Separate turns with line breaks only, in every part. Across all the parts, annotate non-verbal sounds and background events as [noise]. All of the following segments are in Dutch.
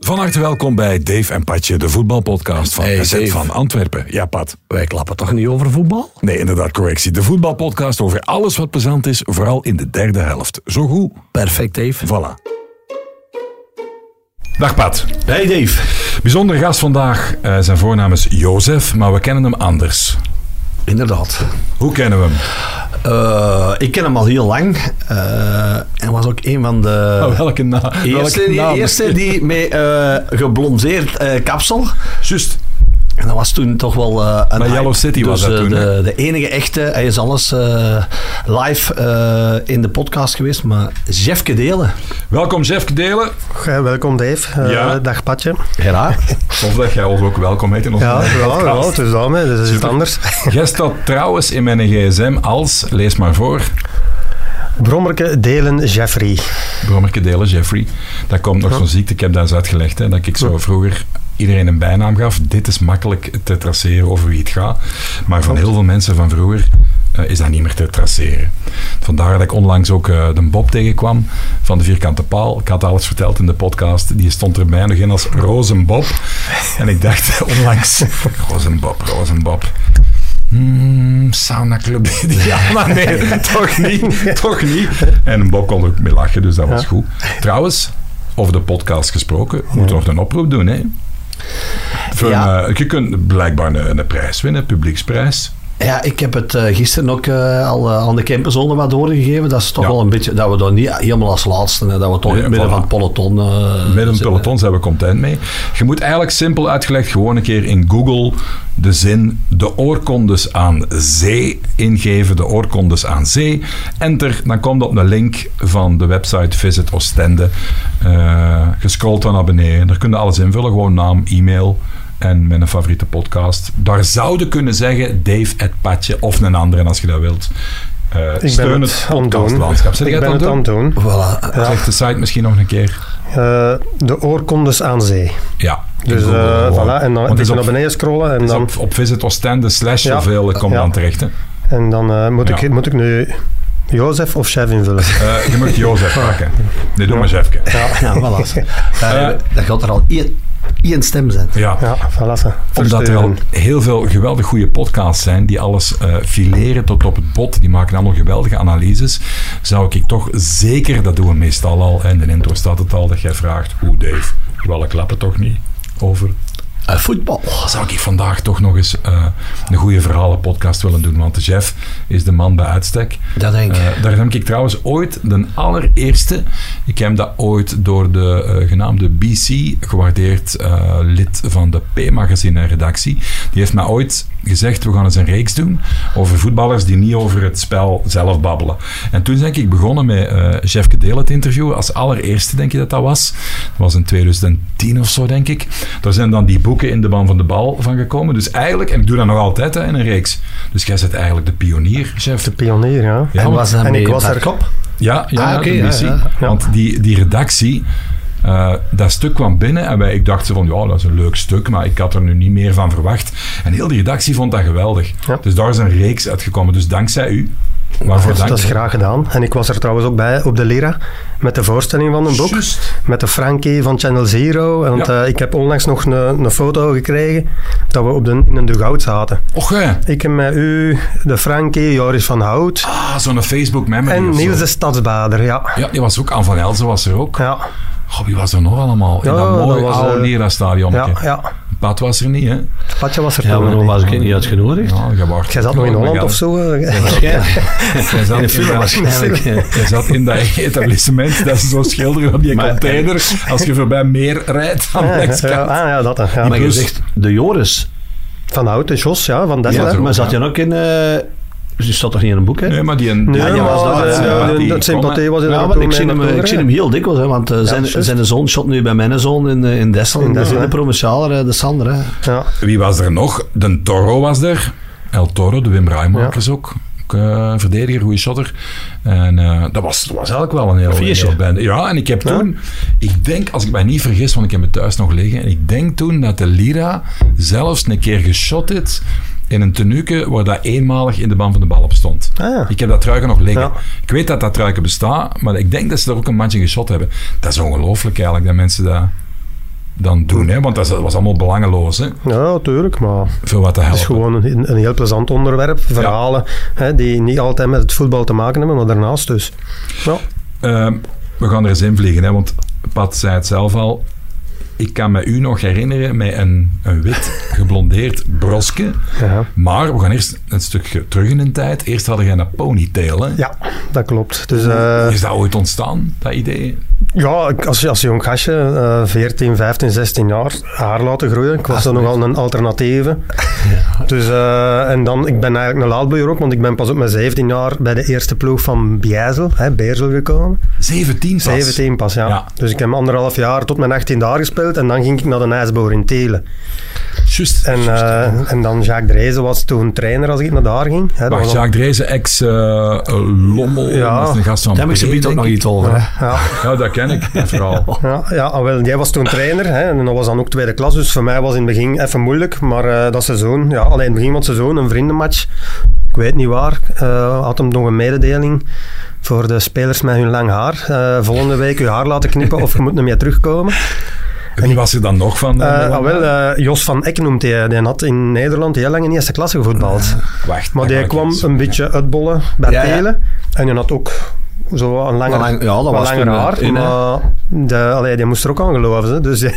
Van harte welkom bij Dave en Patje, de voetbalpodcast van
Hey,
AZ
Dave.
van Antwerpen. Ja, Pat.
Wij klappen toch niet over voetbal?
Nee, inderdaad, correctie. De voetbalpodcast over alles wat plezant is, vooral in de derde helft. Zo goed.
Perfect, Dave.
Voilà. Dag Pat.
Hey Dave.
Bijzondere gast vandaag. Eh, zijn voornaam is Jozef, maar we kennen hem anders.
Inderdaad.
Hoe kennen [laughs] we hem?
Eh, ik ken hem al heel lang. eh, en was ook een van de...
Oh, welke na-
Eerste,
welke
die,
naam? [laughs]
eerste die met eh geblondeerd eh, kapsel.
Juist.
En dat was toen toch wel eh, een
Maar
hype.
Yellow City was
Dus,
dat
eh,
toen, hè?
De, de enige echte. Hij is alles eh, live eh, in de podcast geweest. Maar Jeffke Delen.
Welkom Jeff Delen.
Ja, welkom Dave. Eh,
Ja.
Dag Patje.
[laughs] Geraakt.
Of dat jij ons ook welkom heet in onze [laughs]
Ja, ja,
podcast.
ja, het is daarmee, dus dat is iets anders.
Jij staat trouwens in mijn gsm als, lees maar voor,
Brommerke Delen Jeffrey.
Brommerke Delen, Jeffrey. Daar komt nog zo'n ziekte, ik heb dat eens uitgelegd, hè, dat ik zo vroeger iedereen een bijnaam gaf. Dit is makkelijk te traceren over wie het gaat. Maar van heel veel mensen van vroeger eh, is dat niet meer te traceren. Vandaar dat ik onlangs ook eh, de Bob tegenkwam van de Vierkante Paal. Ik had alles verteld in de podcast. Die stond er bijna nog in als Rozenbob. En ik dacht [laughs] onlangs, Rozenbob, Rozenbob. Hmm, sauna club. [laughs] Ja, maar nee, toch niet. Toch niet. En Bob kon er ook mee lachen, dus dat was goed. Trouwens, over de podcast gesproken, we moeten nog een oproep doen. Hè? Voor
Ja.
een, eh, je kunt blijkbaar een, een prijs winnen, een publieksprijs.
Ja, ik heb het eh, gisteren ook eh, al eh, aan de camperzone wat doorgegeven. Dat is toch
Ja.
wel een beetje... Dat we dan niet helemaal als laatste... Hè, dat we toch
Nee,
in het midden
voilà.
van het peloton... eh,
Met een
zitten.
peloton zijn we content mee. Je moet eigenlijk simpel uitgelegd gewoon een keer in Google de zin de oorkondes aan zee ingeven. De oorkondes aan zee. Enter, dan komt op een link van de website Visit Oostende. Eh gescrollt dan naar beneden. Daar kun je alles invullen. Gewoon naam, e-mail en mijn favoriete podcast. Daar zouden kunnen zeggen Dave het Patje of een andere als je dat wilt. Eh,
Ik
steun
ben
het
het aan het doen.
podcastlandschap. Zet
Ik
jij
ben
het aan
het
het
aan
doen?
het doen.
Voilà.
Zeg de site misschien nog een keer.
Eh, de oorkondes aan zee.
Ja.
Dus
Google
eh,
gewoon.
voilà, en dan
Want
een
het is
beetje
op,
naar beneden scrollen en
het is
dan,
op, op Visit Oostende slash
Ja.
zoveel, ik kom
Ja.
dan terecht. Hè.
en dan eh, moet,
Ja.
ik, moet ik nu Jozef of
[laughs]
Chef invullen.
Eh, je moet
[laughs]
Jozef
Ah.
pakken. Nee, doe maar Jefke.
Ja, voilà.
[laughs]
Daar, daar gaat er al één, één stem zijn.
Ja.
Ja, voilà. ze.
Omdat er al
Versturen.
heel veel geweldig goede podcasts zijn die alles eh, fileren tot op het bot. Die maken allemaal geweldige analyses. Zou ik toch zeker, dat doen we meestal al, en in de intro staat het al, dat jij vraagt, hoe Dave, wel klappen toch niet over
Eh, voetbal.
zou ik vandaag toch nog eens eh, een goede verhalenpodcast willen doen. Want Jeff is de man bij uitstek.
Dat denk ik.
Eh, daar heb ik trouwens ooit de allereerste. Ik heb dat ooit door de eh, genaamde BC, gewaardeerd eh, lid van de P-magazine en redactie. Die heeft mij ooit gezegd: we gaan eens een reeks doen over voetballers die niet over het spel zelf babbelen. En toen ben ik begonnen met eh Jeffke Delen te interviewen. Als allereerste denk je dat dat was. Dat was in 2010 of zo, denk ik. Daar zijn dan die boeken in de ban van de bal van gekomen. Dus eigenlijk, en ik doe dat nog altijd hè, in een reeks. Dus jij bent eigenlijk de pionier, Jeff.
De pionier, ja.
Ja,
en
want-
was dat
en ik
mee
was
per [laughs]
er-
kop?
ja, ja,
Ah,
ja,
oké,
de
ja,
missie.
ja,
ja.
Want die, die redactie, eh, dat stuk kwam binnen en wij, ik dacht zo van, ja, dat is een leuk stuk, maar ik had er nu niet meer van verwacht. En heel die redactie vond dat geweldig.
Ja.
Dus daar is een reeks uitgekomen. Dus dankzij u. Waarvoor dank.
Dat is graag gedaan. En ik was er trouwens ook bij op de Lira met de voorstelling van een boek.
Juist.
Met de Frankie van Channel Zero. Want
Ja.
eh, ik heb onlangs nog een, een foto gekregen dat we op de, in een dugout zaten.
Och, hè.
Ik heb met u, de Frankie, Joris van Hout
Ah, zo'n Facebook memory.
en
of zo.
Niels de Stadsbader. Ja.
Ja, die was ook. Aan van Elzen was er ook.
Ja.
Goh, wie was er nog allemaal? In
Ja,
dat mooie
dat was,
oude
eh,
Lera-stadion.
ja, ja.
Pat was er niet, hè?
Patje was er
Ja,
toen
maar dan
nog niet.
was Oh ik niet uitgenodigd.
Ja, je was-
Jij zat nog in Holland of zo?
[laughs]
eh? [laughs]
Jij zat
In de
in
film
dat-
waarschijnlijk.
Je zat in dat [laughs] etablissement, dat ze zo schilderen op die
Maar-
container. Als je voorbij meer rijdt dan
Ja,
Lexkant.
ja, ah, ja, dat. eh, Ja.
Maar je
plus-
zegt de Joris.
Van Hout, de Jos, ja, van Dessel.
Ja,
hè.
maar zat je ook in... eh je staat toch niet in een boek, hè?
Nee, maar die...
Nee,
Ja, die was
maar
daar,
de-
eh,
de-
maar
de-
die
dat sympathie
kon-
was in
Ja,
dat
want
toen
ik
mee
zie, hem, eh,
naartoe
ik zie hem
gereden.
heel dikwijls, hè, want eh, zijn,
juist.
zijn zoon shot nu bij mijn zoon in, eh, in Dessel, in,
In Dessel,
de
hè.
provincialer, eh, de Sander. Hè.
Ja.
Wie was er nog? De Toro was er. El Toro, de Wim Rijmakers ook. Ook, eh, verdediger, goede shotter. En eh, dat, was, dat was eigenlijk wel een heel...
Viertje.
heel band. Ja, en ik heb toen... Ik denk, als ik mij niet vergis, want ik heb het thuis nog liggen. En ik denk toen dat de Lira zelfs een keer geschot heeft in een tenuke waar dat eenmalig in de band van de bal op stond.
Ah, ja.
Ik heb dat truiken nog liggen.
Ja.
Ik weet dat dat truiken bestaat, maar ik denk dat ze daar ook een matje geschot hebben. Dat is ongelooflijk eigenlijk, dat mensen dat dan doen. Hè? Want dat is- dat was allemaal belangeloos, hè?
ja, tuurlijk, maar
voor wat te
het is
helpen.
gewoon een, een heel plezant onderwerp. Verhalen hè, die niet altijd met het voetbal te maken hebben, maar daarnaast dus. Ja,
Ehm, we gaan er eens in vliegen, hè, want Pat zei het zelf al. Ik kan me u nog herinneren met een, een wit geblondeerd brosje.
ja.
Maar we gaan eerst een stukje terug in de tijd. Eerst hadden jij een ponytail. Hè?
ja dat klopt. Dus, eh,
Is dat ooit ontstaan, dat idee?
Ja, ik- als, als jong gastje, eh, 14, 15, 16 jaar, haar laten groeien. Ik was dan nogal een [laughs] alternatieve. Dus, eh, en dan, ik ben eigenlijk een laadbloeier ook, want ik ben pas op mijn 17 jaar bij de eerste ploeg van Bijzel, hè, Beerzel gekomen.
17 pas.
17 pas, ja.
Ja.
Dus ik heb anderhalf jaar tot mijn 18 daar gespeeld en dan ging ik naar de ijsboer in Telen.
Juist.
En,
Juist.
eh, en dan Jacques Drezen was toen trainer als ik naar daar ging. Hè, dat
Wacht,
was al-
Jacques Drezen, ex-Lommel,
Ja.
eh, dat is een gast van
Daar heb ik
Bree,
zometeen
denk
ook nog
ik.
iets over. hè.
ja.
Ja, dat ken ik, dat
[laughs]
verhaal.
Ja, ja ah, wel, jij was toen trainer hè, en dat was dan ook tweede klas. Dus voor mij was in het begin even moeilijk. Maar eh, dat seizoen, ja, alleen in het begin van het seizoen, een vriendenmatch. Ik weet niet waar. eh, had hem nog een mededeling voor de spelers met hun lang haar. Eh, volgende week je haar laten knippen of je moet niet meer
[laughs]
terugkomen.
Wie was er dan nog van? eh,
Eh, ah,
Lommel?
wel, eh, Jos van Eck noemt hij. Die had in Nederland heel lang in eerste klasse gevoetbald.
Wacht.
maar
dat
die
ga ik
kwam
eens-
een beetje uitbollen bij
Ja, ja.
Telen. En die had ook zo een langer,
Lang- ja, dat
wat
was
langer
toen, eh,
haar.
in, hè.
maar de, allee, die moest er ook aan geloven. Hè. Dus [laughs] die,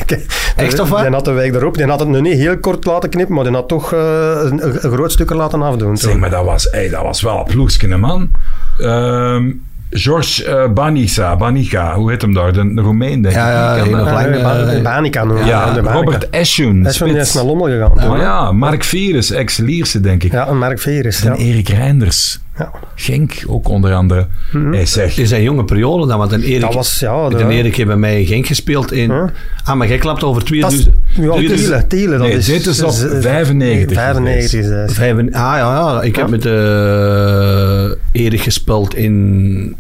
Echt, of wat?
Die had de week erop. Die had het nu niet heel kort laten knippen, maar die had toch eh, een, een groot stuk er laten afdoen.
Zeg
toen.
maar, dat was, hey, dat was wel een ploegsje, hè, man. Ehm George eh, Banisa, Banica, hoe heet hem daar? De, de Roemeen, denk
Ja,
ik.
ja,
Ik ken
die
dat.
nog
Ja,
lang,
de Ba-
eh,
de Banica noemen we
Ja,
hem, de Banica.
Robert Eschun.
Hij is van die is
spits.
naar Lommel gegaan.
Ah,
toen.
Maar ja, Mark Vieres, ex-Lierse, denk ik.
Ja, een Mark Veres. Ja.
En Erik Reinders.
Ja.
Genk ook onder andere. Hij zegt,
In zijn jonge periode dan, want een Erik,
Dat was, ja... de-
de Erik heeft bij mij in Genk gespeeld in...
Huh?
Ah, maar jij klapt over
dat is-
2000...
ja,
Dit is-
Tiele, Tiele, dat
nee,
is...
dit is op
z-
95
95 is hij.
Vijf en- ah ja, ja, ik heb met eh Erik gespeeld in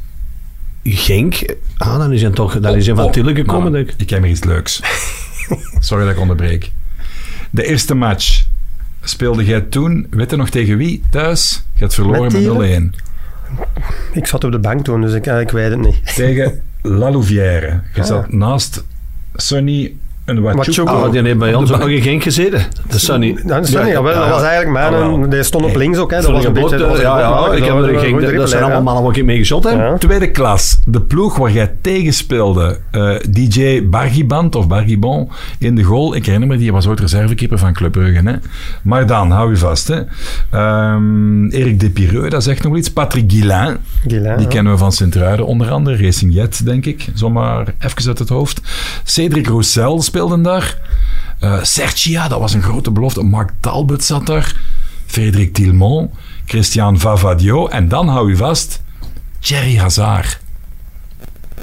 Genk. Ah, dan is hij toch dan is hij van
Oh,
Tille gekomen,
maar
denk ik.
Ik heb er iets leuks. Sorry dat ik onderbreek. De eerste match speelde jij toen, weet je nog tegen wie? Thuis. Je hebt verloren
Met Tiele?
met 0-1.
Ik zat op de bank toen, dus ik, eh, ik weet het niet.
tegen La Louvière. Je
Ah.
zat naast Sonny en
Wachouk.
Wachouk.
Ah, die heeft bij ons ook nog in Genk gezeten. De Sunny.
Dan, sorry,
Ja,
ja, wel,
ja,
Nou, dat was eigenlijk mijn... eh,
Ah, wel.
die stond op
Nee.
links ook, hè. Dat
Sorry,
was een
geblokt,
beetje... dat
eh,
was een
ja,
goed
ja,
maken,
ik
dat
heb
was
er
een
Genk,
goede
dat zijn
dribbel, hè,
allemaal
ja.
mannen waar ik mee geschot heb.
Ja.
Tweede klas, de ploeg waar jij tegen speelde, eh, DJ Bargiband of Bargibon in de goal. Ik herinner me, die was ooit reservekeeper van Club Brugge. Hè? Maar dan, hou je vast. Hè? Ehm, Erik Depireux, dat zegt nog wel iets. Patrick Guillain,
Guillain,
die
ja.
kennen we van Sint-Truiden onder andere. Racing Jet, denk ik. Zomaar even uit het hoofd. Cedric Roussel speelde daar. Eh Sergia, dat was een grote belofte. Mark Talbot zat daar. Frederik Tilmont. Christian Vavadio. En dan, hou je vast, Thierry Hazard.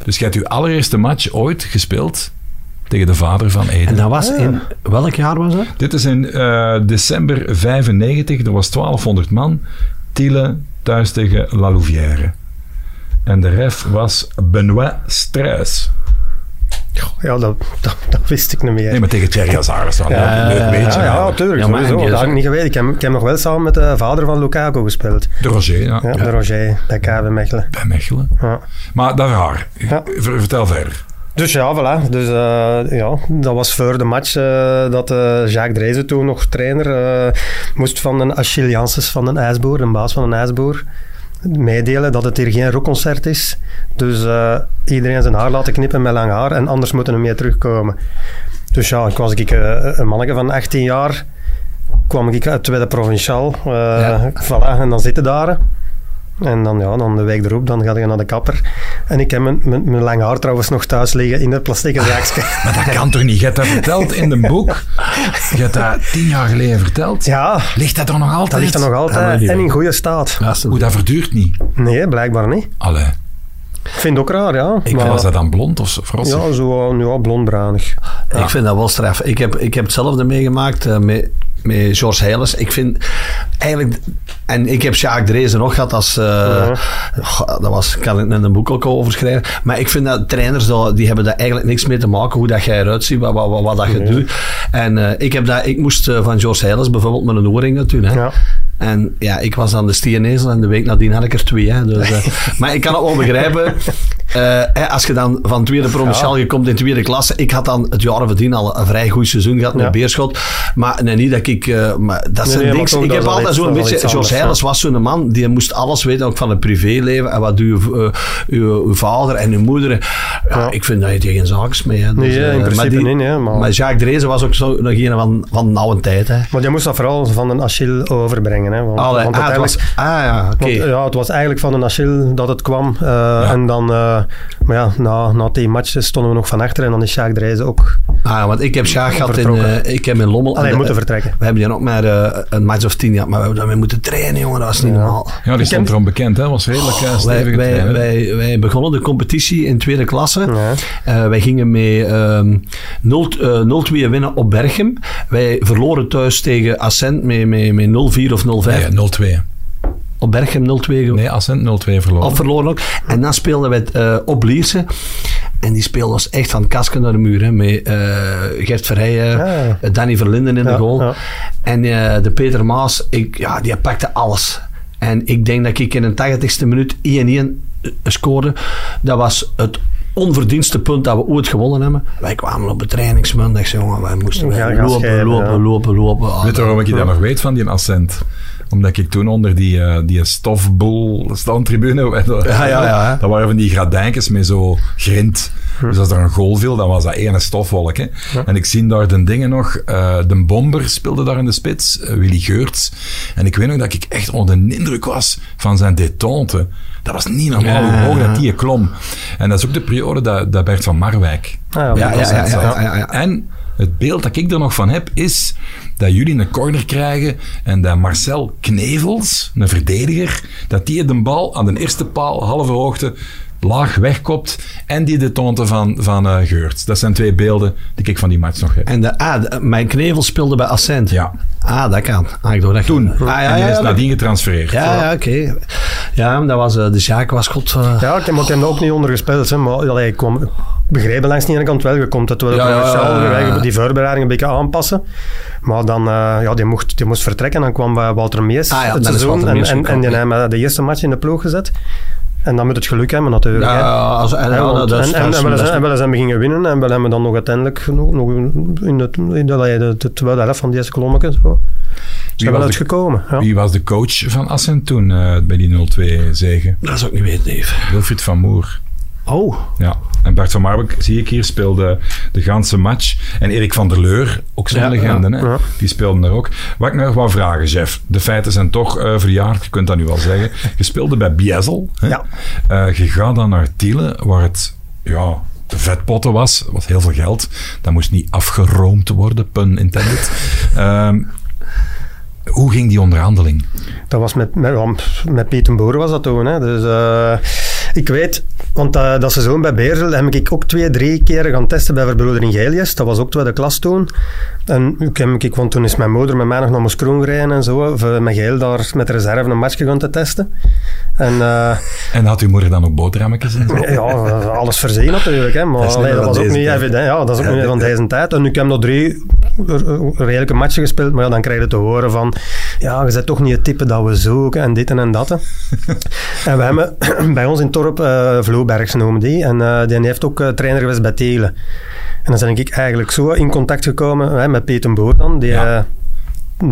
Dus je hebt uw allereerste match ooit gespeeld tegen de vader van Eden.
En dat was in... Welk jaar was dat?
Dit is in eh, december 95. Er was 1200 man. Tiele thuis tegen La Louvière. En de ref was Benoit Struis.
Ja, dat, dat, dat wist ik niet meer.
Nee, maar tegen Thierry Hazard is dat een
Ja,
leuk leuk
ja,
weetje.
ja,
namelijk.
tuurlijk.
Ja, maar
sowieso.
die
Dat
is
had ik
ook-
niet geweten. Ik heb, ik heb nog wel samen met de vader van Lukaku gespeeld.
De Roger, ja.
Ja, De Roger, bij KV Mechelen.
Bij Mechelen.
Ja.
Maar dat is raar.
Ja.
Ver- vertel verder.
Dus ja, voilà. Dus, eh, ja, dat was voor de match eh, dat eh, Jacques Drezen toen nog trainer eh, moest van een Achille Janssens van een ijsboer, een baas van een ijsboer, meedelen dat het hier geen rockconcert is. Dus eh, iedereen zijn haar laten knippen met lang haar en anders moeten er meer terugkomen. Dus ja, ik was ik, eh, een manneke van 18 jaar, kwam ik uit Tweede Provinciaal. eh,
Ja.
voilà, en dan zitten daar. En dan, ja, dan de week erop, dan ga je naar de kapper. En ik heb mijn, mijn, mijn lang haar trouwens nog thuis liggen in het plastieke zaakje.
Maar dat kan toch niet? Je hebt dat verteld in een boek. Je hebt dat tien jaar geleden verteld.
ja,
Ligt dat er nog altijd?
dat ligt er nog
maar
altijd.
die
en in
wel.
goede staat.
Hoe dat verduurt niet.
Nee, blijkbaar niet.
Allee.
Ik vind het ook raar, ja.
Ik
Maar-
was dat dan blond of frossig?
ja, zo eh, ja, blondbruinig.
Ik vind dat wel straf. Ik heb, ik heb hetzelfde meegemaakt eh, met met George Heiles. Ik vind eigenlijk... En ik heb Jacques Drezen nog gehad als... eh,
Ja.
goh, dat was, kan ik net een boek ook over schrijven. Maar ik vind dat trainers, dat- die hebben daar eigenlijk niks mee te maken. Hoe dat jij eruit ziet, wat, wat, wat, wat dat je doet. En eh, ik, heb dat, ik moest eh, van George Heiles bijvoorbeeld met een oorring dat doen. Hè.
Ja.
En ja, ik was aan de stierenezel en de week nadien had ik er twee. Hè, dus,
[laughs]
eh, maar ik kan het wel begrijpen. Eh, hè, als je dan van tweede provinciaal, je komt in tweede klasse. Ik had dan het jaar verdien al een vrij goed seizoen gehad met
Ja.
Beerschot. Maar nee, niet dat ik... eh, maar dat
Nee,
zijn
nee, maar
niks.
toch,
Ik
dat
heb
is al
altijd
iets-
zo'n
dat is
beetje...
al iets
George
anders,
Heijlers was zo'n man, die moest alles weten, ook van het privéleven. En wat doet je, eh, uw- uw vader en uw moeder. Ja,
Ja.
Ik vind dat je tegen zaaks mee. Hè, dus,
Nee, ja, in
eh,
principe
maar die-
niet, hè, maar-
Maar Jacques Drezen was ook zo, nog een van, van de oude tijd. Hè.
Maar jij moest dat vooral van een Achille overbrengen. Hè? Want,
Allee,
want
ah, het
uiteindelijk-
was- ah ja, oké.
Want, ja, het was eigenlijk van een Achille dat het kwam. eh, En dan, eh, maar ja, na, na die matches stonden we nog van achter en dan is Sjaak Drijzen ook
Ah, ja, want ik heb Sjaag gehad in,
Vertrokken.
eh, ik heb in Lommel.
alleen
en,
moeten
eh,
vertrekken.
we hebben hier ook maar eh, een match of tien gehad, maar we hebben daarmee moeten trainen, jongen. Dat is niet normaal.
Ja, die
Ik
stond
ken-
erom bekend, hè? Was redelijk eh,
Wij,
stevige
Oh, wij,
trainer.
wij, wij begonnen de competitie in tweede klasse.
Ja.
Eh, wij gingen mee ehm 0 t- eh, 0-2 winnen op Berchem. Wij verloren thuis tegen Ascent met, met, met 0-4 of 0-5.
Nee, 0-2.
Op Berchem 0-2 gewonnen.
Nee, Ascent 0-2 verloren.
Of verloren ook. En dan speelden we het, eh, op Lierse. En die speelden ons echt van kasken naar de muur. Hè, met eh, Gert Verheijen,
Ja.
eh, Danny Verlinden in de
Ja,
goal.
ja.
En eh, de Peter Maas, ik, ja, die pakte alles. En ik denk dat ik in de 80ste minuut 1-1 eh, scoorde. Dat was het onverdienste punt dat we ooit gewonnen hebben. Wij kwamen op de trainingsmaandag, jongen, wij moesten
Ja,
wij
gas
lopen,
geven,
lopen,
ja.
lopen, lopen,
Weet je
Ah,
waarom ik dat nog weet van die accent? Omdat ik toen onder die, eh, die stofboel [laughs] standtribune...
Ja, ja, ja, hè.
Dat waren van die gradijntjes met zo grind. Dus als er een goal viel, dan was dat ene stofwolk. Hè? En ik zie daar de dingen nog. eh, de Bomber speelde daar in de spits, eh, Willy Geurts. En ik weet nog dat ik echt onder de indruk was van zijn detente. Dat was niet normaal
Ja.
hoe hoog dat die klom. En dat is ook de periode dat, dat Bert van Marwijk
Ah,
Ja, ja, ja, ja, ja, ja, ja.
en het beeld dat ik er nog van heb, is dat jullie een corner krijgen en dat Marcel Knevels, een verdediger, dat die de bal aan de eerste paal, halve hoogte, laag wegkopt en die de tonte van, van eh, Geurts. Dat zijn twee beelden die ik van die match nog heb.
En de, ah, de- mijn knevel speelde bij Ascent.
Ja.
Ah, dat kan. Ah, ik doe dat
Toen.
Ah, ja,
en die
ja,
is
ja, dat-
nadien getransfereerd.
ja, ja, oké. Ja, dat was, eh, de Sjaak was goed. eh,
Ja, ik heb, maar ik heb er ook niet onder gespeeld. Hè, maar allee, ik, kwam, ik begreep langs de ene kant wel. Je komt het wel
Ja, ja,
commercieel,
ja, ja, ja.
je wil die voorbereiding een beetje aanpassen. Maar dan, eh, ja, die moest, die moest vertrekken. Dan kwam eh, Walter Mees
Ah ja,
het
dan is
seizoen.
Walter
En,
Mees
en, en die
gekomen,
hebben de eerste match in de ploeg gezet. En dan moet het geluk hebben natuurlijk.
Ja,
hè.
als- en-
Hè,
ja,
want-
dat is-
en-
dat
En
is-
en wel
dat is-
eens- en wel eens hebben we gingen winnen. En wel hebben we dan nog uiteindelijk nog, nog in de, in de, in de, de tweede helft van die eerste kolommetje. Zo. Is
Wie
er wel
was
eens
de-
gekomen. Ja.
Wie was de coach van Assen toen eh, bij die 0-2 zegen?
Dat is ook niet weten, neef.
Wilfried van Moer.
Oh.
Ja, en Bart van Marwijk, zie ik hier, speelde de ganse match. En Erik van der Leur, ook zo'n
Ja,
legende,
ja,
hè?
ja.
die speelde er ook. Wat ik nog wou vragen, Jeff. De feiten zijn toch eh, verjaard, je kunt dat nu wel
[laughs]
zeggen. Je speelde bij Biesel. Hè?
Ja.
Eh, je gaat dan naar Tielen, waar het ja, de vetpotten was. Dat was heel veel geld. Dat moest niet afgeroomd worden, pun
[laughs]
intended. Ehm, hoe ging die onderhandeling?
Dat was met, met, ja, met Pieter Boer was dat toen. Hè. Dus eh, ik weet, want eh, dat seizoen bij Beerzel heb ik ook twee, drie keren gaan testen bij verbroedering Gelius. Dat was ook tweede klas toen. En ik heb, ik, want toen is mijn moeder met mij nog naar Moeskroen gereden en zo. Voor met Geel daar met reserve een matchje gaan te testen. En eh,
En had uw moeder dan ook boterhammetjes
[laughs]
en zo?
ja, alles verzien natuurlijk. Hè. Maar
Dat is niet
allee,
meer
dat
van
was ook
deze
niet
tijd.
evident. Ja, dat is ook
Ja,
niet
dit-
van deze tijd. En ik heb nog drie r- r- redelijke matchen gespeeld. Maar ja, dan krijg je te horen van... Ja, je bent toch niet het type dat we zoeken. En dit en en
[laughs]
dat. hè. En we hebben [clears throat] bij ons in het dorp eh Vlobergs noemen die. En eh, die heeft ook eh, trainer geweest bij Telen. En dan ben ik eigenlijk zo in contact gekomen hè, met Peter Boer dan. Die
Ja.
eh,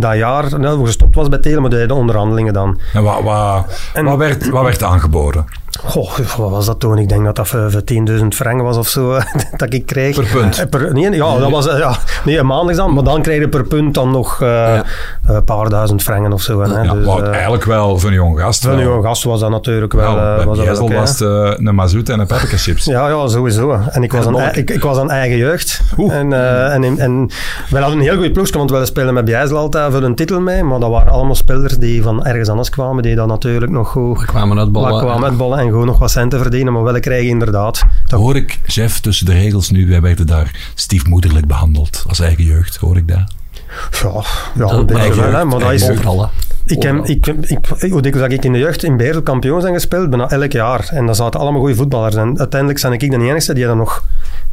dat jaar nou, gestopt was bij Telen, maar die deed de onderhandelingen dan.
En wat, wat,
En-
wat, werd, wat werd aangeboden?
Goh, wat was dat toen? Ik denk dat dat voor voor 10.000 frank was of zo, [laughs] eh, dat ik kreeg.
Per punt?
Eh, Per, nee, ja, dat was eh, ja, nee, een maandag dan. Maar dan kreeg je per punt dan nog eh, een paar duizend franken of zo. Hè,
Ja,
dus,
wat
eh,
eigenlijk wel voor een jong gast.
voor een
wel.
jonge gast was dat natuurlijk wel...
Ja,
eh,
bij
was dat wel
Biesel
oké, hè.
was het eh, een mazoet en een pepperkachips.
[laughs] Ja, ja, sowieso. En ik was,
En
aan,
Molk.
ei- ik, ik was aan eigen jeugd.
Oeh.
En, eh, en, in- en we hadden een heel goede ploegje, want we spelen met Bijzel altijd voor een titel mee. Maar dat waren allemaal spelers die van ergens anders kwamen, die dan natuurlijk nog goed
We kwamen uit
maar
Bollen.
kwamen met ballen en gewoon nog wat centen verdienen. Maar wel krijgen inderdaad.
Dat hoor ik, Jeff, tussen de regels nu. Wij werden daar stiefmoederlijk behandeld als eigen jeugd, hoor ik dat.
Ja, ja een beetje
eigen
wel, Oh, hè, maar dat is...
Overal, hè.
Ik heb, ik, ik, ik- hoe dikwijls dat ik in de jeugd in Beerl kampioen zijn gespeeld, bijna elk jaar. En daar zaten allemaal goede voetballers. En uiteindelijk ben ik de enige die dan nog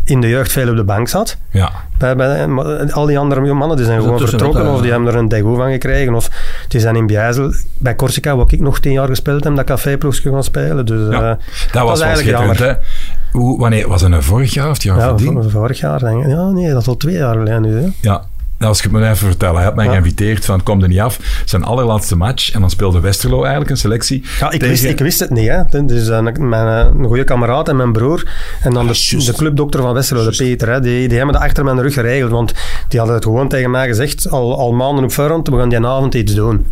in de jeugd veel op de bank zat.
Ja,
Bij, bij, maar eh, al die andere mannen die zijn
Dus
gewoon
ertussen
vertrokken
wat, eh,
of die hebben er een dego van gekregen. Of die zijn in Bijzel, bij Corsica, waar ik nog tien jaar gespeeld heb, dat caféploegje gaan spelen. Dus,
Ja,
eh,
dat was wel
eigenlijk
schitterend. Hè? Hoe, wanneer, was dat nou vorig jaar of het jaar
ja,
voordien?
van vorig jaar denk ik. Ja, nee, dat is al twee jaar geleden nu. Hè.
Ja, nou, als ik het me even vertellen. Hij had mij geïnviteerd van, kom er niet af. Zijn allerlaatste match. En dan speelde Westerlo eigenlijk een selectie.
Ja, ik,
tegen-
wist, ik wist het niet. Hè. Dus eh, mijn eh, een goede kameraad en mijn broer. En dan
Ah,
de,
juist.
de clubdokter van Westerlo, de Peter. Hè. Die, die hebben dat achter mijn rug geregeld. Want die hadden het gewoon tegen mij gezegd, al, al maanden op voorhand, we gaan die avond iets doen.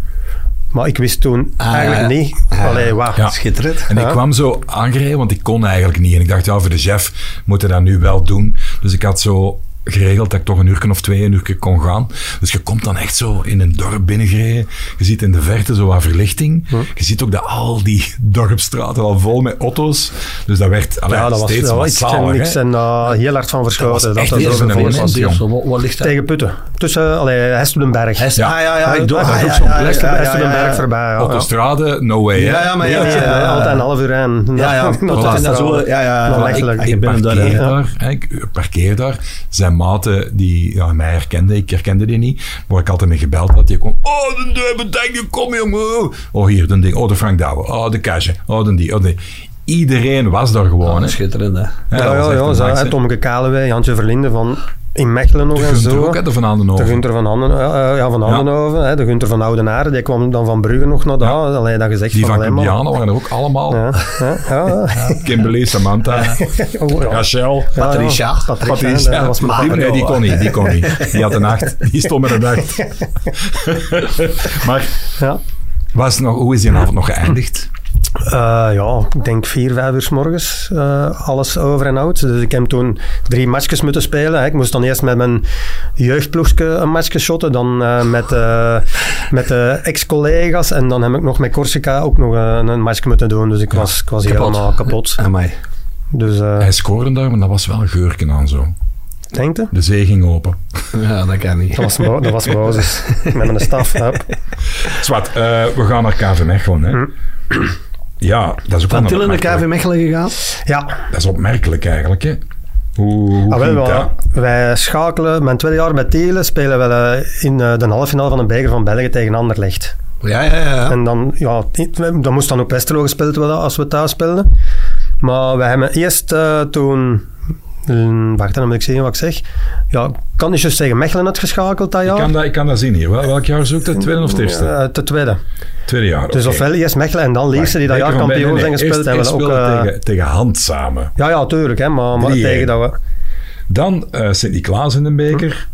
Maar ik wist toen
Ah,
eigenlijk
ja.
niet.
Ah.
Allee, wacht.
Ja.
Schitterend.
En ik
Ja.
kwam zo aangereden, want ik kon eigenlijk niet. En ik dacht, ja, voor de chef moeten dat nu wel doen. Dus ik had zo geregeld dat ik toch een uur of twee, een uur kon gaan. Dus je komt dan echt zo in een dorp binnengereden. Je ziet in de verte zo wat verlichting. Je ziet ook dat al die dorpstraten al vol met auto's. Dus dat werd allee,
Ja, dat was
steeds
ja, ik ken
massaler.
niks
hè.
en eh, heel hard van verschoten.
echt
Dat dat
weer
zo
zo'n
gevoel
moment.
was.
jong.
Wat, wat ligt daar?
Tegen Putten. Tussen, allee, Hestelenberg.
Hij is-
Ja.
Ah, ja, ja. Ik doe
Ah,
dat
ja,
ook zo'n
ja,
plek.
ja,
hè.
ja,
Hij is
ja,
er een
ja.
berg voorbij.
voorbij. ja, ja.
Autostrade, no way. hè.
Ja, ja, maar
Nee,
ja, ja, ja,
altijd een half uur aan.
Ja, ja.
Nou,
Dat is
[laughs] dat
dan
is wel-
zo... Ja, ja.
Maar
ja.
echt
Ik-
leuk.
ah, Je bent daar,
parkeer
hè.
daar, hè, ik parkeer daar. Zijn maten, die ja, mij herkende, ik herkende die niet, waar ik altijd mee gebeld had, die kwam, oh, de duivel, denk je, kom jongen. Oh, hier, de ding, oh, de Frank Douwe, oh, de Casje, oh, de die, oh, die. Iedereen was daar gewoon, hè.
Schitterend, hè.
Ja,
Ja,
dat was
ja,
echt
ja,
een
zo,
max,
hè.
hè.
Tomke Kalewij, Jantje Verlinde van in Mechelen nog
De
en
Gunther
zo.
ook, hè, de Van Aandenhoven.
De Gunter van, Handen, ja, ja, van Handenhoven, hè, de Gunter van Oudenaarde, die kwam dan van Brugge nog naar daar. Allee, dat gezegd
Die van
alleen maar.
Cumbiana waren er ook allemaal.
Ja, ja,
[laughs]
ja. [laughs]
Kimberly, Samantha,
Oh, ja.
Rachel.
Ja,
Patricia.
ja, Patricia,
Patricia.
dat was mijn
die,
vader.
nee, die kon niet, die kon niet. Die had een acht, die stond met een
[laughs]
acht. maar
Ja.
was nog, hoe is die avond nog geëindigd?
Eh, ja, ik denk vier, vijf uur 's morgens. eh, alles over en out. Dus ik heb toen drie matchjes moeten spelen. Hè. Ik moest dan eerst met mijn jeugdploegje een matchje shotten. Dan eh, met, eh, met de ex-collega's. En dan heb ik nog met Corsica ook nog eh, een, een matchje moeten doen. Dus ik was, ik was
kapot.
helemaal kapot.
Amai.
Dus eh,
Hij scoorde daar, maar dat was wel een geurken aan zo.
denk je?
De zee ging open.
Ja, dat kan niet.
Dat was, Mo- dat was Mozes. met mijn staf. hup.
Zwart, eh, we gaan naar KV Mechelen. Hè.
Hm.
Ja, dat is ook
Van
wel
Tillen naar
opmerkelijk.
KV Mechelen gegaan.
Ja,
Dat is opmerkelijk eigenlijk. Hè. Hoe, hoe
Ah, wel,
ging
wel,
dat?
wij schakelen, mijn tweede jaar bij Telen spelen we eh, in eh, de halve finale van de Beker van België tegen Anderlecht.
Ja, ja, ja.
En dan, ja, dan moest dan ook Westerlo gespeeld worden als we thuis speelden. Maar we hebben eerst eh, toen... hmm, Wacht, dan moet ik zien wat ik zeg. Ja, ik kan niet juist zeggen Mechelen uitgeschakeld dat
Ik
jaar.
kan dat? Ik kan dat zien hier. Wel- Welk jaar zoekt het? Tweede of het eerste?
Eh, te tweede.
Tweede jaar.
Dus
oké.
ofwel eerst Mechelen en dan Leefse die dat
Beker
jaar
van
kampioen
België,
zijn
nee,
gespeeld.
eerst-
hebben we
eerst
ook,
speelden
eh,
tegen, tegen Hand samen.
Ja, ja, tuurlijk. Hè, maar maar
3-1.
tegen dat we...
Dan eh, Sint-Niklaas in de beker.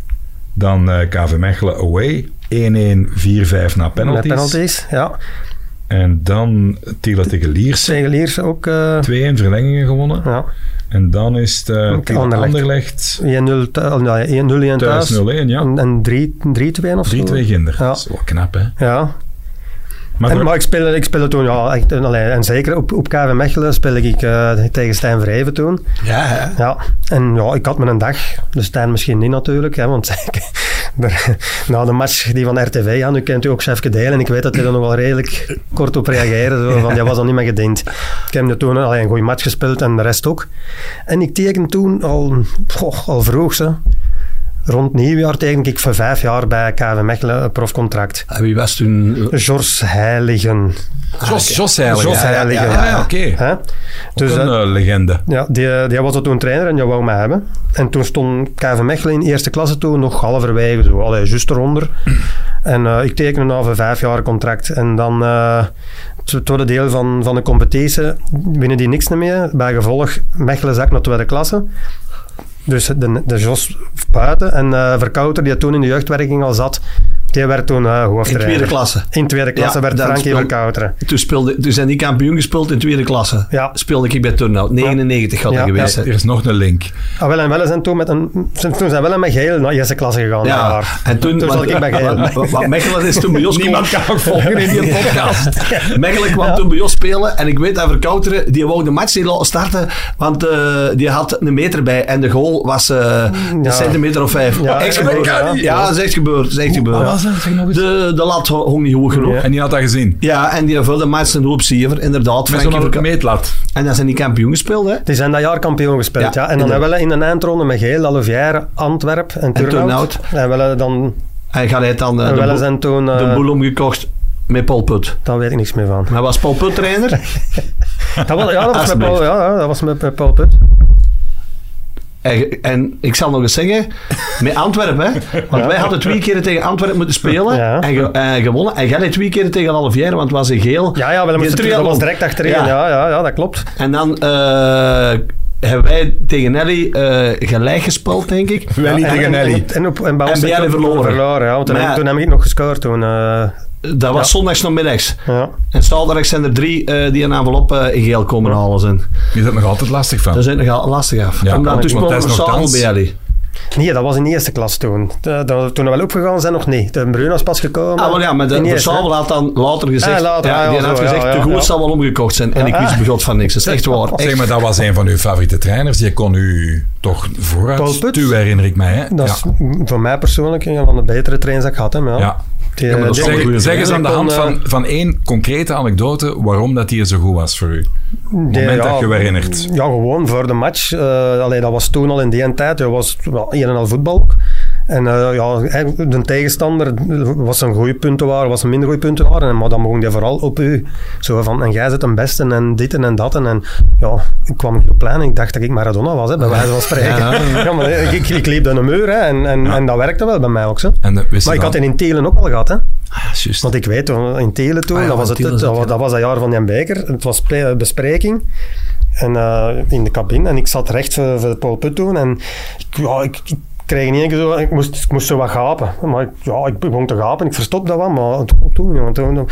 Dan eh, KV Mechelen away. 1-1, 4-5 na
Met
penalties.
penalties. Ja.
En dan Tiele tegen Lierse. 2-1
Tegen Lierse ook... eh,
verlengingen gewonnen.
ja.
En dan is het eh,
Oké,
Tiele
Anderlecht.
Anderlecht.
1-0 thu- nee, 1-0 en
Thuis 0-1,
thuis.
ja.
En en 3 3-2 of
3-2
zo.
Ginder.
Ja.
Dat is wel knap, hè.
Ja,
Maar,
En,
voor-
maar ik speelde, ik speelde toen, ja, echt, en, allee, en zeker op, op KV Mechelen speelde ik eh, tegen Stijn Vreven toen.
Ja, hè.
Ja, en ja, ik had mijn dag. De Stijn misschien niet natuurlijk, hè, want [laughs] ik- maar, na de match die van RTV, ja, nu kent u ook Chefke Deel en ik weet dat hij er nog wel redelijk kort op reageerde, zo, van, die was al niet meer gediend. Ik heb toen allee, een goede match gespeeld en de rest ook. En ik teken toen al, goh, al vroeg, ze. rond nieuwjaar teken ik voor vijf jaar bij KV Mechelen een profcontract.
En wie was toen...
George Heiligen.
Jos, Ah, Jos Heilig.
Jos
ja.
Heilige.
Ja, Ah, ja, oké.
Hè?
Dus
Dus
een
dat-
eh, legende.
ja, die, eh, die was er toen trainer en die wou mij hebben. En toen stond KV Mechelen in eerste klasse toen nog halverwege, zo, allee, juist eronder. [clears throat] En eh, ik tekende af een vijf jaar contract. En dan eh, het het tweede deel van, van de competitie winnen die niks meer. Bij gevolg, Mechelen zakt naar tweede klasse. Dus de, de Jos buiten en eh Verkouter, die toen in de jeugdwerking al zat, Die werd toen eh
In
hoofdtrainer.
tweede klasse.
In tweede klasse
Ja,
werd
dat
Frankie
speel-
van Kouteren.
Toen, speelde, toen zijn die kampioen gespeeld in tweede klasse.
Ja.
Speelde ik bij Turnhout. 99 had ik
Ja,
geweest.
ja.
hè.
Er is nog een link.
Ah, wel en wel zijn toen met een... Zijn, toen zijn wel en met geel naar eerste klasse gegaan.
Ja,
dat jaar.
en toen,
zat ik bij Geel.
[laughs] wat, wat Mechelen is toen bij ons
Niemand
kwam-
kan ook [laughs] volgen in
[laughs]
die
podcast. Mechelen kwam toen bij ons spelen en ik weet dat Verkouteren, die wou de match niet laten starten, want eh, die had een meter bij en de goal was eh, een
Ja.
centimeter of vijf.
Ja,
echt
dat
gebeurd.
kan
Ja,
niet.
dat is echt gebeurd. dat is echt gebeurd.
was dat? Zeg nog eens.
De, de lat ho- hong niet hoog genoeg. Dus, Ja.
En die had dat gezien.
en die vulde match een hoop zever, inderdaad.
Met
Frankie
zo'n
Verkou-
meetlat.
En dan zijn die kampioen gespeeld, hè?
Die zijn dat jaar kampioen gespeeld,
Ja,
ja. En dan
inderdaad.
hebben we in een eindronde met Geel, Alouvière, Antwerp en Turnhout.
Turnhout.
En wel eh, dan...
En gaat hij dan eh,
en
de,
wel
boel,
zijn toen... eh,
de boel omgekocht met Paul Put.
daar weet ik niks meer
[laughs]
van.
Hij was Paul Put trainer.
Dat was, ja, dat was met
Alsjeblieft.
Paul, ja, ja, dat was met eh, Paul Put.
En, en ik zal nog eens zeggen, met Antwerpen, hè, want wij hadden twee keren tegen Antwerpen moeten spelen
Ja.
en, ge- en gewonnen. En jij deed twee keren tegen Alvière, want het was een geel.
Ja, ja, wel,
Die
moesten- dat
triathlon.
was direct achterin.
Ja.
Ja, ja, ja, dat klopt.
En dan eh, hebben wij tegen Nelly eh, gelijk gespeeld, denk ik.
Wij niet
En-
tegen
en-
Nelly.
En, en, op, en bij
En
ons
bij
heb
jullie
ik ook
verloren.
verloren ja, want toen,
Maar
heb,
ja.
toen heb ik nog gescoord. Toen, eh,
Dat was
Ja.
zondags nog middags.
ja.
En zaterdag zijn er drie eh, die een envelop eh, in geel komen halen. zijn.
Je zit nog altijd lastig van.
Daar zijn nogal lastig af.
Ja,
Omdat
want-
toen
want
speelden
dat
we
is nog
s'avonds bij
dans.
Nelly.
Nee, dat was in de eerste klas toen. De- de- toen we wel opgegaan zijn, nog niet. De Bruno is pas gekomen.
Ah, wel ja, maar de,
In
de
eerste,
Sabel had dan later gezegd...
Ah, later,
ja,
ah,
die
ja,
had
zo,
gezegd,
ja,
de
ja,
goal
ja.
zal wel omgekocht zijn. En ik wist begot van niks. Dat is echt
[laughs]
waar.
Zeg
Echt.
maar, dat was een van uw favoriete trainers. Je kon u toch
Paul
vooruit
Put?
stuwen, herinner ik mij. Hè?
Dat is m- voor mij persoonlijk een van de betere trains dat ik had. Hè, maar ja.
Ja.
Die,
maar dat is
die-
wel een
Eh, Zeg, zeg
goeie
eens
die
aan de
kon,
hand
eh,
van, van één concrete anekdote waarom dat die zo goed was voor u.
die-
moment dat je je herinnert.
Ja, gewoon voor de match. Eh allee, dat was toen al in die tijd. Dat was wel een en al voetbal. En eh, ja, hij- de tegenstander was een goede punten waren, was een minder goede punten waren. Maar dan begon hij vooral op u. Zo van, en jij zit een beste en dit en dat. En, en ja, ik kwam op het plein en ik dacht dat ik Maradona was, hè, bij wijze van spreken. [laughs] Ja, maar eh, ik, ik- ik liep dan een muur hè, en, en, en dat werkte wel bij mij ook. Zo.
En dat wist
Maar
je
ik had
dan-
het in Telen ook al gehad, hè.
Ah, juist.
Want ik weet, toen- in Telen toen,
Ah ja,
dat, was
want
het,
Telen
dat,
is het,
was,
ja.
dat was dat jaar van Jan Beker. Het was pre- bespreking en, eh, in de cabine. En ik zat recht voor, voor Paul Put toen. En ik, ja, ik, ik kreeg in één keer zo... Ik moest, ik moest zo wat gapen. Maar ik, ja, ik begon te gapen. Ik verstopte dat wel. Maar toen, toen, jongen, toen, toen,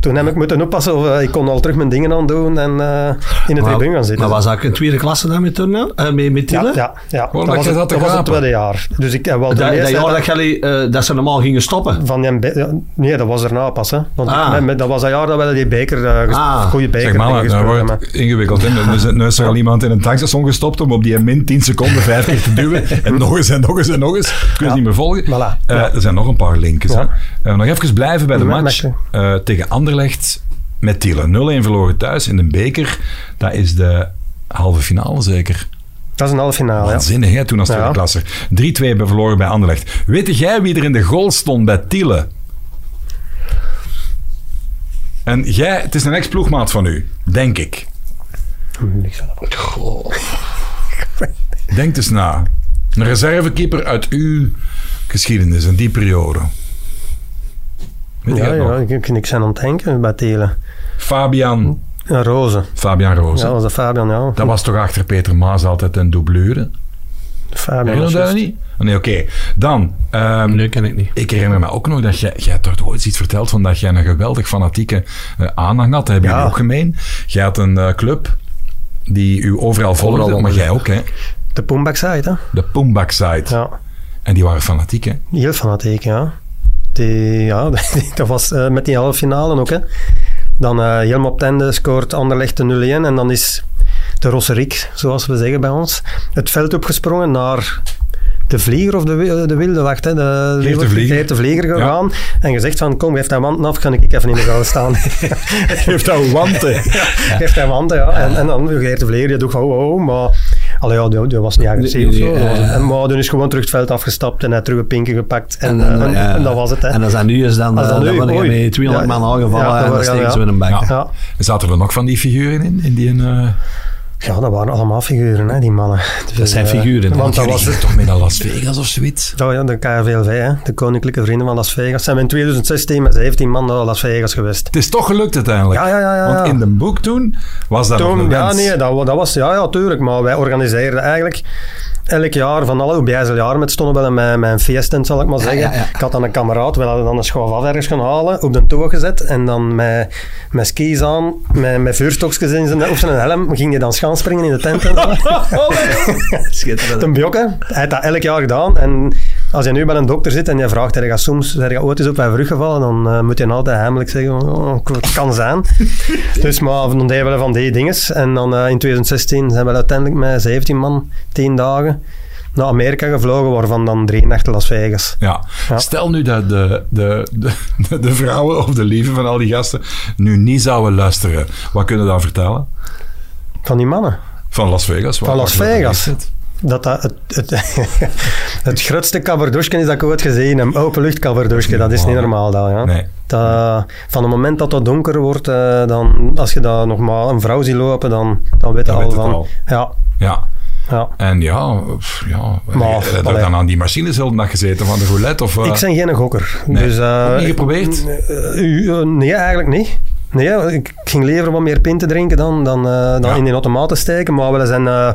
toen heb ik moeten oppassen. Of, eh, ik kon al terug mijn dingen aan doen en eh, in de tribune gaan zitten.
Maar was dat ook in tweede klasse dan met Turnel? Eh, met, met
ja,
Tiele?
ja, ja.
dat
was,
je
het-
zat te
dat was het
gapen.
tweede jaar. Dus ik heb wel
Dat,
de
dat
eerste-
jaar dat, jullie, eh, dat ze normaal gingen stoppen.
Van Jan Be- ja, nee, dat was erna pas. Hè. Want
Ah.
met- met- dat was dat jaar dat we die beker, eh, ges-
Ah.
goede beker
Zeg maar,
dingen
nou
gespeeld
wordt het ingewikkeld. hè. Nu is- Nu is er al iemand in een tankstation gestopt om op die min 10
[laughs]
seconden 50 te duwen. En nog eens en nog eens en nog eens. Ik kun je het niet meer volgen.
Voilà.
Eh, Er zijn nog een paar linkjes.
Ja.
hè. Eh, nog even blijven bij de
Met-
match
met-
eh, tegen Anderlecht met Tielen. 0-1 verloren thuis in de beker. Dat is de halve finale zeker.
Dat is een halve finale. Ja.
Waanzinnig, hè, toen als tweede
Ja.
klasse. 3-2 bij- verloren bij Anderlecht. Weet jij wie er in de goal stond bij Tielen? En jij, het is een ex-ploegmaat van u, denk ik.
Hm,
Denk eens na. Een reservekeeper uit uw geschiedenis, in die periode. Weet je
Ja,
dat
ja,
nog?
ik ik kan niks aan aan het denken bij Telen.
Fabian,
En Rozen.
Fabian Roos.
Ja, dat was de Fabian, ja.
Dat was toch achter Peter Maas altijd een doublure?
Fabian.
Herinner je
was
dat
juist.
niet? Oh, Nee, oké. Dan, ehm,
Nee, ken ik niet.
ik herinner me ook nog dat jij, jij hebt toch ooit iets verteld van dat jij een geweldig fanatieke eh, aanhang had. Dat hebben jullie
Ja.
ook gemeen. Jij had een eh, club die u overal volgde,
Overal
maar
onder.
jij ook, hè?
De Poembak site, hè?
De Poombak-site.
Ja,
En die waren fanatiek, hè?
heel fanatiek, ja. Die, ja, [laughs] die- dat was eh, met die halve finale ook, hè. Dan eh helemaal op het einde scoort Anderlecht de 0-1 en dan is de Rosseriek, zoals we zeggen bij ons, het veld opgesprongen naar de vlieger of de, wi- de wilde wacht. Hè, de,
Geert de Vlieger.
Geert de vlieger gegaan en gezegd van kom, geef dat wand af, ga ik even in de goal staan.
Heeft dat wanten.
geef dat wand, ja. En, en dan Geert de vlieger, die doet ho, ho, maar... Allee, ja, die, die was niet agressief
Nee, nee,
of zo. Dat was
eh.
het. maar toen is gewoon terug het veld afgestapt en hij terug een pinken gepakt. En,
En,
eh, en,
ja.
en dat was het, hè.
En als dat nu is, dan,
Als
eh,
dat
dan,
nu,
worden je
oei.
met 200
Ja,
man aangevallen
ja, dan
en dan
worden-
steken ze
ja.
met een bak.
Ja.
ja.
Zaten er nog van die figuren in? in die, eh,
Ja, dat waren allemaal figuren, hè, die mannen. Dus,
Dat zijn
eh,
figuren.
Want dat was
toch met naar Las Vegas of
[laughs]
[laughs]
zoiets?
Oh ja, de KVLV, hè, de Koninklijke Vrienden van Las Vegas. Zijn we in 2016 met 17 man naar Las Vegas geweest.
Het is toch gelukt uiteindelijk.
Ja, ja, ja. ja.
Want in de boek toen was dat nog
Toen,
een
ja,
wens.
nee, dat, wa- dat was, ja, ja, tuurlijk. Maar wij organiseerden eigenlijk elk jaar, van alle bijzel jaar met stonden wel in mijn, mijn feesttent, zal ik maar zeggen.
ja, ja.
Ik had dan een kameraad, we hadden dan een schoof af ergens gaan halen, op de toog gezet en dan met, met skis aan, met, met vuurstokjes in zijn, op zijn helm, ging je dan schaanspringen in de tent. En zo.
[laughs]
[laughs] Schitterend.
Ten Bjokke, hij heeft dat elk jaar gedaan. En als je nu bij een dokter zit en je vraagt, er gaat soms er gaat ooit eens op mijn rug gevallen, dan eh, moet je altijd heimelijk zeggen, oh, het kan zijn. dus maar dan deden we van die dinges. En dan eh, in 2016 zijn we uiteindelijk met 17 man, 10 dagen, naar Amerika gevlogen, waarvan dan drie nachten Las Vegas.
Ja.
Ja.
Stel nu dat de, de, de, [laughs] de vrouwen of de lieven van al die gasten nu niet zouden luisteren. Wat kunnen we dan vertellen?
Van die mannen.
Van Las Vegas? waar-
Van Las
waar- waar-
Vegas.
is het?
Dat dat het, het, [laughs] het grootste kabardosje is dat ik ooit gezien heb. Openlucht kabardosje, dat is niet normaal. Dat, ja.
Nee.
Dat, van het moment dat dat donker wordt, eh, dan, als je daar nog maar een vrouw ziet lopen, dan, dan weet je
Dan
al
weet het
van.
al.
Ja,
Ja.
ja.
En ja, pff, ja.
Maar,
heb je
allee.
dan aan die machines heel dag gezeten van de roulette? Of, eh,
Ik ben geen gokker.
Nee.
Dus, eh,
Ook niet geprobeerd?
eh, eh, eh, nee, eigenlijk niet. Nee, ik ik ging liever wat meer pinten drinken dan, dan, eh, dan
Ja.
in die automaat te steken. Maar we zijn eh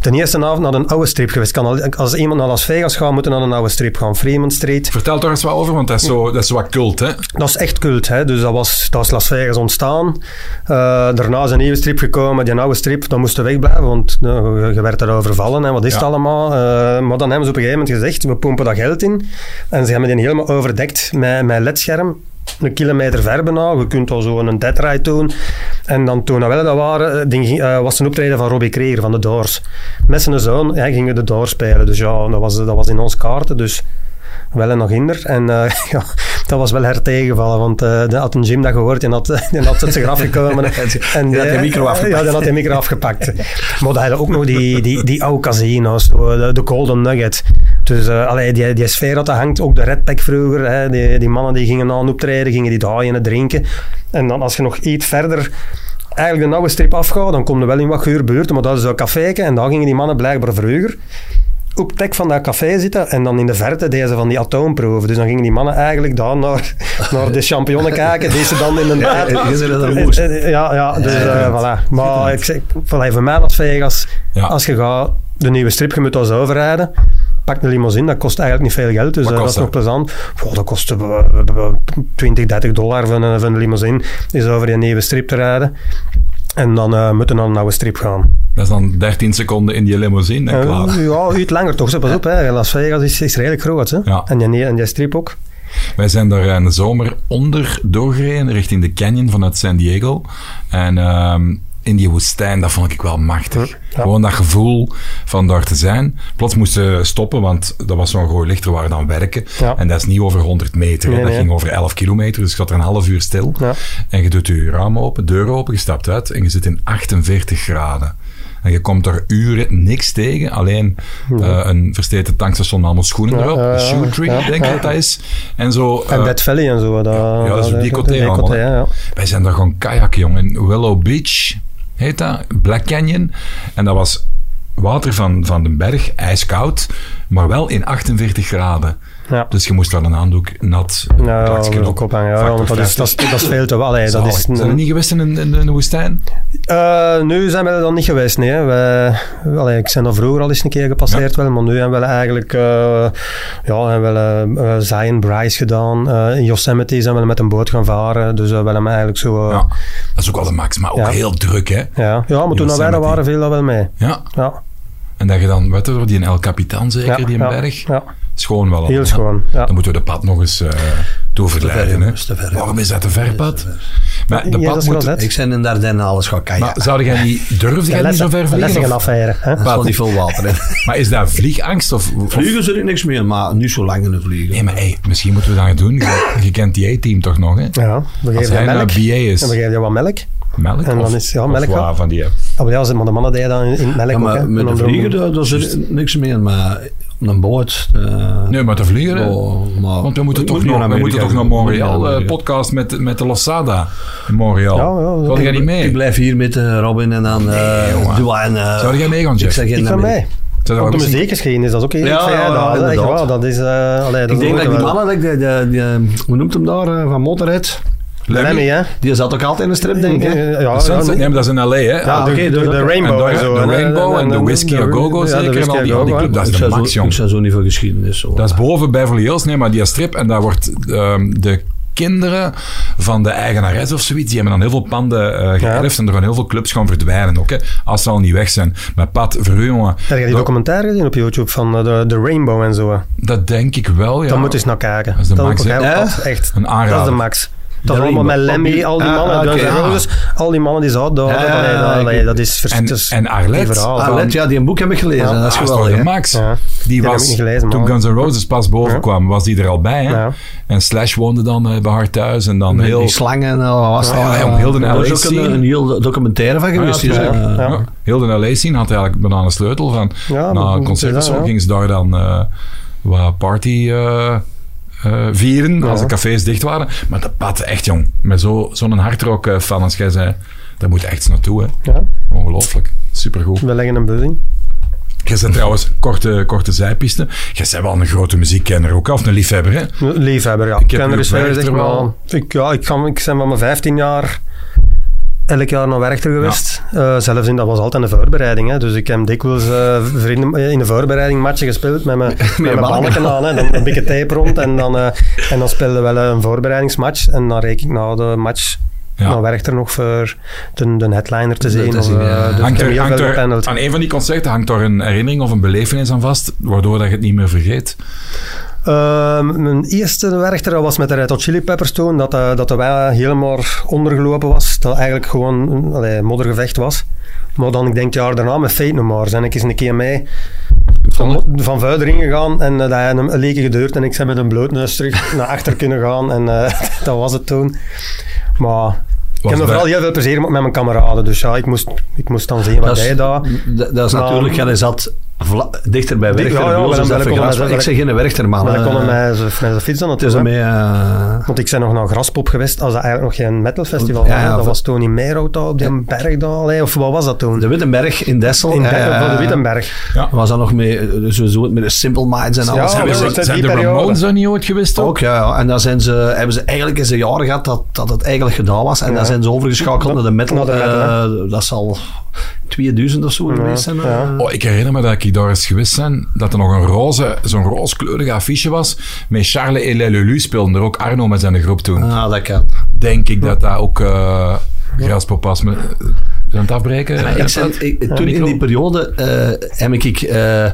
de eerste avond naar een oude strip geweest. Kan al- als iemand naar Las Vegas gaat, moet hij naar een oude strip gaan. Freeman Street.
Vertel toch eens wat over, want dat is, zo, dat is wat cult, hè?
Dat is echt cult, hè? dus dat was, dat is Las Vegas ontstaan. Eh, daarna is een nieuwe strip gekomen, die oude strip, dan moest je wegblijven, want eh, je- je werd daar overvallen, hè? wat is
Ja.
het allemaal? Eh, maar dan hebben ze op een gegeven moment gezegd, we pompen dat geld in. En ze hebben die helemaal overdekt met, met ledscherm. Een kilometer ver bijna, je kunt al zo een dead ride doen. En dan toen dat wel dat waren, eh, ding ging- eh, was een optreden van Robbie Kreger van de Doors. Met zijn zoon ja, gingen de Doors spelen, dus ja, dat was, dat was in onze kaarten, dus wel en nog hinder. En eh, [laughs] ja, dat was wel hertegenvallen, want eh de had een gym dat gehoord en had, [laughs] en had het zich
[laughs]
afgekomen. En eh,
die had die micro afgepakt.
Ja, die had die micro afgepakt. maar dan hadden ook nog die, die, die oude casino's, zo, eh, de, de Golden Nugget. Dus eh allee, die, die sfeer dat daar hangt, ook de Red Pack vroeger, hè, die, die mannen die gingen aan optreden, gingen die daaien en drinken. En dan als je nog iets verder eigenlijk de oude strip afgaat, dan kom je wel in wat geurbuurten, maar dat is zo'n caféke en daar gingen die mannen blijkbaar vroeger op het dek van dat café zitten en dan in de verte deden ze van die atoomproeven. Dus dan gingen die mannen eigenlijk daar naar, [laughs] naar de champignonnen kijken, die ze dan in een [laughs]
Ja,
baard-
je zit er dan
Eh,
moest.
eh, Ja, ja, dus eh, voilà. Maar ik zeg, voilà, voor mij als Vegas,
Ja.
als je gaat de nieuwe strip, je moet als overrijden. Pak een limousine, dat kost eigenlijk niet veel geld, dus
Wat
eh, dat is
kost
nog plezant. Goh, dat kost eh, eh, eh, 20, 30 dollar van een, van een limousine, is over die nieuwe strip te rijden. En dan eh moeten we naar een oude strip gaan.
Dat is dan 13 seconden in die limousine en
Eh,
klaar.
ja, iets langer toch. Zo, Pas op, hè. Las Vegas is, is redelijk groot. Hè.
Ja.
En, je, en je strip ook.
Wij zijn daar in de zomer onder doorgereden, richting de canyon vanuit San Diego. En ehm, in die woestijn, dat vond ik wel machtig.
Hm,
Gewoon dat gevoel van daar te zijn. Plots moesten we stoppen, want dat was zo'n gooi lichter waar we dan werken.
Ja.
En dat is niet over 100 meter, hè.
Nee,
dat
nee.
ging over 11 kilometer. Dus je zat er een half uur stil.
Ja.
En je doet je raam open, deur open, je stapt uit en je zit in 48 graden. En je komt er uren niks tegen, alleen eh, een versleten tankstation met allemaal schoenen erop.
ja,
de
ja.
shoe tree,
Ja,
denk ik dat dat is. En zo...
En
eh,
Dead Valley en zo. Dat,
ja, dat is een decoté allemaal, hè.
ja.
wij zijn daar gewoon kajakken, jongen. Willow Beach heet dat, Black Canyon. En dat was water van, van de berg, ijskoud, maar wel in 48 graden.
Ja.
Dus je moest wel een handdoek nat
Ja, ja,
plakken
Nou, dat
op.
ook ophangen. Ja,
Factor
want dat is, dat,
50.
is, dat is veel te wel. hè. Dat
Zalig.
is,
Zijn we niet geweest in een, in een woestijn?
Eh, nu zijn we er dan niet geweest, nee. hè. Wij, allee, ik ben al vroeger al eens een keer gepasseerd, wel, maar nu hebben we eigenlijk eh, ja, hebben we, eh, eh, Zion Bryce gedaan. Eh, in Yosemite zijn we met een boot gaan varen. Dus eh, we hebben eigenlijk zo... eh,
Ja. Dat is ook wel de max, maar ook
Ja.
heel druk, hè?
ja. ja, maar toen dat wij er
Yosemite.
waren, viel dat wel mee.
Ja.
Ja,
En dat je dan, weet je, door die in El Capitan zeker,
ja,
die in
ja,
berg.
Ja,
Schoon wel al.
heel
hè?
schoon. Ja.
Dan moeten we de pad nog eens eh toeverleiden.
jongens,
hè?
te ver, eh,
Waarom is dat te ver pad? Maar de
Ja, dat
pad
is wel
moet...
zet.
Ik ben in Dardenne alles gaan kijken.
Maar zou jij niet... Durfde jij niet zo ver
van
vliegen?
Lessingen
of-
afveren. Hè?
dat is wel niet veel water. hè.
Maar is dat vliegangst of... of-
[laughs] Vliegen zit ik niks meer, maar niet zo lang in de vliegen.
Nee, maar hey, misschien moeten we dat gaan doen. Je, je kent die A-team toch nog, hè?
Ja, we
Als
geven
hij
je
nou
melk.
BA is,
Dan geef je wat melk.
melk
en
of,
dan is- ja,
of
melk, ja.
waar van die...
Oh, ja, ze- maar de mannen deden dan in, in het melk
Ja,
ook. Hè?
maar
En
met de
dan
vliegen, daar, daar zit niks meer. Maar op een boot... eh,
Nee, maar te vliegen, hè?
oh, maar-
Want we moeten,
Ik
toch
moet
nog, we moeten toch naar
Ik moet
Montreal,
naar
eh,
Amerika.
podcast met, met de Losada in Montreal.
Ja, ja,
Zou
ja.
jij niet mee?
Ik blijf hier met eh, Robin en dan eh
jongen.
Duane. eh,
Zou jij mee gaan, Jeff?
Ik zeg geen
Ik ga
namen.
mee.
Zou dat
Op de
misschien-
muziekgeschiedenis, dat is ook heel
Ja,
ja,
ja, ja,
dat, is echt
inderdaad.
waar, dat is... eh allee,
Ik
dat is
denk dat
ook
die
wel-
mannen, dat ik de, de, die, eh, hoe noemt hem daar, eh, van Motorhead?
Lemmy.
Lemmy, hè?
Die zat ook altijd in de strip, denk ik. hè?
eh, Ja,
De
ja,
Sunset,
nee.
nee, maar dat is in L.A., hè?
Ja,
Ah,
de,
de-
oké,
de,
dus
de
dat-
Rainbow
en
en
de-
zo.
de
hè.
Rainbow en de
dan-
Whiskey
dan-
A Go-Go
ja, de
zeker en
Whiskey
al
A
die- al die
Go-Go,
club,
hè.
dat is
ik,
de
zou
max,
zo,
jong.
ik zou zo niet van geschiedenis. Zo.
Dat is boven Beverly Hills, nee, maar die strip. En daar wordt ehm, de kinderen van de eigenares of zoiets, die hebben dan heel veel panden eh geërfd en er gaan heel veel clubs gaan verdwijnen ook, hè, als ze al niet weg zijn. Maar Pat, voor u, jongen,
Heb je die
dat,
documentaire gezien op YouTube van eh, de, de Rainbow en zo? hè?
dat denk ik wel, ja.
Dan moet je eens naar kijken.
Dat is de max,
ook,
hè?
hè,
Ja?
dat- Echt.
Een
Dat is de
aanrader.
max. Dat
De
is allemaal met
Rainbow.
Lemmy, al die
Ah,
mannen,
ah,
Guns N'
oké.
Roses, al die mannen die ze hadden.
Ja, ja, ja, ja, ik-
dat is
En-
verschrikkelijk.
en Arlette?
Ah, let, ja, die boek heb ik gelezen.
Ja.
Ah, dat
Dat is
is
geweldig.
toch de
hè?
max.
Ja.
Die
heb
was,
ik niet gelezen,
toen
maar-
Guns N' Roses pas boven
Ja.
kwam, was die er al bij. Hè?
Ja.
En Slash woonde dan eh, bij haar thuis. En dan
Met
heel...
Die slangen en al, wat was dat?
Ja, ja, op heel de
Er
LA
is ook een,
scene.
een heel documentaire van
ja,
geweest. die
tuurlijk.
zijn, eh,
Ja.
Ja, heel de LA-scene had eigenlijk bijna een sleutel van.
Ja, dat
Na
moet
een concert
je
of
zeggen,
zo
ja.
gingen ze daar dan eh, wat party eh, eh, vieren, als de cafés dicht waren. Maar dat pad, echt jong, met zo- zo'n hardrock eh, fan als jij zei, daar moet je echt eens naartoe. Hè.
Ja,
Ongelooflijk. Supergoed.
we leggen een buzzing.
Jij bent trouwens, korte, korte zijpiste, jij bent wel een grote muziekkenner ook, of een liefhebber, hè?
Liefhebber, ja.
Ik
Ik
heb
ken
uw
er eens wel
Werchter
gezegd,
wel.
maar ik, ja, ik, kan, ik ben van mijn 15 jaar elk jaar naar Werchter geweest. Eh, zelfs in, dat was altijd een voorbereiding. Hè. Dus ik heb dikwijls eh, vrienden eh, in de voorbereiding matchen gespeeld met mijn, met mijn
balken.
balken aan. Hè. Dan een beetje tape rond en dan, eh, en dan speelde we wel een voorbereidingsmatch. En dan reek ik na de match
Ja.
naar Werchter nog voor de, de headliner te zien.
te
of,
zien,
eh,
ja.
dus ik
Hangt
heb
er,
heel
hangt
veel
er-
gependeld.
aan een van die concerten hangt er een herinnering of een belevenis aan vast, waardoor dat je het niet meer vergeet.
Ehm, mijn eerste werchter dat was met de Red Hot Chili Peppers toen, dat, eh, dat de wij helemaal ondergelopen was. Dat eigenlijk gewoon een allee, moddergevecht was. Maar dan, ik denk, het jaar daarna met Fate No More, zijn ik eens een keer mee van, van vuider ingegaan en eh, dat hij een leken gedeurd en ik ben met een blootneus terug [laughs] naar achter kunnen gaan en eh, [laughs] dat was het toen. Maar ik
Was
heb me
bij-
vooral heel veel plezier gemaakt met mijn kameraden, dus ja, ik moest, ik moest dan zien wat
Dat
hij
is,
daar...
dat, dat is
Maar-
natuurlijk, jij zat vla- dichter bij Werchter.
ja,
bij ons
wel-
is
wel-
dat
wel-
vergras,
wel-
maar ik zeg geen Werchter, man.
Maar dat kon
eh,
hem met zijn- met zijn fiets dan
Het is
naartoe, hè.
ermee... eh,
Want ik ben nog naar Graspop geweest, als dat eigenlijk nog geen metalfestival
Ja,
was. hè.
ja,
dat
van-
was toen in Meerhout al, op die berg daar, allee, Of wat was dat toen?
de Wittenberg in Dessel.
in Berg,
eh,
van de Wittenberg.
Was dat nog mee, eh, sowieso met de Simple Minds en
Ja,
alles.
ja,
Zijn
Hebben
de-
dat
ze-
was uit
zijn
die
de
periode.
Ramones er niet ooit geweest? ook?
ook, ja, ja. En dan zijn ze, hebben ze eigenlijk eens een jaren gehad dat, dat het eigenlijk gedaan was. En dan zijn ze overgeschakeld naar de metal.
Naar de metal,
eh, dat zal 2000 of zo geweest zijn. eh.
ja.
Oh, ik herinner me dat ik daar eens geweest ben, dat er nog een roze, zo'n rooskleurig affiche was. Met Charles et les Lelus speelden er ook Arno met zijn groep toen.
Ah, dat kan.
Denk ik dat dat ook eh graspop was. Met, zijn we aan het afbreken?
Maar ik ben- ik- toen in die periode eh, heb ik, eh,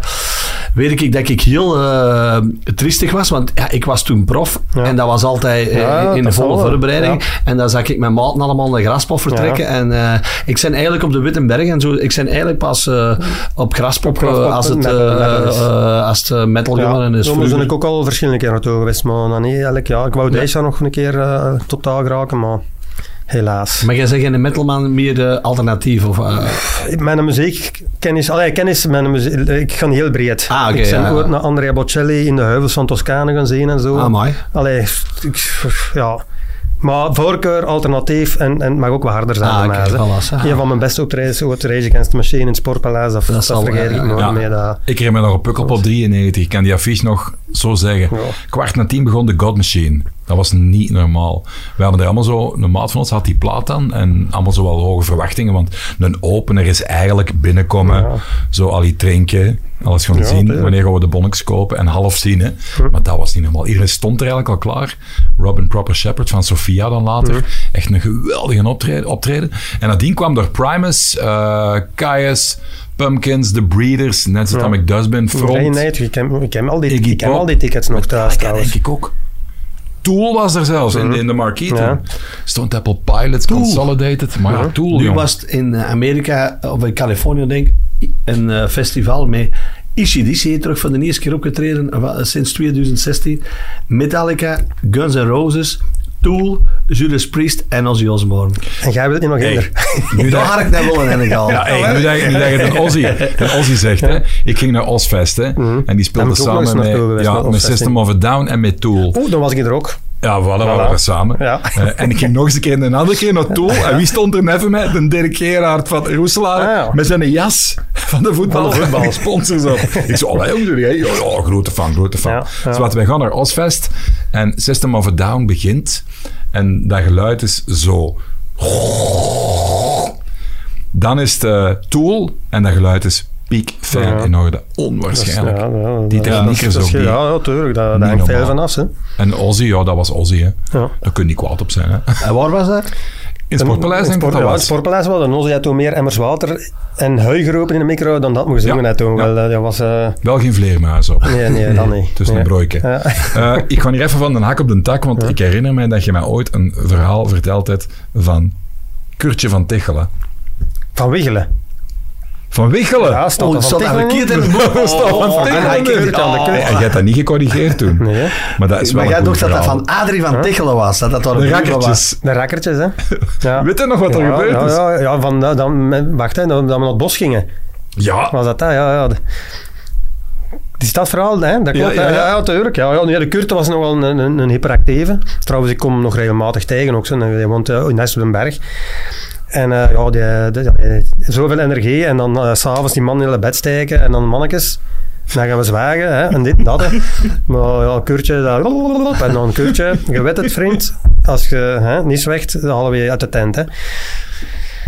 weet ik dat ik heel eh, triestig was, want ja, ik was toen prof
Ja.
en dat was altijd eh,
Ja,
in de
dat
volle
zal wel.
voorbereiding. En dan zag ik mijn maten allemaal naar Graspop vertrekken en eh, ik zijn eigenlijk op de Wittenberg en zo, ik zijn eigenlijk pas eh, op Graspop, eh,
Graspop
als het,
met-
eh,
metal is.
eh, als het eh, metal geworden is.
Zo ben
vroeger.
ik ook al verschillende keer naartoe geweest, maar dan niet elk jaar. Ik wou deze jaar nog een keer eh, totaal geraken, maar helaas.
Maar jij zegt geen metalman meer eh, alternatief of... eh,
Mijn muziekkennis, allee, kennis, mijn muziek, ik ga heel breed.
Ah, oké,
ik ben
ja, Ah,
ooit
ja.
naar Andrea Bocelli in de heuvels van Toscane gaan zien en zo.
amai.
Allee, ik, ja. Maar voorkeur, alternatief en, en het mag ook wat harder zijn
Ah,
bij mij.
kijk,
hè.
voilà, ah.
Een van mijn beste optredens, ooit Rage Against the Machine in het Sportpaleis. Dat, dat,
zal-
vergeet ik
ja,
nooit
eh, ja.
meer. Dat,
Ik herinner me nog op Pukkelpop 93. Ik kan die affiche nog zo zeggen.
Ja.
Kwart na tien begon de God Machine. Dat was niet normaal. We hadden er allemaal zo... Een maat van ons had die plaat dan. En allemaal zo wel hoge verwachtingen. Want een opener is eigenlijk binnenkomen.
Ja.
Zo al die drinken. Alles gaan
Ja,
zien.
tuurlijk.
Wanneer gaan we de bonnetjes kopen? En half zien, hè.
Hm.
Maar dat was niet normaal. Iedereen stond er eigenlijk al klaar. Robin Proper Shepherd van Sophia dan later.
Hm.
Echt een geweldige optreden. optreden. En nadien kwam er Primus, eh Caius... Pumpkins, The Breeders, net zoals ik thuis ben, Front.
Nee, nee, ik ken, ik ken al die,
Iggy
ik ken
Pop.
al die tickets nog thuis
Ja,
trouwens.
denk ik ook. Tool was er zelfs in, de- in de marquee toen.
Hm. Ja. Hm.
Stond Apple Pilots, Consolidated, maar ja, Tool,
Nu
jong.
was het in eh, Amerika, of in Californië denk ik, een eh, festival met ICDC heeft terug voor de eerste keer opgetreden eh, wa- sinds 2016. Metallica, Guns N' Roses, Tool, Judas Priest en Ozzy Osbourne.
En jij wilt niet nog
Hey,
eerder.
nu
[laughs] Daar
dat...
had ik dat wel in en ik al.
Ja,
nou,
hey, nu dat je- nu dat je de Ozzy,
[laughs]
de Ozzy zegt, hè. ik ging naar Ozfest hè, en die speelde
Daar ben Mhm. ik ook nog eens
samen
naartoe
met,
geweest,
ja,
naar
met
Ozfest,
System
hè.
of a Down en met Tool.
Oeh, dan was ik er ook.
Ja, voilà, we waren samen.
Ja.
Eh, en ik ging nog eens een keer en een andere keer naartoe. En wie stond er neven mij? De Dirk Gerard van Roeselaar.
Ah, ja.
Met zijn jas van de voetbal.
Van de voetbal.
sponsors op. [laughs] ik zei, allee, hoe doe jij? Ja, ja, grote fan, grote fan.
Ja, ja.
Dus wat, wij gaan naar Osfest. En System of a Down begint. En dat geluid is zo. Dan is het eh, Tool. En dat geluid is piek, fijn,
Ja.
in orde.
Dat is-
Onwaarschijnlijk.
ja, ja,
Die
dat-
techniekers
dat is- dat is-
ook, die-
Ja, ja, tuurlijk. Daar
Niet
daar hangt veel
normaal.
van af. Hè.
En Ozzy, ja, dat was Ozzy. Hè.
Ja.
Daar kun je niet kwaad op zijn. Hè.
En waar was dat?
In het Sportpaleis
In
denk ik dat
sport,
dat
ja,
was.
het Sportpaleis wel. En ons had toen meer emmers water en hui geropen in de micro dan dat moest
Ja.
doen. hè, Toen.
Ja.
Wel, eh, dat was... eh,
Wel geen vleermuis op.
nee, nee, dat niet.
Tussen
nee.
de broeken.
Ja.
Eh, ik ga hier even van de hak op de tak, want ik herinner mij dat je mij ooit een verhaal verteld hebt van Kurtje van Tichelen.
Van Wiggelen.
Van Wichelen! [laughs]
Ja, stond er
Oh,
van
staat daar
Tichelen
verkeerd
in?
in het boek.
Staat van
Oh, oh,
Tichelen
en hij
in.
kijkt hier aan de
Nee,
kant.
en jij hebt dat niet gecorrigeerd toen.
Nee, hè.
Maar dat is wel
Maar
een
jij
goed
dacht dat dat
verhaal.
van Adrie van Tichelen was. Dat dat daar een
De
broer van was.
rakkertjes.
De rakkertjes,
[laughs]
hè. Ja.
Weet je nog wat er
ja,
gebeurd
ja,
is? Ja,
Ja, ja, van, eh, dan, men- wacht, hè, dat, dat we naar het bos gingen. Was dat dat? Ja, ja. De, die stadverhaal, hè? dat
Ja,
klopt.
ja,
Ja, ja,
ja.
ja. tuurlijk. Ja, ja, nee, de Kurt was nogal een, een, een hyperactieve. Trouwens, ik kom hem nog regelmatig tegen ook. Zo. Hij woont eh, in Nest op den Berg. En eh, ja, die, die- ja, die- zoveel energie. En dan eh, s s'avonds die man in het bed steken. En dan mannetjes. Dan gaan we zwagen, hè, en dit en dat. Hè. [laughs] Maar ja, Kurtje, dat, [laughs] en dan Kurtje. Je weet het, vriend. Als je hè, niet zwijgt, dan halen we je uit de tent. Hè.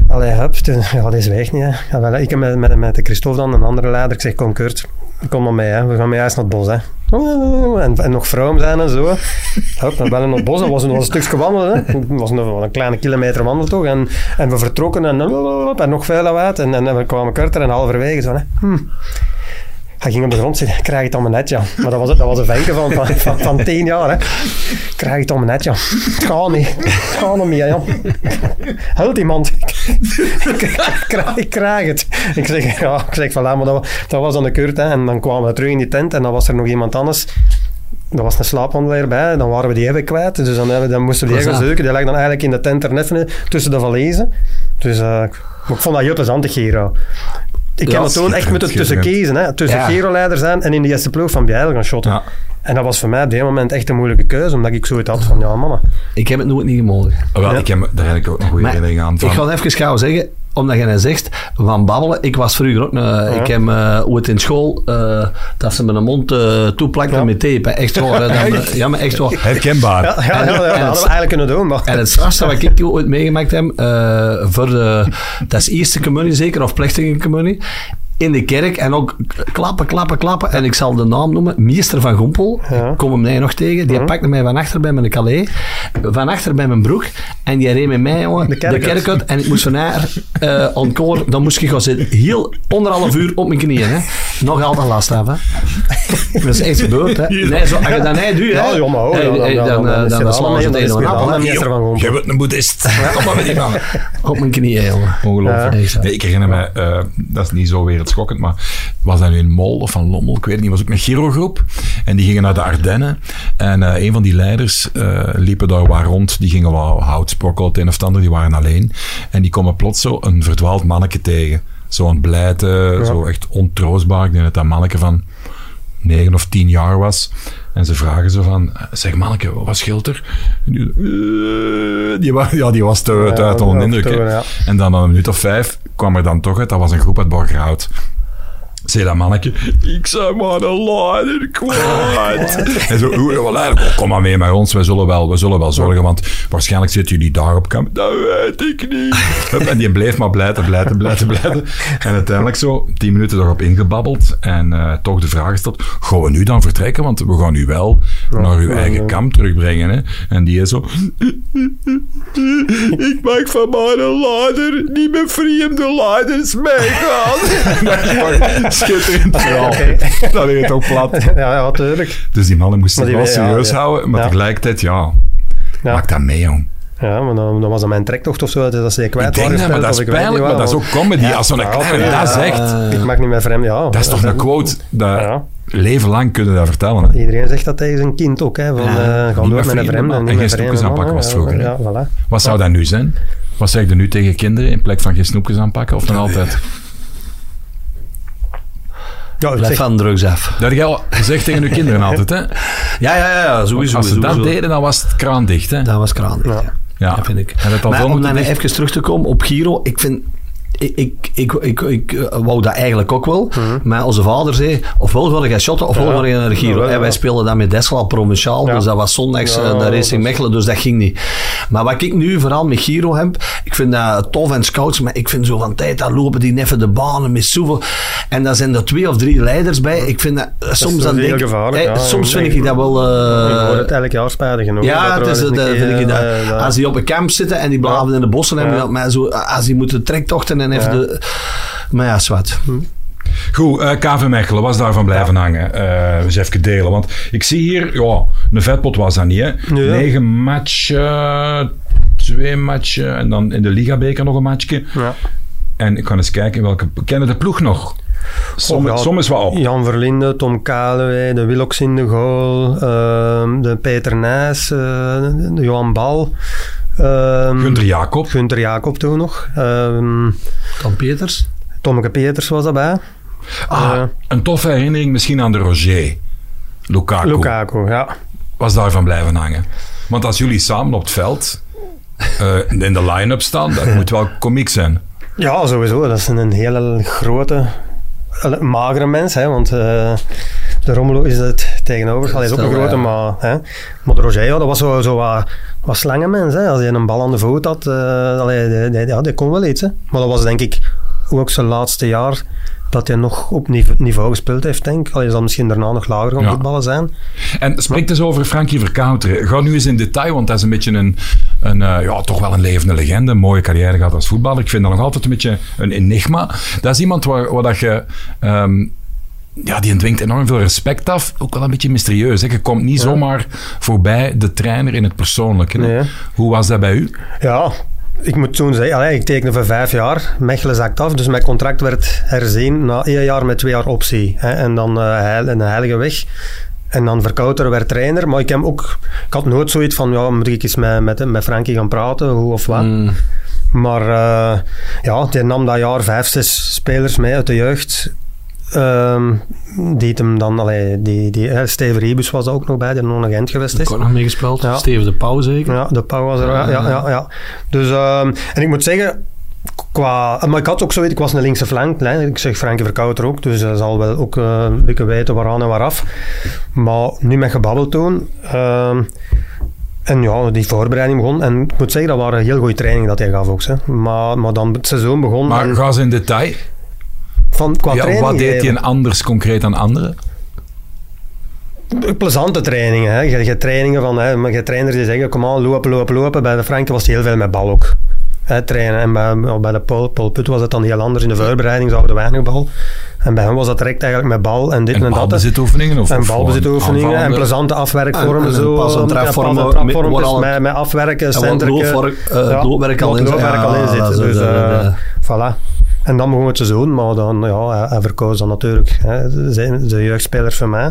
Allee, hup. Toen, ja, die zwijgt niet. Hè. Ja, wel, hè. ik heb met, met, met de Christophe dan, een andere leider, ik zeg, kom Kurt, kom maar mee. Hè. We gaan mee eens naar het bos. Hè. En, en nog vrouwen zijn en zo. Hup, we bellen naar het bos. Dat was een, was een stukje wandelen. Hè. Het was een, wel een kleine kilometer wandelen toch. En, en we vertrokken en, en nog veel lawaai. En, en, we kwamen korter en halverwege zo. Hè. Hm. Hij ging op de grond zitten, krijg het om mijn net, ja. Maar dat was, het, dat was een venke van, van, van, van tien jaar, hè. Krijg het om mijn net, ja. Het gaat niet. Het gaat niet meer, ja. Hult iemand. Ik krijg, ik krijg het. Ik zeg, ja, ik zeg van, laat maar dat, dat was aan de keurt, hè. En dan kwamen we terug in die tent en dan was er nog iemand anders. Er was een slaaphandelaar bij, dan waren we die even kwijt. Dus dan, hebben- dan moesten we die
Was
even
dat?
zoeken. Die lag dan eigenlijk in de tent er net van- eh, tussen de valezen. Dus eh, ik- maar ik vond dat juttes antig hier, ja. Ik
Ja,
heb dat toen echt moeten
schitterend,
tussen
schitterend.
kiezen. Hè? Tussen
Ja.
Gero-leider zijn en in de eerste ploeg van Bijl gaan shotten.
Ja.
En dat was voor mij op dit moment echt een moeilijke keuze. Omdat ik zoiets had van, ja mannen.
Ik heb het nooit niet gemogen.
Ah, Wel, ik heb, daar heb ik ook nog goede
Maar
herinneringen aan. Van.
Ik ga het even gauw zeggen, omdat jij net zegt van babbelen. Ik was vroeger ook, een- ik heb eh, ooit in school, eh, dat ze mijn mond eh toeplakten
Ja.
met tape. hè. Echt waar. hè. Dan, eh, ja, maar echt waar.
Herkenbaar.
Ja, ja, ja, ja, dat
en-
hadden we eigenlijk kunnen doen. Maar
En het strafste wat ik ooit meegemaakt heb, eh, voor de, dat is eerste communie zeker, of plechtige communie, in de kerk en ook klappen, klappen, klappen. En ik zal de naam noemen, meester van Gompel, ik kom hem nee nog tegen, die pakte mij van achter bij mijn calais, van achter bij mijn broek en die reed met mij jongen, de
kerk
kerk,
uit.
uit en ik moest van haar eh encore, dan moest ik gaan zitten, heel anderhalf uur op mijn knieën. Hè. Nog altijd last af, hè. Dat is echt gebeurd, hè. Nee, zo, als je dat niet doet, hè.
Ja, ja, maar ook,
hey,
ja, dan-
hey,
dan-
dan,
dan
eh,
is
dan,
het
dan slaan
allemaal
ze het
heel
een en
discutaal,
ander.
hè. meester van Gompel.
Je bent een boeddhist. Kom maar met die mannen.
Op mijn knieën, jongen.
Ongelooflijk.
Ja.
Nee, ik herinner me, eh, dat is niet zo wereldschokkend, maar was dat nu in Mol of van Lommel? Ik weet het niet. was ook een Giro-groep. En die gingen naar de Ardennen. En eh, een van die leiders eh, liepen daar waar rond. Die gingen wel hout sprokkelen, het een of het ander. Die waren alleen. En die komen plots zo een verdwaald manneke tegen. Zo'n blijte, zo echt ontroostbaar. Ik denk dat dat manneke van negen of tien jaar was. En ze vragen zo van, zeg manneke, wat scheelt er? En die, "Eh." die, wa- ja, die was te, te
Ja,
uit onder
ja,
indruk. hè.
toen, ja.
En dan na een minuut of vijf kwam er dan toch uit, dat was een groep uit Borgerhout. Zei dat manneke, ik zou maar een leider kwaad. en zo, oeh, wel leider, Oh, kom maar mee met ons, wij zullen wel, wij zullen wel zorgen, want waarschijnlijk zitten jullie daar op kamp. Dat weet ik niet. Hup, [laughs] en die bleef maar blijten, blijten, blijten, blijten. En uiteindelijk zo, tien minuten erop ingebabbeld en eh, toch de vraag gesteld, gaan we nu dan vertrekken, want we gaan u wel naar uw eigen kamp terugbrengen. Hè? En die is zo, ik maak van mijn leider niet met vreemde leiders meegaan. [laughs] Schitterend verhaal. Dat is het ook plat.
ja, ja, tuurlijk.
Dus die mannen moesten
Maar
zich wel
die we- ja,
serieus
ja.
houden, maar
Ja.
tegelijkertijd, ja,
Ja.
maak dat mee, jong.
Ja, maar dan, dan was dat mijn trektocht of zo. dus Dat dat ze die kwijt
Ik denk
waren
dat, maar dat
gespeeld, of
is
ik weet
pijnlijk,
niet
maar
waar,
dat is ook comedy.
Ja,
als zo'n
ja,
kleine
ja,
dat
ja.
zegt,
Ik mag niet meer vreemd, ja.
dat is toch een quote. Dat
Ja.
Leven lang kunnen dat vertellen. hè.
Iedereen zegt dat tegen zijn kind ook, hè. Van, eh
niet
gaan
met
door met
vreemden,
een vreemde.
man.
niet
En
met
geen snoepjes
vreemde
aanpakken
mannen,
was vroeger,
Ja, voilà.
Wat zou dat nu zijn? Wat zeg je nu tegen kinderen in plek van geen snoepjes aanpakken of dan altijd?
Ja, ik
Blijf
zeg,
van drugs af.
Dat heb je al gezegd tegen je kinderen altijd, hè?
Ja, ja, ja, ja, sowieso.
Als ze dat
sowieso.
deden, dan was het kraan dicht, hè?
Dat was kraan.
Ja.
ja.
ja.
dat vind ik.
En dat al
Maar
wel
om
moeten
dan
dicht-
even terug te komen op Giro, ik vind... Ik, ik, ik, ik, ik, eh, wou dat eigenlijk ook wel. Maar onze vader zei, ofwel wil jij shotten, ofwel
Mhm. Ja.
wil je naar de Giro.
Ja, ja,
en wij
ja.
speelden dan met Dessela Provinciaal,
Ja.
dus dat was zondags
Ja,
eh, de
dat
Racing
is-
Mechelen, dus dat ging niet. Maar wat ik nu vooral met Giro heb, ik vind dat tof en scouts, maar ik vind zo van tijd, dan lopen die neffen de banen met zoveel. En daar zijn er twee of drie leiders bij. Ik vind dat, soms
wel
dan
heel
denk ik-
gevaarlijk,
eh,
ja.
soms vind ik dat wel... eh,
ik hoor het elk jaar spijtig genoeg.
ja,
dat
het
er
is,
wel eens
dat
een
vind ik
keer,
dat.
eh, dat-
Als die op een kamp zitten en die blaven in de bossen en
Ja.
dat, maar zo, als die moeten trektochten en even
Ja.
de... Maar ja, zwart.
Goed, eh, KV Mechelen, was daarvan blijven hangen. Eh eens even delen, want ik zie hier, ja, een vetpot was dat niet, hè?
Nee.
Negen matchen, twee matchen en dan in de Ligabeker nog een matchje.
Ja.
En ik kan eens kijken welke... Kennen de ploeg nog? Som,
ja.
som is wat op.
Jan Verlinde, Tom Kalewij, de Willox in de goal, ehm, de Peter Nijs, eh, de Johan Bal. ehm,
Gunter Jacob.
Gunther Jacob toen nog. ehm,
Tom Peters.
Tommeke Peters was daarbij.
Ah,
Eh,
een toffe herinnering misschien aan de Roger. Lukaku.
Lukaku, ja.
Was daarvan blijven hangen. Want als jullie samen op het veld eh, in de line-up staan, dat moet wel komiek zijn.
Ja, sowieso. Dat is een- een hele grote, eh, magere mens. Hè, want eh, de Romelu is het tegenover. Hij is ook
Stel,
een grote,
ja.
maar... Hè, maar de Roger, ja, dat was zo, zo wat, wat slange mens. Hè. Als hij een bal aan de voet had, eh allee, die, die- ja, die kon wel iets. Hè. Maar dat was denk ik ook zijn laatste jaar dat hij nog op nive- niveau gespeeld heeft, denk ik. Allee, zal misschien daarna nog lager gaan
Ja.
voetballen zijn.
En spreek eens over Frankie Verkouteren. Ga nu eens in detail, want dat is een beetje een, een eh, ja, toch wel een levende legende. Een mooie carrière gehad als voetballer. Ik vind dat nog altijd een beetje een enigma. Dat is iemand waar, waar dat je... ehm, ja, die dwingt enorm veel respect af. Ook wel een beetje mysterieus. Hè? Je komt niet zomaar voorbij de trainer in het persoonlijke. hè.
Nee.
Hoe was dat bij u?
Ja, ik moet toen zeggen, allee, ik tekende voor vijf jaar. Mechelen zakt af, dus mijn contract werd herzien na één jaar met twee jaar optie. Hè, en dan eh, heil, een heilige weg. En dan Verkouter werd trainer. Maar ik, heb ook, ik had nooit zoiets van, ja, moet ik eens met, met, met Frankie gaan praten, hoe of
Mm.
wat.
Hmm.
Maar eh, ja, die nam dat jaar vijf, zes spelers mee uit de jeugd. Ehm, die het hem dan, allee, die, die, eh, Steve Rebus was er ook nog bij, die nog een Gent geweest
Ik
is.
ook nog meegespeeld.
Ja.
Steven de Pauw zeker.
Ja, de Pauw was er. Ja, ja, ja. ja. Dus, ehm, en ik moet zeggen, qua, eh, maar ik had ook zoiets, ik was een linkse flank. Hè. Ik zeg Frankie Verkouter ook, dus hij zal wel ook eh, een beetje weten waaraan en waaraf. Maar nu met gebabbel toen. ehm, en ja, die voorbereiding begon. En ik moet zeggen, dat waren heel goede trainingen dat hij gaf ook. Hè. Maar, maar dan het seizoen begon.
Maar
en
ga eens in detail.
van, qua
Ja,
training eh,
wat deed
geven.
hij anders concreet dan anderen?
plezante trainingen. Hè. Je, je hebt trainingen van, hè, maar je hebt trainers die zeggen, kom aan, lopen, lopen, lopen. Bij de Franken was het heel veel met bal ook. Hè, trainen. En bij, ja, bij de Paul, Paul Put was het dan heel anders. In de voorbereiding zouden we weinig bal. En bij hem was dat direct eigenlijk met bal en dit en,
En
dat. hè.
balbezitoefeningen? Of,
En
of gewoon
balbezitoefeningen en
aanvallende?
plezante afwerkvormen.
En- en
zo,
pas- en trapvormen
Ja,
met-
pas- en trapvormen,
waar
dus
al-
met, met afwerken,
En wat
centerken.
loopwerk, eh, het loopwerk al
wat
in zit.
loopwerk
Ja,
al in zit.
dat is
Dus,
het, eh,
eh,
eh.
voilà. En dan begon het seizoen, maar dan, ja, hij, hij verkoos dan natuurlijk hè, de, de jeugdspelers van mij.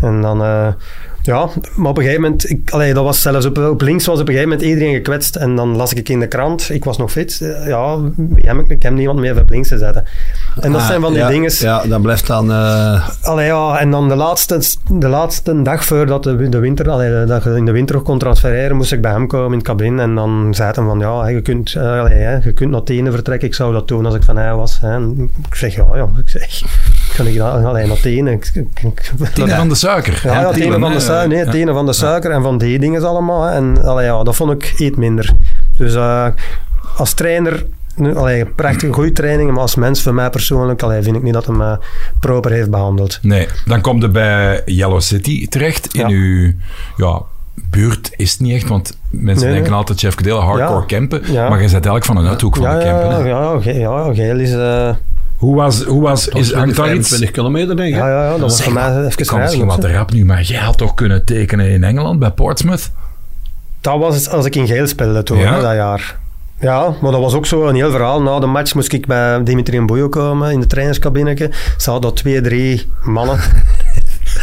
En dan, eh, ja, maar op een gegeven moment, ik, allee, dat was zelfs op, op links was op een gegeven moment iedereen gekwetst. En dan las ik in de krant, ik was nog fit, eh, ja, ik heb, ik heb niemand meer op links te zetten. En dat
Ah,
zijn van die
ja,
dingen.
Ja, dat blijft dan... eh,
Allee, ja, en dan de laatste, de laatste dag voordat de, de winter, allee, dat je in de winter ook kon transfereren, moest ik bij hem komen in het cabin. En dan zei hij van, ja, je kunt, eh, allee, hè, je kunt naar Tenen vertrekken. Ik zou dat doen als ik van hij was. Hè. En ik zeg, ja, ja. Ik zeg, [laughs] kan ik dat, allee, naar Tenen. Ik- ik- ik-
Tenen van de suiker.
ja, ja, tenen van de suiker. Nee, tenen van de suiker en van die dingen allemaal. hè. En allee, ja, dat vond ik iets minder. Dus eh, als trainer, nu, allee, prachtige goede trainingen, maar als mens voor mij persoonlijk, allee, vind ik niet dat hij me proper heeft behandeld.
Nee, dan kom je bij Yellow City terecht. In
Ja.
uw ja, buurt is het niet echt, want mensen
Nee,
denken
nee.
altijd Jeff Gedeel, hardcore
Ja.
campen.
Ja.
Maar je zit eigenlijk van een uithoek van
ja,
de campen.
ja,
hè.
ja, ge- ja, geel is... eh,
Hoe was, hoe was is, hangt daar iets...
25 kilometer, denk ik.
ja,
hè?
ja, ja, dat was
Zeg
voor mij
maar,
even
ik kan
rijden,
misschien wat
hè.
te rap nu, maar jij had toch kunnen tekenen in Engeland bij Portsmouth?
Dat was het als ik in geel speelde toen,
Ja?
hè, dat jaar. Ja, maar dat was ook zo een heel verhaal. Na de match moest ik bij Dimitri en Boyo komen in de trainerscabineke. Ze hadden twee, drie
[laughs]
mannen.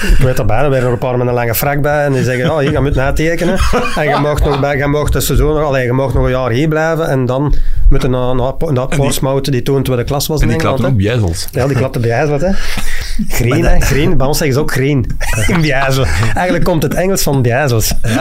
ik weet dat bijna, er waren er een paar met een lange frak bij. En die zeggen, oh, hier, je moet natekenen. En je mag nog, bij, je mag het seizoen, allee, je mag nog een jaar hier blijven. En dan met een, een, een, een Portsmouth die toen tweede klas was
En
in
die
Engeland.
klapte op
hè.
jezels.
Ja, die klapte bij IJssel, hè. Green, hè. Green. Bij ons zeggen ze ook [laughs] green. In Bijijzel. Eigenlijk komt het Engels van Bijijzels. dus, eh,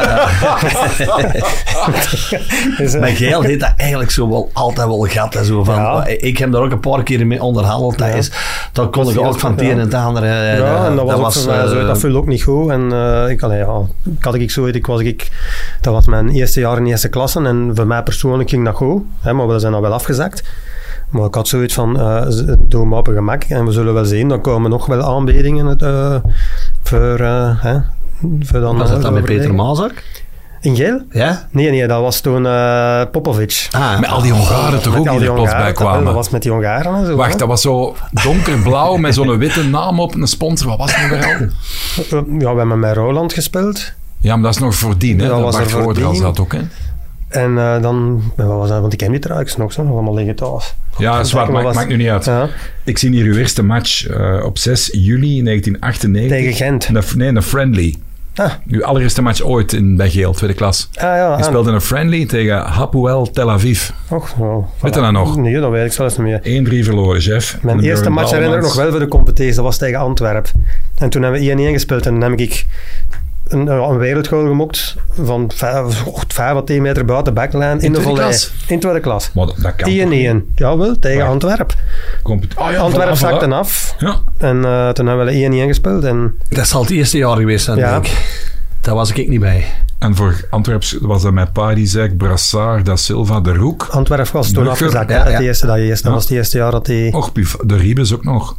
Maar Geil heeft dat eigenlijk zo wel altijd wel gehad. Hè, zo van, oh,
Ja.
Ik heb daar ook een paar keer mee onderhandeld. Dat
Ja.
is, dan kon ik
Dat is
ook
heel
van het
goed,
een en
ja.
het ander. eh,
ja, en dat was, ook voor mij
eh,
zo, dat viel ook niet goed. En eh, ik, allee, ja, ik had ik zo, ik was ik, dat was mijn eerste jaar in eerste klasse en voor mij persoonlijk ging dat goed, hè, maar we zijn dan wel afgezakt. Maar ik had zoiets van, eh, z- doe maar op een gemak en we zullen wel zien, dan komen nog wel aanbiedingen het, eh, voor, eh, hè, voor dan...
was dat
eh,
dan met Peter
overwegen.
Mazak?
In Geel?
Ja?
Nee, nee, dat was toen eh, Popovic.
Ah,
Met al die Hongaren toch
Met
ook
al
die er plots bij
Hongaren, dat- Dat
kwamen.
was met die Hongaren en zo. hè.
Wacht, dat was zo donkerblauw [laughs] met zo'n witte naam op en een sponsor. Wat was het nou weer al?
Eh, Ja, we hebben met Roland gespeeld.
Ja, maar dat is nog voordien, hè?
Dat
Dat,
was
Bart
er
Voordeel
voordien.
zat ook, hè?
En eh, dan, wat was dat? Want ik heb die truikens nog, zo, nog allemaal liggen thuis.
Ja, zwaar,
maar
maakt,
was-
maakt nu niet uit.
Ja.
Ik zie hier uw eerste match eh, op 6 juli 1998.
Tegen Gent.
Een f- nee, een friendly.
Ah.
Uw allereerste match ooit in, bij Geel, tweede klas.
Ah ja,
Je
ah,
speelde een friendly tegen Hapoel Tel Aviv. 1-3
och, wow, voilà.
Weet je dat nog?
Nee, dat weet ik zelfs niet meer.
verloren, Jeff.
Mijn
En de
eerste
Björn
match herinner ik nog
Bouwmans.
wel voor de competitie, dat was tegen Antwerpen. En toen hebben we 1-1 gespeeld en dan heb ik een, ja, een wereldgoal gemokt van oh, 5 à 10 meter buiten de backline in, de
tweede
volley.
klas?
In tweede klas. 1-1.
Maar dat, dat kan toch niet?
Jawel, tegen
Waar?
Antwerpen.
Compet- Ah, ja,
Antwerpen
voilà, voilà.
zakte af
Ja,
en eh, toen hebben we 1-1 gespeeld. En,
dat zal het eerste jaar geweest zijn,
Ja.
denk ik. Daar was ik niet bij.
en voor Antwerpen was dat met Parizek, Brassard, Da Silva, De Roek.
Antwerpen was toen
Brugge.
afgezakt. hè,
Ja,
het
ja.
eerste dat, je eerst, dat
Ja. Oh,
was het eerste jaar dat hij...
Och, Pif, De Riebes ook nog.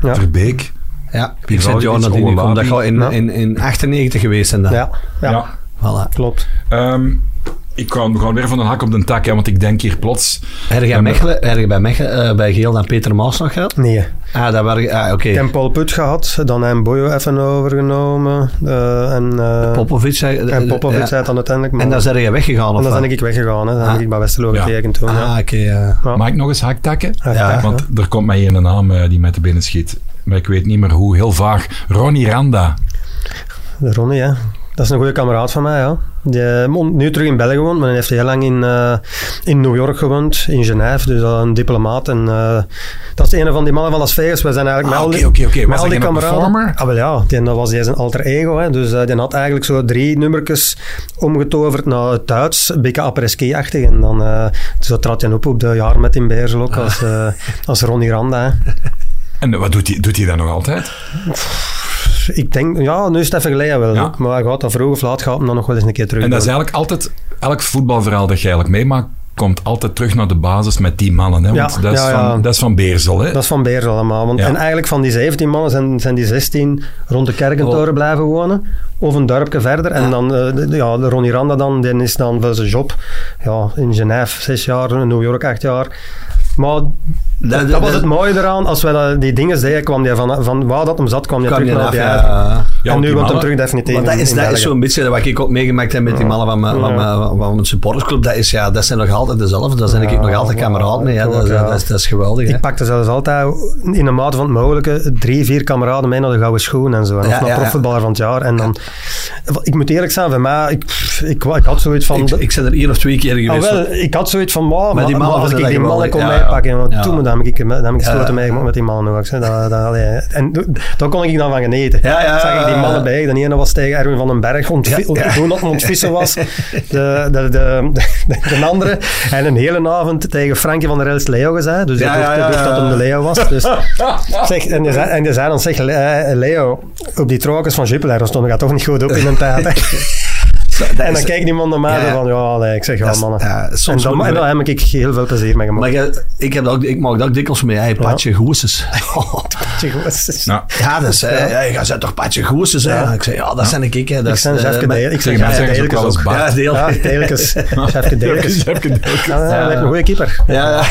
Ja.
Verbeek.
Ja, ik
Pivalis,
zit jaar dat die nu komt. Dat
Ololabi.
gaat in,
Ja.
in, in 98 geweest zijn. dan.
Ja, ja,
ja.
Voilà.
klopt.
Ehm, ik ga gewoon weer van de hak op de tak, hè, want ik denk hier plots...
Heb jij
Ja, maar-
Mechelen- heb jij bij, Mechelen, eh, bij Geel dan Peter Maas nog gehad?
Nee.
Ah, dat waren... Ah, oké.
Ik heb Paul Put gehad, dan hebben Boyo even overgenomen. eh, en, eh,
Popovic zei...
en Popovic
ja.
zei het dan uiteindelijk. Maar,
En dan zijn jij weggegaan, of
en dan
wat?
ben ik weggegaan, hè. dan
Ah.
heb ik bij Westerlo
Ja.
gekeken toen.
Ah,
ja.
oké, ja.
Ja.
Mag ik nog eens haktakken?
ja.
Want er komt mij hier een naam eh, die mij te binnen schiet. Maar ik weet niet meer hoe, heel vaag. Ronnie Randa.
De Ronnie, hè. dat is een goede kameraad van mij. Ja. Die eh, woont nu terug in België woont, maar hij heeft heel lang in, eh, in New York gewoond, in Genève. Dus dat is een diplomaat. En, eh, dat is een van die mannen van Las Vegas. Wij zijn eigenlijk
Ah,
met al
Oké,
die-
oké, oké.
Met
Was
al
hij
die
een
kameraden.
performer?
Ah, wel ja, die, dat was die zijn alter ego. Hè. Dus eh, die had eigenlijk zo drie nummertjes omgetoverd naar het Duits. Een beetje apres-ski-achtig. En dan eh, zo trad hij op op de jaar met in Beersel ook als, eh, als Ronnie Randa. Hè.
En wat doet hij doet hij dat nog altijd?
Ik denk, ja, nu is het even geleden wel.
Ja.
hè. Maar hij gaat dat vroeg of laat gaat hem dan nog wel eens een keer terug.
En dat is
doen.
eigenlijk altijd... Elk voetbalverhaal dat je eigenlijk meemaakt, komt altijd terug naar de basis met die mannen. Hè? Want
Ja,
dat, is
ja, ja.
Van, dat is van Beerzel,
Eh,
hè?
dat is van Beersel allemaal. Want,
Ja.
En eigenlijk van die 17 mannen zijn, zijn die 16 rond de kerkentoren
Oh.
blijven wonen. Of een dorpje verder. En dan, eh, de- ja, de Ronnie Randa dan, die is dan voor zijn job. Ja, in Genève zes jaar, in New York acht jaar. Maar dat,
dat-
was
dat-
het mooie eraan. Als wij dat- die dingen deden, kwam die van, van waar dat hem zat, kwam die
Kwam
terug
je
naar
af,
die
ja.
eigen.
ja.
Ja,
En nu
die
wordt hem
mannen-
terug definitief
Want dat
in-
is,
in
dat is
België.
zo'n beetje wat ik ook meegemaakt heb met die mannen van mijn, van mijn, van mijn supportersclub. Dat, is, ja, dat zijn nog altijd dezelfde. Daar zijn ik
Ja,
nog altijd
ja,
kameraad mee. Hè. Dat, is-
ja.
dat, is, dat is geweldig. hè.
Ik pakte zelfs altijd in de mate van het mogelijke drie, vier kameraden mee naar de Gouden Schoen en zo. En
Ja,
of naar
ja, ja.
profvoetballer van het jaar. En dan, ik moet eerlijk zijn, voor mij, ik, ik, ik had zoiets van...
Ik, ik ben er één of twee keer
Ah,
geweest.
wel, ik had zoiets van, wow, maar
die
die
mannen
als ik
vinden
die
dat
mannen kon
geweldig. Ja,
meepakken, want
ja.
toen me, dan heb ik, dan heb ik
Ja.
stoten meegemaakt met die mannen ook. hè. Dat, dat, allee, en daar kon ik dan van genieten.
Ja, ja,
Zag ik die
ja, ja.
mannen bij, de ene was tegen Erwin van den Berg, ontvi-
Ja, ja.
toen dat hij ontvissen
[laughs]
was. De, de, de, de, de andere. En een hele avond tegen Frankie van der Elst Leo gezegd, dus
Ja,
ik
ja,
dacht
ja, ja.
dat hem de Leo
[laughs]
was. Dus, zeg, en, die zei, en die zei dan, zeg eh, Leo, op die trokers van Jupiler, daar stond ik toch niet goed op in een tijd. hè.
[laughs] Dat
En dan
is-
kijkt die man naar mij
Ja,
zo
ja.
van, ja, allee, ik zeg, ja,
Dat is-
mannen.
ja, soms
en, dan,
moet je-
en daar heb ik heel veel plezier mee
Maar
gemaakt.
ik, ik, heb dat ook, ik maak dat ook dikwijls mee. Hey, patje goeses.
Tje, goed. [laughs]
Nou,
[laughs] ja, dat is... hè, Ja. je bent toch patje goeses, hè? Ik zeg, ja, dat zijn ik. Hè. Dat
Ik
is,
zijn
eh,
Jeffke
maar-
Deel- ik
zeg,
zeg,
mensen
ja,
zeggen ze ook
Deelkes
wel eens
ook.
Bart.
Ja, deel.
Ja,
Ja,
Deelkes. Jeffke
[laughs]
Deelkes.
Jeffke Deelkes.
Ja, ja, Ah, lijkt me een goede keeper.
ja.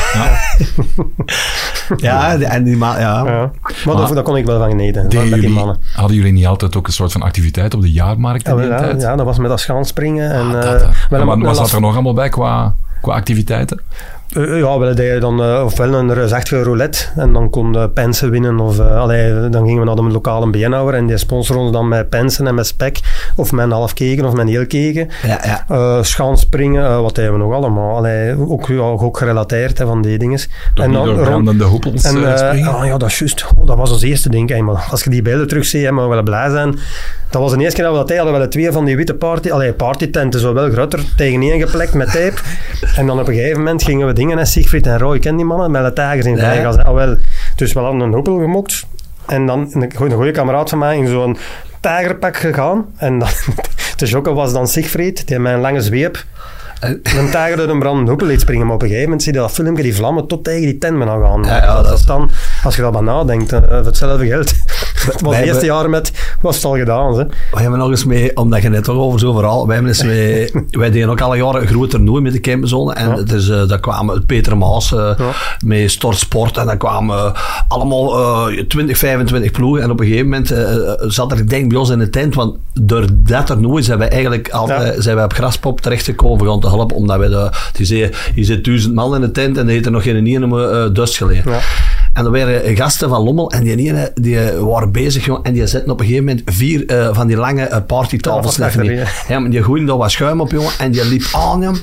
[laughs] ja, die- en die ma ja.
Ja. Maar, daar, daar kon ik wel van genieten, van-
deden
met die
jullie-
mannen.
hadden jullie niet altijd ook een soort van activiteit op de jaarmarkt in
Ja,
die
ja,
tijd?
ja, dat was met dat schaanspringen. En,
Ah,
eh,
dat, hè. En
wel een-
wat,
wel
wat
een-
zat er nog allemaal bij qua, qua activiteiten?
Eh, ja, we deden dan eh, ofwel een reusachtige roulette en dan konden pensen winnen. Of eh, allee, dan gingen we naar de lokale BN'ouwer en die sponsorde ons dan met pensen en met spek. Of met een half keken of met een heel keken.
Ja, ja.
Eh, schaanspringen, eh, wat deden we nog allemaal? Allee, ook, ja, ook gerelateerd hè, van die dingen.
Toch niet door brandende hoepels
en,
eh,
eh,
springen.
ah, ja, dat is juist. Oh, dat was ons eerste ding. Hey, maar als je die beelden terugziet, hey, maar we willen blij zijn. Dat was de eerste keer dat we dat deden. Hadden we wel twee van die witte party, allee, partytenten, zo wel groter, tegeneen geplekt met [laughs] tape. En dan op een gegeven moment gingen we dingen, hè, Siegfried en Roy, ken die mannen, met de tijgers in
Ja.
Vegas. hè. Ah, wel. Dus we hadden een hoepel gemokt. En dan een goede, goede kameraad van mij in zo'n tijgerpak gegaan. En dan, [laughs] de jokken was dan Siegfried, die met een lange zweep een tijger uit een brandende hoepel liet springen. Maar op een gegeven moment zie je dat filmpje, die vlammen tot tegen die tent gaan. gaan.
Ja, ja,
dat,
dat
is dan, als je dat maar nadenkt, eh, voor hetzelfde geld. Het was
wij
het eerste
hebben-
jaar met, was het al gedaan. Hè.
We hebben nog eens mee, omdat je net toch over zo verhaal. Wij, hebben eens
[laughs]
mee, wij deden ook alle jaren een groot toernooi met de camperzone. En
Ja.
dus, eh, daar kwamen Peter Maas eh
Ja.
mee Stort Sport. En daar kwamen eh, allemaal eh 20, 25 ploegen. En op een gegeven moment eh, zat er, ik denk bij ons in de tent. Want door dat toernooi zijn wij eigenlijk altijd eh, zijn wij op Graspop terechtgekomen om te helpen. Omdat wij, de, die zeiden, hier zit duizend man in de tent en die heeft er nog geen ene eh dust gelegen.
Ja.
En er waren gasten van Lommel en die ene die waren bezig jong, en die zetten op een gegeven moment vier eh, van die lange eh, partytafels
Tafels
neer.
achterin,
Ja, maar die gooide daar wat schuim op jongen en die liep aan hem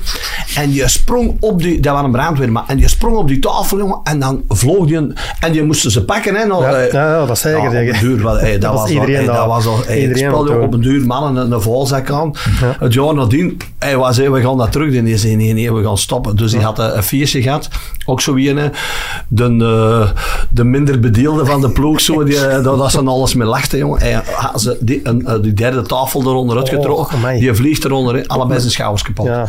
en je sprong op die, dat was een brandweerman, en je sprong op die tafel jongen en dan vloog die een- en je moesten ze pakken hè. nou,
Ja,
eh,
ja, ja, dat zeker,
ja, op
zeker.
een duur, wat, eh, dat,
Dat was
was
iedereen
al, eh,
daar.
dat was al, eh,
Iedereen
spel,
op
jongen,
toen.
op een duur mannen een, een valzak aan. Het jaar nadien, hij was, hey, we gaan dat terug doen. Die zei, nee, nee, we gaan stoppen. Dus die had eh, een feestje gehad. Ook zo wie een, de, eh, de minder bedeelde van de ploeg, zo, die, eh, dat, dat ze aan alles mee lachten, jongen. Hij had ze die, een, eh, die derde tafel eronder uitgetrokken.
Oh, amai.
die vliegt eronder, hè. allebei zijn schouders kapot.
Ja.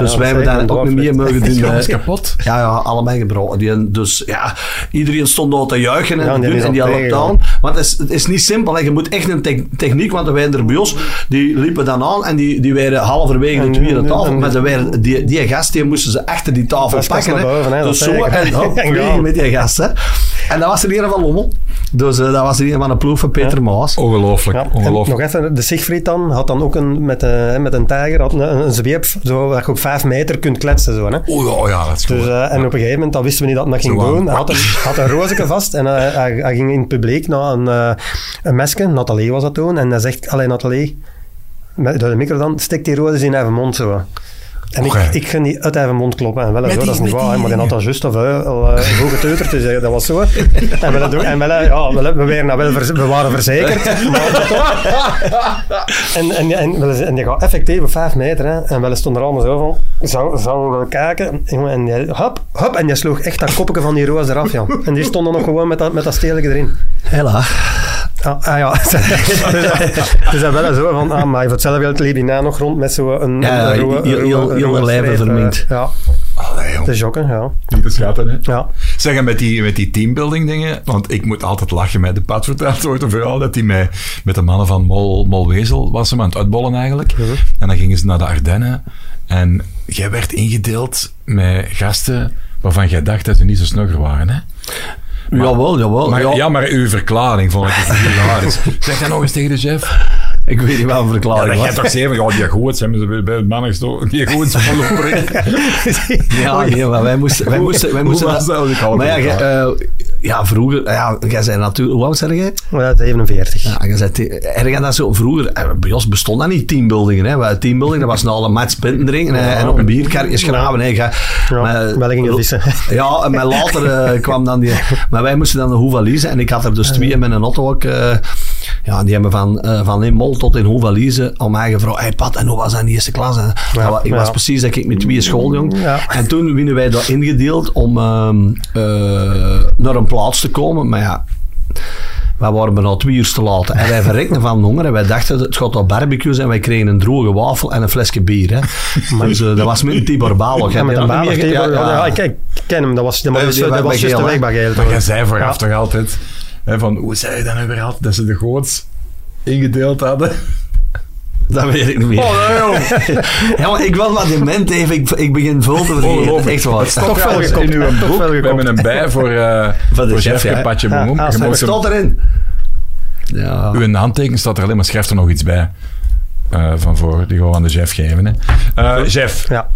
Dus
Ja,
wij hebben
zeker,
daar ook niet
dwarflicht.
meer mogen doen.
Alles
hè.
kapot.
Ja, ja, allebei gebroken. Die, dus ja, iedereen stond daar te juichen en,
Ja,
te
die
doen
is
en die
al
had
tegen,
aan. Want het is, het is niet simpel. hè. Je moet echt een tech- techniek, want wij er bij ons, die liepen dan aan en die, die waren halverwege de
En-
tweede
en-
tafel.
en-
maar ze waren, die, die gast, die moesten ze achter die tafel
Dat is pas
pakken.
naar
hè.
boven, hè, dat
dus zo
zeker.
en hop,
[laughs] En
vliegen
gaan.
met die gast. Hè. En dat was er een van Lommel. Dus eh, dat was er een van de ploeg van Peter Maas.
Ongelooflijk,
Ja, en nog
ongelooflijk.
even, de Siegfried dan had dan ook een, met, een, met een tijger had een, een zweep zo, waar je op vijf meter kunt kletsen. Zo, hè.
Oh ja, ja, dat is goed.
Dus, eh, en op een gegeven moment, dat wisten we niet dat hij dat ging
Zo aan.
doen. Hij had een, had een rozeke vast en eh, hij, hij, hij ging in het publiek naar een, eh, een mesje. Nathalie was dat toen. En hij zegt, alleen Nathalie, met door de micro dan, stik die rozes in haar mond zo. En
Oké.
ik, ik ging die uit haar mond kloppen. En wel, zo,
die-
dat is niet
met
waar. hè,
die
Maar die had dat juist of, eh, al eh, hoge teuter te zeggen. Dat was zo. En, wel, dat- en wel, eh, ja, wel, we, waren, dat wel verz- we waren
[laughs]
verzekerd. maar toch. en, en, en, wel, eens- en die gaat effectief op vijf meter. Hè, en wel stond er allemaal zo van. Zou, zouden we wel kijken? Jongen, En die, hop, hop. En die sloeg echt dat kopje van die roos eraf. Ja. En die stond dan nog gewoon met dat, met dat steeltje erin.
Hela.
Ah, ah ja, [laughs] dus dat wel zo van, ah, maar voor hetzelfde geld liep die na nog rond met zo'n
Ja,
een rode-
heel- heel-
rode-
heel
rode
lijven
streep,
verminkt.
eh, Ja,
Allee, joh.
te jokken, ja.
Niet te schatten, hè?
ja.
Zeg, en met die, met die teambuilding dingen, want ik moet altijd lachen met de pad verteld wordt een verhaal dat hij met, met de mannen van Mol, Molwezel was hem aan het uitbollen eigenlijk. En dan gingen ze naar de Ardennen en jij werd ingedeeld met gasten waarvan jij dacht dat ze niet zo snugger waren, hè?
Jawel, jawel.
Maar, Oh, ja.
ja.
maar uw verklaring vond ik echt [laughs] hilarisch. Zeg dat nog eens tegen de chef.
Ik weet niet wat een
Ja,
verklaring
dat jij
was.
toch zeven, ja, die goed zijn ze bij- bij het mannen gestoken. Die goed zijn [laughs] verloren.
[laughs] Ja, Oh, nee, maar wij moesten... Wij
Hoe-
moesten, wij
hoe
moesten
was dat? Ik hou
Maar ja,
het niet
jij, eh, ja, vroeger... Ja, jij zei natuurlijk... Hoe oud zei jij?
Oh, Ja, 47.
Ja, jij zei... te- Erg aan dat zo vroeger... eh, Bij ons bestond dat niet, teambuilding. Hè. Wij- Teambuilding, dat was nou alle match punten drinken eh, en op een bierkartje schraven. hè. Jij-
Ja,
maar-
wel ging je vissen.
[laughs] Ja, en maar later eh, kwam dan die... Maar wij moesten dan de Hoevaliezen. En ik had er dus twee met een auto ook... eh, ja, die hebben van, eh, van in Mol tot in Hoevaliezen aan mij gevraagd. Hey Pat, en hoe was dat in de eerste klas? En, dat wa- ik
ja.
was precies dat ik met twee schooljong.
Ja.
En toen winnen wij dat ingedeeld om ehm, eh, naar een plaats te komen. Maar ja, wij waren bijna twee uur te laat. En wij verrekten van honger en wij dachten, het gaat op barbecues en wij kregen een droge wafel en een flesje bier. Hè. Dus eh, dat was met een Tibor Balog.
Ja,
hè.
met
Die
een
had
baan
niet meer-
ja,
ja, ja.
ik, ik ken hem, dat was, dat
Nee,
was,
die
dat
bij
was juist de
Geel, hè.
weg bij Geel,
Maar
hoor.
jij zei vooraf
Ja.
toch altijd, hè, van hoe zei je dat nou weer altijd, dat ze de goots ingedeeld hadden?
Dat weet ik niet meer.
Oh,
[laughs] ja, maar ik was wat dement even. Ik, ik begin veel te vergeten. Echt waar.
Het staat
Toch
trouwens
wel
in
gekopt.
uw
Toch
boek.
wel
We
gekopt.
hebben een bij voor,
[laughs]
eh
Van de
voor
chef,
Jeffke
ja.
Patje
Ja,
Boom.
ah,
Je
sorry.
moet
Het
ze-
stond erin. Ja.
Uw handtekening staat er alleen, maar schrijf er nog iets bij. eh, van voor, die gaan we aan de chef geven. Hè. Eh, Jeff,
Ja.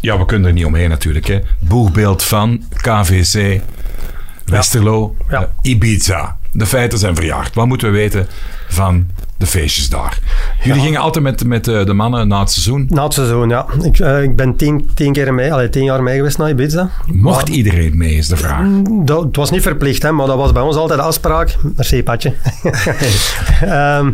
Ja, we kunnen er niet omheen natuurlijk. Hè. Boegbeeld van KVC, Westerlo,
Ja.
eh, Ibiza. De feiten zijn verjaard. Wat moeten we weten van de feestjes daar? Jullie gingen altijd met, met eh, de mannen na het seizoen.
Na het seizoen, ja. Ik, eh, ik ben tien, tien keer mee, allee, tien jaar mee geweest naar Ibiza.
Mocht iedereen mee, is de vraag.
Dat, het was niet verplicht, hè, maar dat was bij ons altijd de afspraak.
[laughs]
Merci, Patje. Ehm,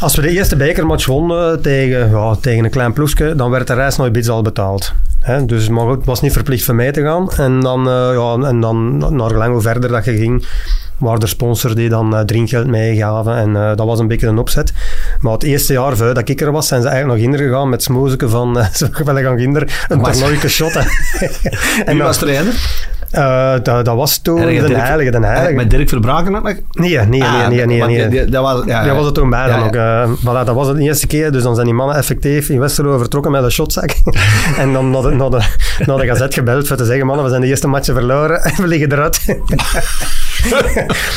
als we de eerste bekermatch wonnen tegen, ja, tegen een klein ploegje, dan werd de reis naar Ibiza al betaald. Hè, dus maar goed, het was niet verplicht voor mij te gaan. En dan, eh, ja, en dan naar gelang hoe verder dat je ging, waren er sponsors die dan eh, drinkgeld meegaven. En eh, dat was een beetje een opzet. Maar het eerste jaar vuil dat ik er was, zijn ze eigenlijk nog kinder gegaan met smoezeken van... eh, [laughs] ze willen gaan kinder een
Maar-
toernooike shot. hè. en
[laughs] Wie
dan-
was trainer?
eh, dat, dat was toen
Ergens
de
Dirk- Eh,
heilige, de heilige.
Met Dirk Verbraken ook nog?
Nee, nee, nee,
Ah,
nee, nee.
want
nee.
die- die- Dat was, ja,
dat was het toen bij dan
Ja,
ook. eh, voilà, dat was het de eerste keer. Dus dan zijn die mannen effectief in Westerlo vertrokken met een shotzak. [laughs] en dan naar de, naar, de, naar de gazet gebeld voor te zeggen, mannen, we zijn de eerste matchen verloren. [laughs] en we liggen eruit.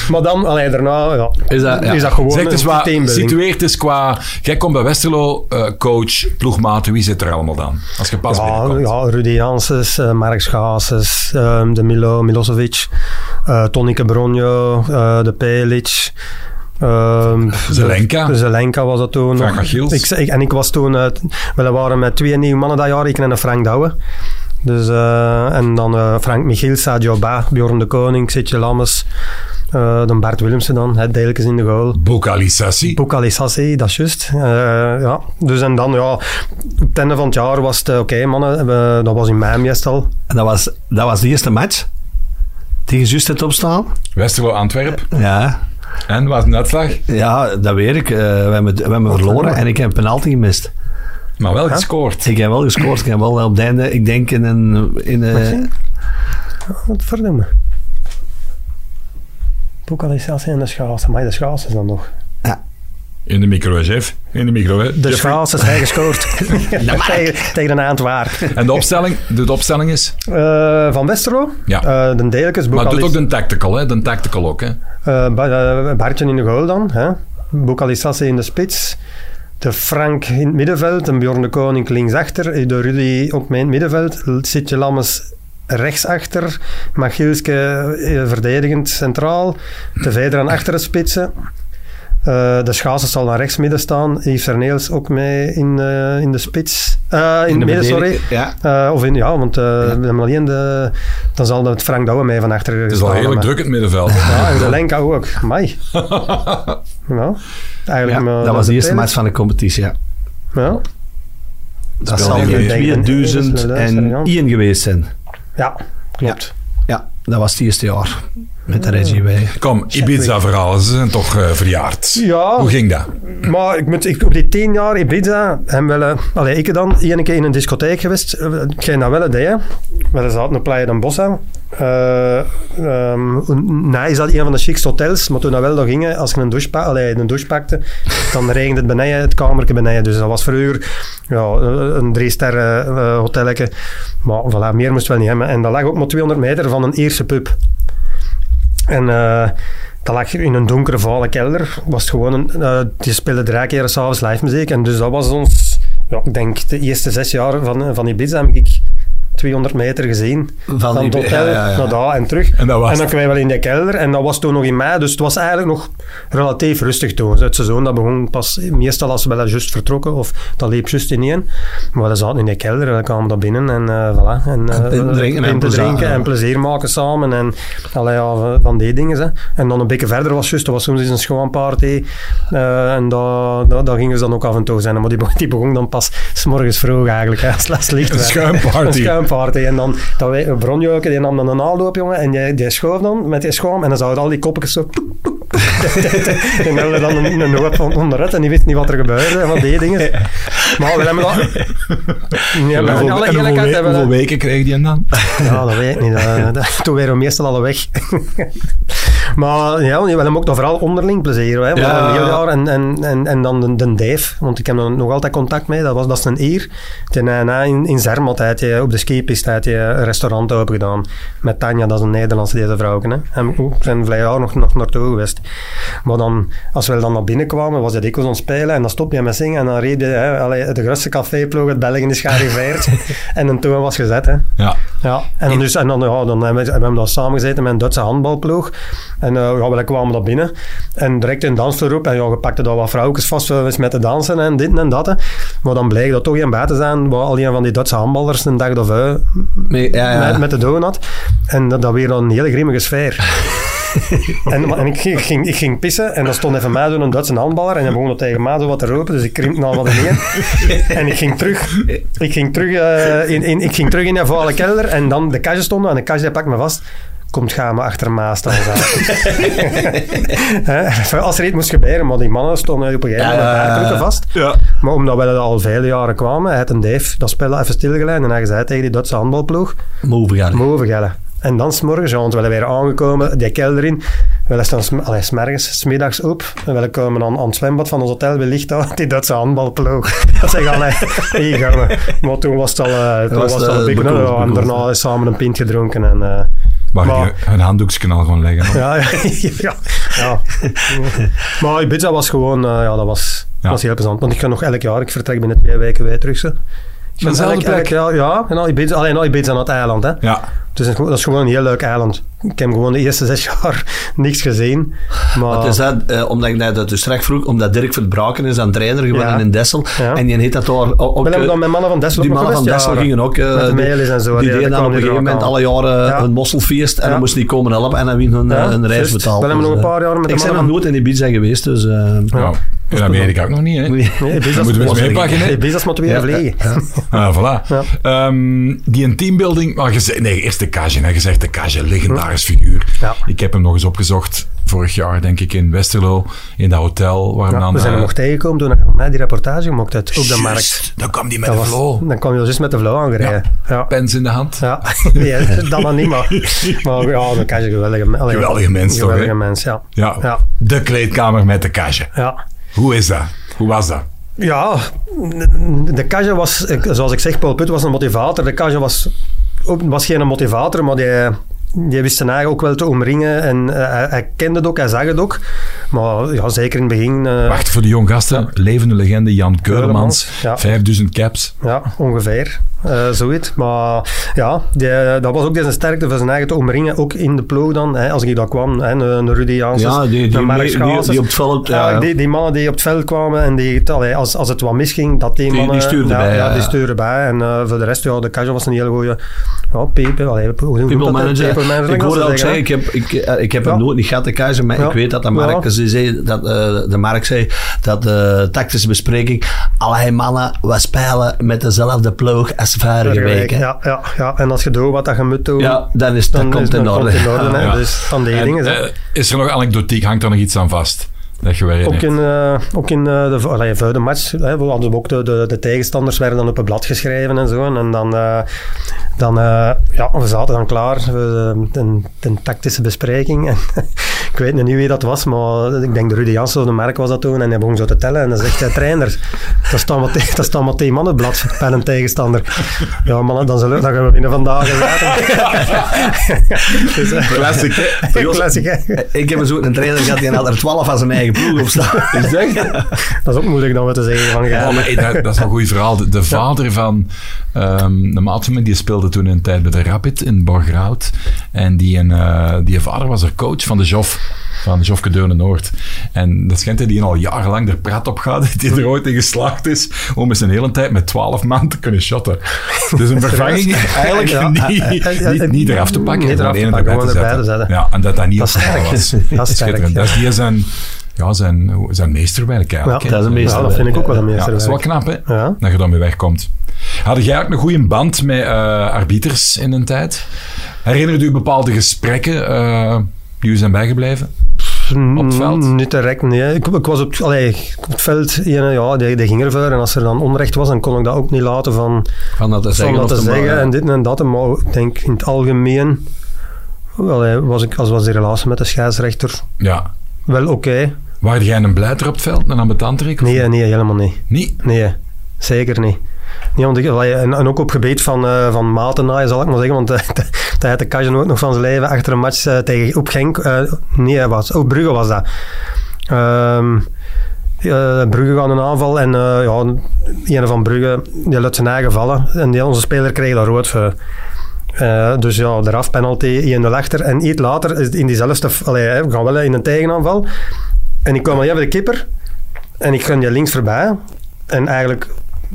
maar dan, allee, daarna ja,
Is dat- ja.
is dat gewoon
Zeg eens
een
wat,
teambuilding.
situeert eens qua... Jij komt bij Westerlo, eh, coach, ploegmaten, wie zit er allemaal dan? Als je pas
Ja,
binnenkomt.
ja, Rudy Janssens, eh, Mark Schaases, ehm, de Milo Milosevic, eh Tonneke Bronjo, eh, de Pelic. ehm,
Zelenka.
de- Zelenka was dat toen.
Frank
nog.
Michiels.
Ik, ik- en ik was toen... eh, t- we waren met twee nieuwe mannen dat jaar, ik en een Frank Douwe. Dus, eh, en dan eh, Frank Michiels, Sadio Ba, Bjorn de Koning, Sitje Lammes, eh, dan Bart Willemsen dan, hè, deeltjes in de goal.
Bokali Sassi.
Bokali Sassé, dat is juist. Eh, ja. Dus en dan, ja, op het einde van het jaar was het, eh, oké mannen, we- dat was in mei meestal.
En dat was, dat was de eerste match. Tegen juist het opstaan.
Westerlo, Antwerp.
Ja,
En, wat is de uitslag?
ja dat weet ik. Eh, we, hebben, we hebben verloren en ik heb een penalty gemist.
Maar wel gescoord.
Ik heb wel gescoord. Ik heb wel op het einde, ik denk in een... In een
Wat verdomme. Bokali Sassé en de schaatsen, maar de schaatsen dan nog.
In de micro, Jeff. In de micro, hè.
De
Jeffrey.
schaatsen, hij gescoord. [laughs] tegen, tegen een Antwaard.
En de opstelling? Doe de opstelling eens.
Eh, van Westerlo,
Ja.
eh, de Delekes,
Maar doet ook
Bokali,
de tactical, hè. De tactical ook, hè.
eh Ba- eh, Bartje in de goal dan. Hè? Bokali Sassé in de spits. De Frank in het middenveld, en Bjorn de Koning linksachter, de Rudy ook mee in het middenveld, Sitje Lammes rechtsachter, Machielske eh, verdedigend centraal, De Veder aan achteren spitsen. Eh, de Schaatsen zal naar rechts midden staan, Yves Serneels ook mee in, eh, in de spits. Eh, in, het midden, sorry.
Ja.
Eh, of in, ja, want eh, we hebben alleen de, dan zal het Frank Douwe mee van achteren
Het is al heerlijk druk in het middenveld.
Ja, en Zelenka ook. Amai. nou, eigenlijk...
Ja,
eh,
dat was de eerste
tweede.
match van de competitie, ja.
Ja.
Dat
Speelde
zal
je
in
tegen-
2000 en Ian geweest zijn.
ja, klopt.
Ja, dat was het eerste jaar. Met de Reggie bij.
Kom, Ibiza-verhalen, ze zijn toch eh, verjaard.
Ja.
Hoe ging dat?
Maar ik moet, ik, op die tien jaar Ibiza hebben we... eh, Allee, ik dan één keer in een discotheek geweest. Eh, Hetgeen dat wel het deed, hè. Maar dat zat een Playa dan Bossa. Eh ehm nee, is dat een van de chicste hotels. Maar toen dat wel nog gingen, als je een douche, pa- allee, een douche pakte, dan regende het beneden, het kamertje beneden. Dus dat was vroeger ja, een drie-ster eh hotelletje. Maar voilà, meer moest wel niet hebben. En dat lag ook maar 200 meter van een eerste pub. En eh dat lag in een donkere, vuile kelder. Was het gewoon een, eh, die speelden drie keer s'avonds live muziek. En dus dat was ons, ja, ik denk, de eerste zes jaar van, van Ibiza heb ik 200 meter gezien.
Van
Van, het
die-
hotel
ja, ja, ja.
naar daar en terug.
En dat was
En dan
het.
kwamen we wel in de kelder. En dat was toen nog in mei. Dus het was eigenlijk nog relatief rustig toen. Het seizoen dat begon pas meestal als we wel juist vertrokken. Of dat liep juist ineen. Maar we zaten in de kelder en dan kwamen we daar binnen. En eh, voilà. En, eh,
En pint drinken en
pinten
plezier,
drinken
ja.
en plezier maken samen. En allerlei ja, van die dingen. Hè. En dan een beetje verder was juist. Er was soms eens een schoonparty. eh en daar da, da gingen ze dan ook af en toe zijn. Maar die, be- die begon dan pas s'morgens vroeg eigenlijk. Hè, als het licht
Een
werd.
schuimparty.
Een schuimparty. En dan, dan wij- Bronjoke, die nam dan een aanloop, jongen. En die, die schoof dan met die schoon. En dan zouden al die koppetjes zo... poek, poek, [laughs] en hadden dan een, een hoop on- onderuit. En die wist niet wat er gebeurde. En wat die dingen. Maar we hebben dat... Nee,
En
maar
hoeveel-
in alle
en hoeveel,
eerlijkheid
we-
hebben we...
hoeveel weken kreeg die hem dan?
Ja, dat weet ik niet. Dat, dat, toen waren we meestal alle weg. [laughs] Maar ja, we hebben ook nog vooral onderling plezier. Hè. We
Ja.
hadden een heel jaar en, en, en, en dan de, de Dave, want ik heb dan nog altijd contact mee. Dat, was, dat is een eer. Ten, eh, na in, in Zermatt had je, op de skipist had je een restaurant open gedaan. Met Tanja, dat is een Nederlandse, deze vrouw. Hè. En we zijn vlei jaar nog, nog naartoe geweest. Maar dan, als we dan naar binnen kwamen, was dat ik ons spelen. En dan stopte je met zingen. En dan reed je, hè, allee, het grootste caféploeg, het België is gearriveerd. en een toon was gezet. Hè.
Ja,
Ja, en dan, dus, en dan, ja, dan hebben we, hebben we daar samengezeten met een Duitse handbalploeg. En eh, ja, we kwamen daar binnen. En direct een dansverroep. En ja, we pakten daar wat vrouwtjes vast eh, eens met te dansen en dit en dat. hè. Maar dan bleek dat toch geen buiten zijn. Waar al een van die Duitse handballers een dag of eh,
Nee, ja, ja.
met, met de doon had. En dat, dat weer een hele grimmige
[laughs]
sfeer. en maar- en ik, ging- ik ging, ik ging pissen en dan stond even mij zo'n een Duitse handballer en hij begon dat tegen mij zo wat te roepen, dus ik krimpte al wat neer. en ik ging terug, ik ging terug, eh, in, in, ik ging terug in de vuile kelder en dan de kastje stond en de kastje pakt me vast. Komt ga me achter me
[laughs]
staan. [laughs] Hè, Als er iets moest gebeuren, maar die mannen stonden op een gegeven moment
Ja, ja,
daar
ja,
terug
ja.
vast.
ja.
Maar omdat wij dat al vele jaren kwamen, hij had een Dave dat spel even stilgeleid en hij zei tegen die Duitse handbalploeg,
Move, gaan.
Mogen gellen. En dan s'morgens, ja, want we zijn weer aangekomen, die kelder in. We staan sm allee, s'morgens, s'middags op. En we komen aan, aan het zwembad van ons hotel. We ligt daar, [laughs] die Duitse handbalploeg. [laughs] Dat zijn gaan, hè. hier gaan we. Maar toen was het al, eh, toen was
was
het al
het, eh,
dik, hè.
bekoeld,
We hebben
bekoeld.
daarna samen een pint gedronken. En, eh,
Waar
Maar-
je een handdoekje al gewoon leggen. hoor.
[laughs] ja, ja, ja, ja. Maar Ibiza was gewoon, eh, ja, dat was,
Ja.
was heel plezant. Want ik ga nog elk jaar, ik vertrek binnen twee weken weer terug. Ze.
Naar dezelfde plek?
ja, ja, en al Ibiza, alleen al Ibiza aan het eiland, hè.
Ja,
Dus dat is gewoon een heel leuk eiland. Ik heb gewoon de eerste zes [laughs] jaar niks gezien. Maar
Wat is dat? Eh, omdat ik net dat dus straks vroeg, omdat Dirk Verbraken is aan trainer geworden
Ja.
in Dessel.
Ja.
En die heet dat daar ook...
we
ook,
hebben dan
eh,
met mannen van Dessel
die
ook nog
mannen van
geweest,
Dessel
ja.
gingen ook... eh,
Met de
die-
melis en zo.
Die
ja,
deden
dat
dan op
kwam
een
er
gegeven
ook
moment
aan.
alle jaren eh,
Ja.
een mosselfeest en
Ja.
dan moesten die komen helpen en dan wien hun, eh,
Ja,
een reis
juist.
betaald.
Dan hebben
Dus,
we nog een
eh,
paar jaar met
Ik
de
ben nog
mannen-
nooit in Ibiza geweest, dus... eh, [laughs]
nou, ja. dat weet ik ook nog niet. Hè.
Nee, Ibiza
moeten we eens meepakken, hè?
Nee, Ibiza is maar twee
Ja.
vliegen.
[laughs] Ah, voilà.
Ja.
Ehm, die een teambuilding... Maar je zei- nee, eerst de Kage. Hè. Je zegt de Kage, legendarisch figuur.
Ja.
Ik heb hem nog eens opgezocht vorig jaar, denk ik, in Westerlo. In dat hotel waar we
Ja,
dan...
we zijn
eh,
hem nog tegengekomen toen ik net die reportage gemaakt had op de
juist,
markt.
Dan kwam die met
Dat
een
was,
flow.
dan kwam je dus met de flow aangereden. Ja.
Pens in de hand.
Ja, [laughs] nee, dat dan niet, maar, maar ja, dan kan je geweldige, men- allee,
Geweldige mens toch,
geweldige
hè?
mens, ja.
Ja.
Ja.
De kleedkamer met de Kage.
ja.
Hoe is dat? Hoe was dat?
Ja, de- de Kaja was, ik- zoals ik zeg, Paul Put was een motivator. De Kaja was, ook- was geen motivator, maar die, die wist zijn eigen ook wel te omringen. En eh, hij, hij kende het ook, hij zag het ook. Maar ja, zeker in het begin... eh,
Wacht voor de jong gasten. Levende legende Jan Keulemans.
Keulemans, ja.
5000 caps.
Ja, ongeveer. eh zoiets. Maar ja, die- dat was ook deze sterkte van zijn eigen te omringen. Ook in de ploeg dan, hè, als ik daar kwam. Hè, een Rudy Janssens,
Ja, die- die
een Mark
mee- die-
Schaatsers.
die op het veld, ja, ja.
eh, die, die mannen die op het veld kwamen en die, allee, als, als het wat misging, dat die,
Die- die
mannen...
stuurden
ja,
bij,
Ja,
ja,
die
ja.
stuurden bij. En eh, voor de rest, ja, de Kajo was een hele goeie... Ja, people, allee, hoe noem je dat,
People
hè?
manager.
People manager,
Ik
kan
hoorde
ze
ook zeggen,
zeggen,
ik heb, ik, eh, ik heb
Ja.
hem nooit niet gehad, de keizer, maar
Ja.
ik weet dat de
Ja.
Mark, dus die zei, dat, eh, de Mark zei dat de tactische bespreking, allerlei mannen, we spelen met dezelfde ploeg als vorige
hè.
week. hè. Ja.
Ja, ja, ja, en als je doet wat dat je moet doen,
dan, is,
dan,
dat komt
is-
in
dan
orde.
komt
[laughs]
het in orde. hè.
Ja.
Dus van die
En,
dingen, hè.
eh, is er nog anekdotiek? Hangt er nog iets aan vast? Dat je weer
Ook in, eh, ook in eh, de allee, vuile match, hè, we hadden ook de, de, de tegenstanders werden dan op een blad geschreven en zo. En dan, eh, dan eh, ja, we zaten dan klaar, we, eh, een, een tactische bespreking. [laughs] En, ik weet nog niet wie dat was, maar ik denk de Rudy Janssen of de Merk was dat toen. En hij begon zo te tellen en dan zegt hij, trainer, dat staan maar, te- [laughs] dat staan maar twee mannen op het blad bij een tegenstander. Ja mannen, dan, zullen, dan gaan we binnen vandaag. en later. dus, eh,
Classic,
[laughs]
hè?
classic, hè.
Eh, Ik heb eens ook een trainer gehad die had er 12 van zijn eigen ploeg op
[laughs]
staan.
Is dat?
[laughs] Dat is ook moeilijk dan wat te zeggen van,
Ja,
ja,
maar, hey, Oh, dat, dat is wel een goed verhaal. De, de vader van ehm de maat van mij, die speelde toen een tijd bij de Rapid in Borgerhout. En die, een, eh, die vader was er coach van de Jof. Van Jofke Deurne Noord. En dat schijnt dat die al jarenlang er prat op gaat. [laughs] Dat hij er ooit in geslaagd is om eens een hele tijd met 12 man te kunnen shotten. Dus
[laughs]
een vervanging eigenlijk
Ja,
[laughs]
eh,
niet,
eh, eh,
niet, niet eraf te pakken.
niet eraf
maar
te
één
pakken,
erbij te
gewoon erbij te zetten.
Ja, en [laughs] dat dat niet
Dat is
op
sterk.
was.
Dat is sterk,
Schitterend. Dat is die eh, zijn, ja, zijn, zijn meesterwerk eigenlijk.
Ja,
hè.
dat is een
Ja, dat vind ik ook wel een
Ja, dat is wel
meesterwerk.
knap, hè?
Ja.
Dat je daarmee wegkomt. Had jij ook een goede band met eh, arbiters in een tijd? Herinnert u bepaalde gesprekken eh, die u zijn bijgebleven? op het veld?
Mm, Niet direct, nee. Ik, ik was op, allee, ik- op het veld, ene, ja, die, die ging ervoor. En als er dan onrecht was, dan kon ik dat ook niet laten van,
Van dat te
van
zeggen.
dat
of
te
te
zeggen
maken.
en dit en dat. Maar ik denk in het algemeen Wel, hij was ik, als was de relatie met de scheidsrechter
Ja.
wel oké.
Waar jij een blijter op het veld, een ambetantrik? of-
Nee, nee, helemaal niet.
Niet?
Nee, zeker niet. Nee, want ik, allee, en, en ook op gebied van, eh van matennaaien, zal ik maar zeggen. Want eh, [laughs] dat dat had de Kajan ook nog van zijn leven achter een match eh, tegen op Genk. eh, nee, was, oh, Brugge was dat. Ehm, eh, Brugge gaan een aanval en eh ja, een van Brugge die laat zijn eigen vallen. En die, onze speler kreeg daar rood voor. Eh, dus ja, eraf penalty, in de achter. En iets later, is het in diezelfde... f- Allee, hè, we gaan wel in een tegenaanval. En ik kwam al even de kipper. En ik gun je links voorbij. En eigenlijk,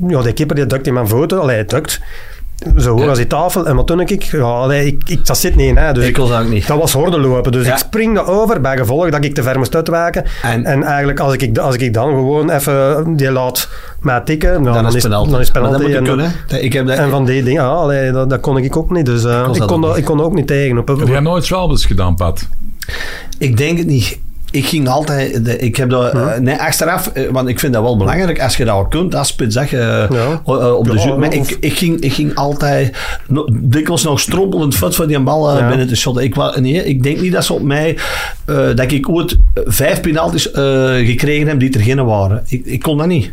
ja, die kipper die dukt in mijn voeten. Allee, hij dukt. Zo hoog als die tafel. En wat doe ik? Ja, allee, ik, ik dat zit niet in. Hè, dus
Ik
ik,
wil ook niet.
dat was horde lopen. Dus
Ja.
ik spring erover, bij gevolg dat ik te ver moest uitwijken.
En-
En, eigenlijk, als ik, als ik dan gewoon even die laat mij tikken, nou,
dan is het penalty.
Dan is penalty
Maar dat moet je
en,
kunnen. hè. Ik heb dat,
en van die dingen, ja, allee, dat, dat kon ik ook niet. Dus eh,
kon
ik,
dat
kon
ook
dat-
niet.
ik kon dat ook niet tegen. Op, op-
Heb jij nooit zwalbes gedaan, Pat?
Ik denk het niet. Ik ging altijd... de- ik heb dat... eh, nee, achteraf... eh, want ik vind dat wel belangrijk. Als je dat al kunt, als spits, zeg je... eh,
Ja.
o- eh, op de
Ja,
zoek. Maar
of-
ik, ik, ging, ik ging altijd... no- dikwijls nog strompelend vet van die bal eh,
Ja.
binnen te shotten. Ik, wa- nee, ik denk niet dat ze op mij... eh, dat ik ooit eh, vijf penalties eh, gekregen heb die er geen waren. Ik, ik kon dat niet.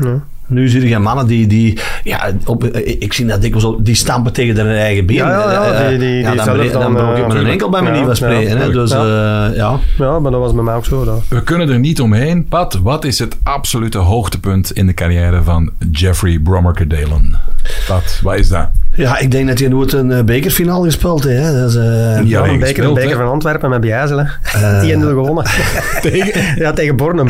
Ja.
Nu zie je mannen die, die ja, op, eh, ik zie dat dikwijls op, die stampen tegen hun eigen been.
Ja, ja, ja,
Eh, eh,
die- die- die
dan,
zelf
breek- dan,
dan,
brok ik
eh,
mijn enkel bij
ja,
mijn nieuwe
ja,
spreken. hè. dus eh, ja.
ja, maar dat was bij mij ook zo. Dat.
We kunnen er niet omheen. Pat, wat is het absolute hoogtepunt in de carrière van Jeffrey Brommerke-Dalen? Pat, wat is dat?
Ja, ik denk dat hij nooit een eh, bekerfinale gespeeld heeft. Hè. Dat is, eh,
Ja,
Ja, een beker,
gespeeld,
een beker
hè?
van Antwerpen met Bijzelen. Die 1-0
[laughs]
gewonnen. tegen? Ja, tegen Bornem.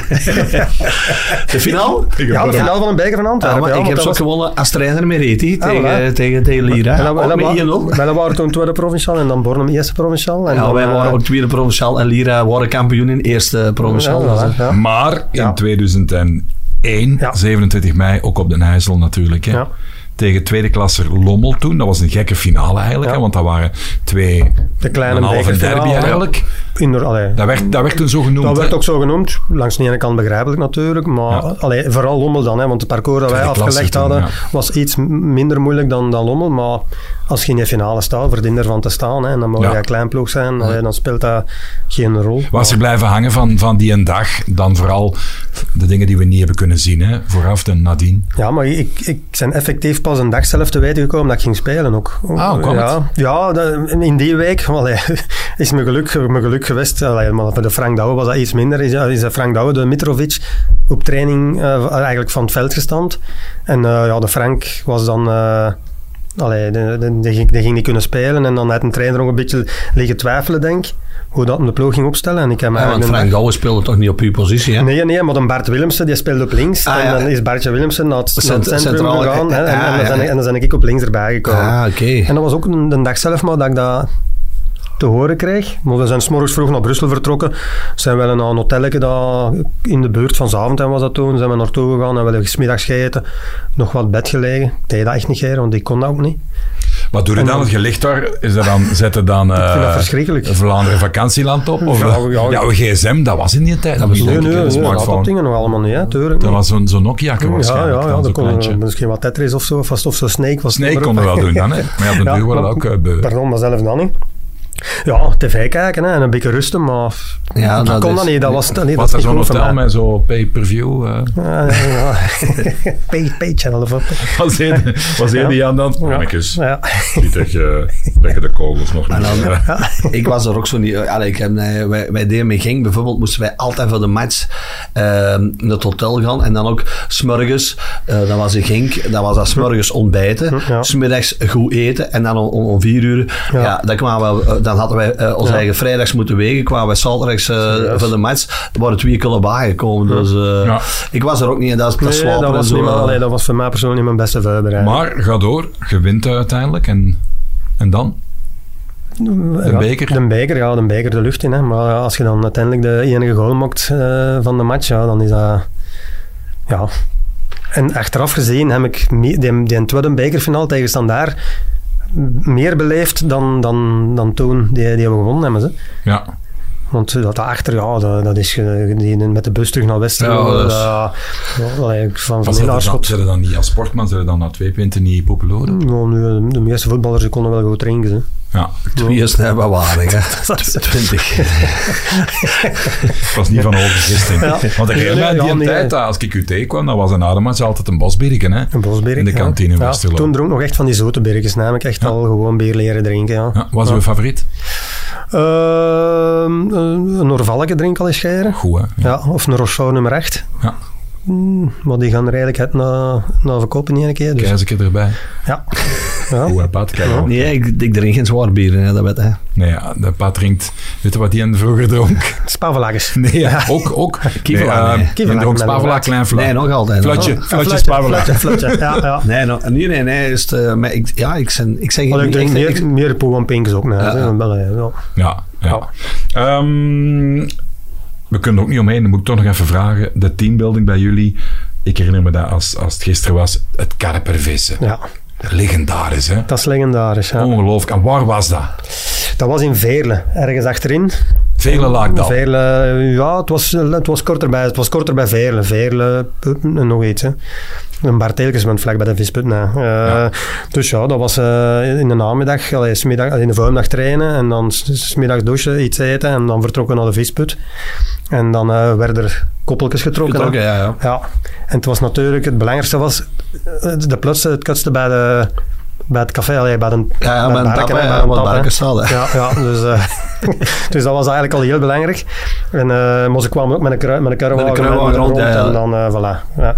de finale?
ja, de
Bornem.
finale van een beker van
Ja,
Antwerpen.
maar
ja,
ik
want
heb
dat
ze ook
was-
gewonnen als trainer met Reti
Ah,
tegen,
voilà.
tegen, tegen Lira.
en dat- en
Ook
dat wa-
met 1-0.
Maar dat waren toen tweede provincial en dan Bornem eerste provincial. En
Ja,
dan,
wij
eh,
waren ook tweede provincial en Lira waren kampioen in eerste provincial.
ja,
Dat is,
voilà,
eh,
ja.
Maar in
Ja.
2001,
Ja.
27 mei, ook op Den IJssel natuurlijk. Hè?
Ja.
Tegen tweede klasser Lommel toen. Dat was een gekke finale eigenlijk.
Ja.
Hè? Want dat waren twee...
De kleine
een halve
bekerfinale,
derby
ja.
eigenlijk.
Indoor, allee,
Dat, werd, dat werd toen zo genoemd.
Dat
hè?
werd ook zo genoemd. Langs de ene kant begrijpelijk natuurlijk, maar
Ja.
allee, vooral Lommel dan. Hè, want het parcours dat wij
Tweede klasse
afgelegd
toen,
hadden
ja.
was iets m- minder moeilijk dan, dan Lommel. Maar als je in de finale staat, verdien ervan te staan. Hè, en dan mag
Ja.
je een klein ploeg zijn, allee, dan speelt dat geen rol.
Was er blijven hangen van, van die een dag, dan vooral de dingen die we niet hebben kunnen zien, hè? vooraf en nadien.
Ja, maar ik, ik ben effectief pas een dag zelf te weten gekomen dat ik ging spelen ook. Oh,
Ah, hoe kwam
ja, ja dat- in die week [laughs] allee, is mijn geluk, mijn geluk geweest. Allee, maar voor de Frank Douwe was dat iets minder. Is, is de Frank Douwe, de Mitrovic, op training eh, eigenlijk van het veld gestampt. En eh, ja, de Frank was dan... eh, Allee, de- de- die, ging- die ging niet kunnen spelen. En dan had een trainer ook een beetje liggen twijfelen, denk ik, Hoe dat hem de ploeg ging opstellen. En ik heb hem
ja, want
eigenlijk een-
Frank Douwe speelde toch niet op uw positie, hè?
Nee, nee, maar dan Bart Willemsen, die speelde op links.
Ah,
en
ja.
dan is Bartje Willemsen naar het, naar het
Cent-
centrum
centraal,
gegaan.
Ah,
hè, en,
ja,
en, dan
ja.
ben ik- en dan ben ik op links erbij gekomen.
Ah, oké.
En dat was ook een, de dag zelf maar dat ik dat te horen kreeg. Maar we zijn s'morgens vroeg naar Brussel vertrokken. Zijn we naar een hotelletje dat in de buurt van Zaventem was dat toen. Zijn we naartoe gegaan en we hebben smiddags gegeten. Nog wat bed gelegen. Ik deed dat echt niet geer, want ik kon dat ook niet.
Wat doe je dan? Je ligt daar, is dat dan, zet er dan eh,
vind dat verschrikkelijk.
Vlaanderen vakantieland op? Of,
Ja, ja,
ja,
ja.
uw gsm, dat was in die tijd. Dat,
Nee, nee, nee, dat
smartphone.
dingen nog allemaal niet, hè. tuurlijk
dat
niet.
was zo'n zo'n Nokia
ja,
waarschijnlijk.
ja, ja,
dan,
dat
zo'n
kon eh,
kleintje.
misschien wat Tetris of zo, vast of zo Snake was.
Snake
er ook.
kon er wel doen dan, hè? Maar ja, op de duur waren
maar-
ook eh, beu.
Pardon, maar zelf dan niet. Ja, tv kijken hè, en een beetje rusten, maar
Ja,
dat
dat
kon
is-
dat niet. Dat was, nee,
Was
dat
er
is
zo'n
niet goed
hotel
voor mij.
met zo'n pay-per-view? eh?
Ja, ja, ja. [laughs] Pay- Paychannel of wat.
[laughs] was eerder, was eerder Jan dan?
Ja.
Mannetjes,
Ja.
niet dat je, dat je de kogels nog niet...
dan-
eh,
ik was er ook zo niet. Allee, ik heb, eh, wij, wij deden met Genk bijvoorbeeld, moesten wij altijd voor de match ehm, naar het hotel gaan. En dan ook smorgens, eh dat was in Genk, dat was dat smorgens ontbijten.
Ja.
Smiddags goed eten en dan om, om, om vier uur. Ja.
Ja.
dan, kwamen we, eh, dan hadden wij eh, ons
Ja.
eigen vrijdags moeten wegen. Kwamen wij zaterdags eh,
Serieus?
voor de match. Er waren twee kullen bijgekomen. Dus eh,
Ja.
ik was er ook niet. En dat, dat
Nee,
slapen
dat,
en
was
zo.
niet, maar,
eh.
allee, dat was voor mij persoonlijk niet mijn beste [laughs] voorbereiding.
Maar ga door, je wint uiteindelijk en, en dan?
de
beker.
De beker, ja, de beker de lucht in. Hè. Maar ja, als je dan uiteindelijk de enige goal maakt eh, van de match, ja, dan is dat... Ja. En achteraf gezien heb ik me- die, die tweede bekerfinale tegen Standaard meer beleefd dan, dan, dan toen die, die we gewonnen hebben. Ze.
Ja,
Want dat daarachter, ja, dat, dat is ge- die met de bus terug naar Westen.
Ja, dat is-
van
van van in
zijn
Aarschot.
ze dan niet als sportman, zijn dan na twee punten niet populair?
Nou, nu, de meeste voetballers die konden wel goed drinken. Hè.
Ja,
Twee snijden waren, hè.
[laughs] Dat is-
Twintig.
het was niet van hoge gisteren.
Ja.
Want ik herinner mij
Ja,
die
nee.
tijd, dat als ik u tegenkwam, dat was een adematch altijd een bosbirken, hè.
Een Bosberg.
In de kantine in
ja.
Westerlo.
Toen dronk ik nog echt van die zoete bergjes, namelijk echt al gewoon bier leren drinken. Ja.
Ja, was uw favoriet?
Ehm, eh, een Orvalke drink al eens scheren.
Goed, hè.
Ja, of een Rochon nummer 8.
Ja.
Mm, maar die gaan er eigenlijk het na, na verkopen niet een keer. Dus, Oh.
Keizerke erbij.
ja. ja.
Goed, hè, Pat. Kijk, hoor.
Nee, ik, ik drink geen zwaar bier, hè, dat weet hè.
Nee, ja, de Pat drinkt... Weet je wat die en vroeger
[laughs]
dronk?
Spavelakjes.
Nee, ja, ook, ook.
Kievelaar,
Nee,
nee.
eh, die
Kievelaar,
dronk
maar
Spavela,
inderdaad.
klein fluit.
Nee, nog altijd.
Fluitje,
nog.
fluitje
Fletje,
Spavela.
fletje. Ja, ja.
Nee, nog- nee, nee, nee. Is het, eh, maar ik, ja, ik zijn, ik zeg
Want ik drink
ik,
meer, meer Poe en Pinks ook. Nee,
Ja, ja.
Wel, ja, ja.
Ja, ja. Ehm, we kunnen er ook niet omheen, dan moet ik toch nog even vragen. De teambuilding bij jullie, ik herinner me dat als, als het gisteren was, het karpervissen.
Ja,
Legendarisch, hè?
dat is legendarisch. Ja.
Ongelooflijk. En waar was dat?
Dat was in Veerle, ergens achterin.
Vele laakdal.
Veerle, eh, ja, het was, het was korter bij, het was korter bij Veerle. Veerle, Putten en nog iets. Hè. Een bar telkens vlak bij de visput. na. Eh,
Ja.
Dus ja, dat was eh, in de namiddag, allee, 's middag- allee, in de voormiddag trainen en dan s- s middags douchen, iets eten en dan vertrokken naar de visput. En dan eh, werden er koppeltjes getrokken. hè.
ja, ja.
Ja, en het was natuurlijk, het belangrijkste was eh, de plotse, het kutste bij, de, bij het café, allee, bij de
Ja, ja,
bij
maar
de
een
barken,
tap, hè,
hè, bij de
wat
tap, hè.
barken staan, hè.
Ja, ja dus, eh, [laughs] dus dat was eigenlijk al heel belangrijk. En, eh maar ze kwamen ook met een, kru- met een kruiwagen
Met een kruiwagen
rond,
rond, ja, ja.
en dan, eh, voilà. Ja.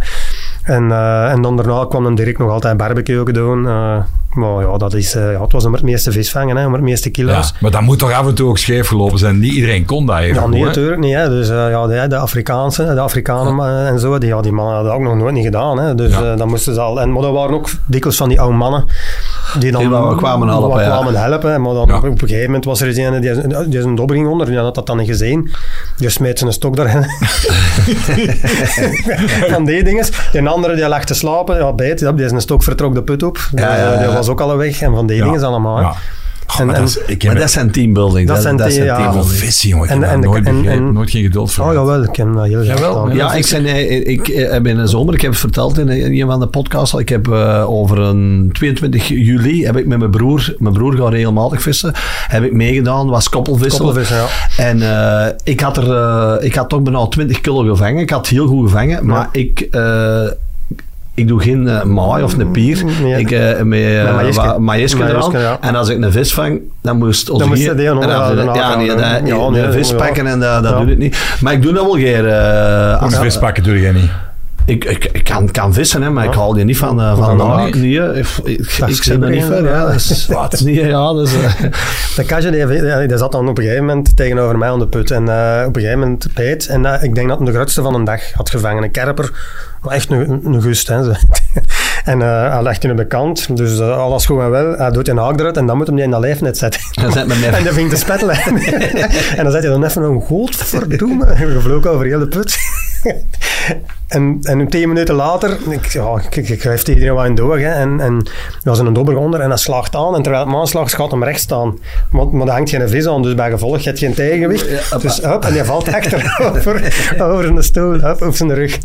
En, eh, en dan daarna kwam dan Dirk nog altijd barbecue ook doen. eh, maar ja, dat is, eh, ja, het was om het meeste vis vangen, hè, om het meeste
Ja,
kilo's.
maar dat moet toch af en toe ook scheef gelopen zijn. Niet iedereen kon dat even.
Ja, nee,
hoor.
natuurlijk niet. Hè. Dus eh, ja, de, de Afrikaanse, de Afrikanen eh, en zo, die, ja, die mannen hadden dat ook nog nooit niet gedaan. Hè. Dus
Ja.
eh, dan moesten ze al... En, maar dat waren ook dikwijls van die oude mannen. Die dan
Die wel kwamen
wel
helpen, ja.
kwamen helpen, hè. Maar dan
Ja.
op een gegeven moment was er eens een, die, is een- die is een dobbering onder, die had dat dan niet gezien. Die smeet zijn
[laughs]
stok daarin. van die dingen. Die andere die lag te slapen, ja, beet, ja, die is een stok vertrok de put op.
Ja,
Dus, eh,
ja, ja.
Die was ook al weg. En van die
Ja.
dingen allemaal. hè.
Ja. Goh,
En-
maar
en-
dat is, ik
Maar
heb
dat zijn teambuilding.
Dat
Dat,
zijn
dat
team-
zijn
ja.
een
teambuilding.
vissen, jongen. Ik
En-
heb
en
dat
de-
nooit
en-
begrepen.
en-
nooit geen geduld voor.
Oh
gehad.
jawel, ik ken dat heel graag.
Jawel,
gedaan.
hè.
Ja, ik, zijn, eh, ik eh, heb in de zomer, ik heb het verteld in een een van de podcasts, al, ik heb eh, over een 22 juli heb ik met mijn broer, mijn broer gaat regelmatig vissen, heb ik meegedaan, was koppelvissen.
Koppelvissen, ja.
En eh, ik, had er, eh, ik had toch bijna 20 kilo gevangen, ik had heel goed gevangen, maar ik... eh, ik doe geen eh, maai of een pier.
Nee.
Ik, eh met
Met
eh
maïske.
wa- maïske
Maïske,
eraan.
ja.
En als ik een vis vang, dan moest ons
Dan moest je die aan onderhouden,
Ja, nee,
ja,
dat-
ja,
een
nee,
vis
ja.
pakken en eh, dat, dat
Ja.
doet het niet. Maar ik doe dat wel geen... eh,
Een
als-
vis pakken doe jij niet.
ik, ik, ik kan, kan vissen, hè, maar ik haal die niet van, eh, van de
Waarom
haak.
niet?
Nee, hè. ik, ik,
Dat
ik
is
zit er niet
kribbelen,
ver.
ja.
Ja. Dat is,
[laughs]
wat, nee, ja, dat is, eh,
De kastje die, heeft- die zat dan op een gegeven moment tegenover mij aan de put. En eh, op een gegeven moment peet. En eh, ik denk dat hij de grootste van een dag had gevangen. Een kerper. Maar echt een, een gust. Hè, [laughs] zo. en eh, hij legt hij op de kant. Dus eh, alles goed en wel. Hij doet een haak eruit. En dan moet hij hem die in dat lijfnet zetten.
[laughs] dat zit met
en
mij.
dan vindt de spettelen. [laughs] en dan zet hij dan even een godverdomme. Gevlogen over heel de put. En, en tien minuten later, ik, ja, ik, ik, ik geef iedereen wat in door. Hè, en, en er was een dobber onder en dat slaagt aan. En terwijl het maan slaagt, gaat hem recht staan. Maar, maar daar hangt geen vis aan, dus bij gevolg je hebt geen tegenwicht.
Ja, hoppa.
dus hup, en je valt
[laughs]
achterover over een stoel, hup, op zijn rug.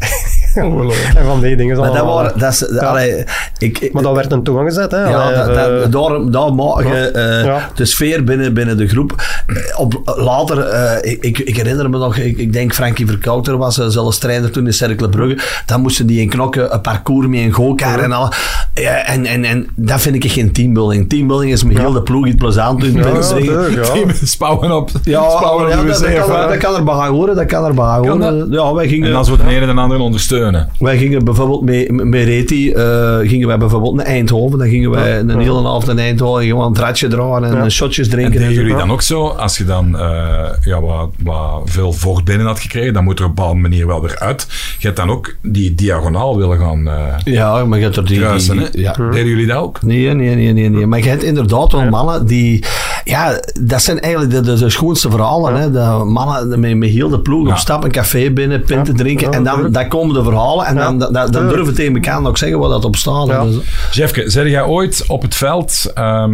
en van die dingen.
Maar dat
allemaal.
waren, dat is, allee, ik, ik-
Oh. maar dat werd een toegezet. Hè,
ja,
Allee,
dat,
eh,
dat, daarom, daar maak je eh,
Ja.
de sfeer binnen, binnen de groep. Eh, Op, later, eh, ik, ik herinner me nog, ik, ik denk Frankie Verkouter was eh, zelfs trainer toen in Cercle Brugge. Dan moesten die in knokken een parcours mee, een gokaar en al. Eh, en, en, en dat vind ik geen teambuilding. Teambuilding is met heel de ploeg iets plezant doen.
ja,
mensen zeggen,
tuurlijk,
[laughs]
ja.
Spouwen op.
Ja, oh,
spouwen
ja,
op
dat, dat, kan, dat kan erbij horen, dat kan erbij horen. Ja, wij
En
gingen,
dan zo de ene en de andere ondersteunen.
wij gingen bijvoorbeeld met, met Reti, eh, gingen wij bijvoorbeeld naar Eindhoven. Dan gingen wij een hele avond in Eindhoven gewoon een ratje draaien en shotjes
En
drinken.
deden
en zo.
jullie dan ook zo, als je dan eh, ja, wat, wat veel vocht binnen had gekregen, dan moet er op een bepaalde manier wel weer uit. Je hebt dan ook die diagonaal willen gaan eh
Ja, maar je hebt er die...
kruisen.
die-
hè?
ja.
Deden jullie dat ook?
Nee, nee, nee, nee, nee. Maar je hebt inderdaad wel mannen die... Ja, dat zijn eigenlijk de, de, de schoonste verhalen. Hè? De mannen met, met heel de ploeg
Ja.
op stap, een café binnen, pinten drinken.
Ja,
en dan,
tuurlijk.
dan komen de verhalen. En dan, dan, dan,
tuurlijk.
durven tegen elkaar nog zeggen wat dat op staat.
Ja.
Dus-
Jeffke, zei jij ooit op het veld ehm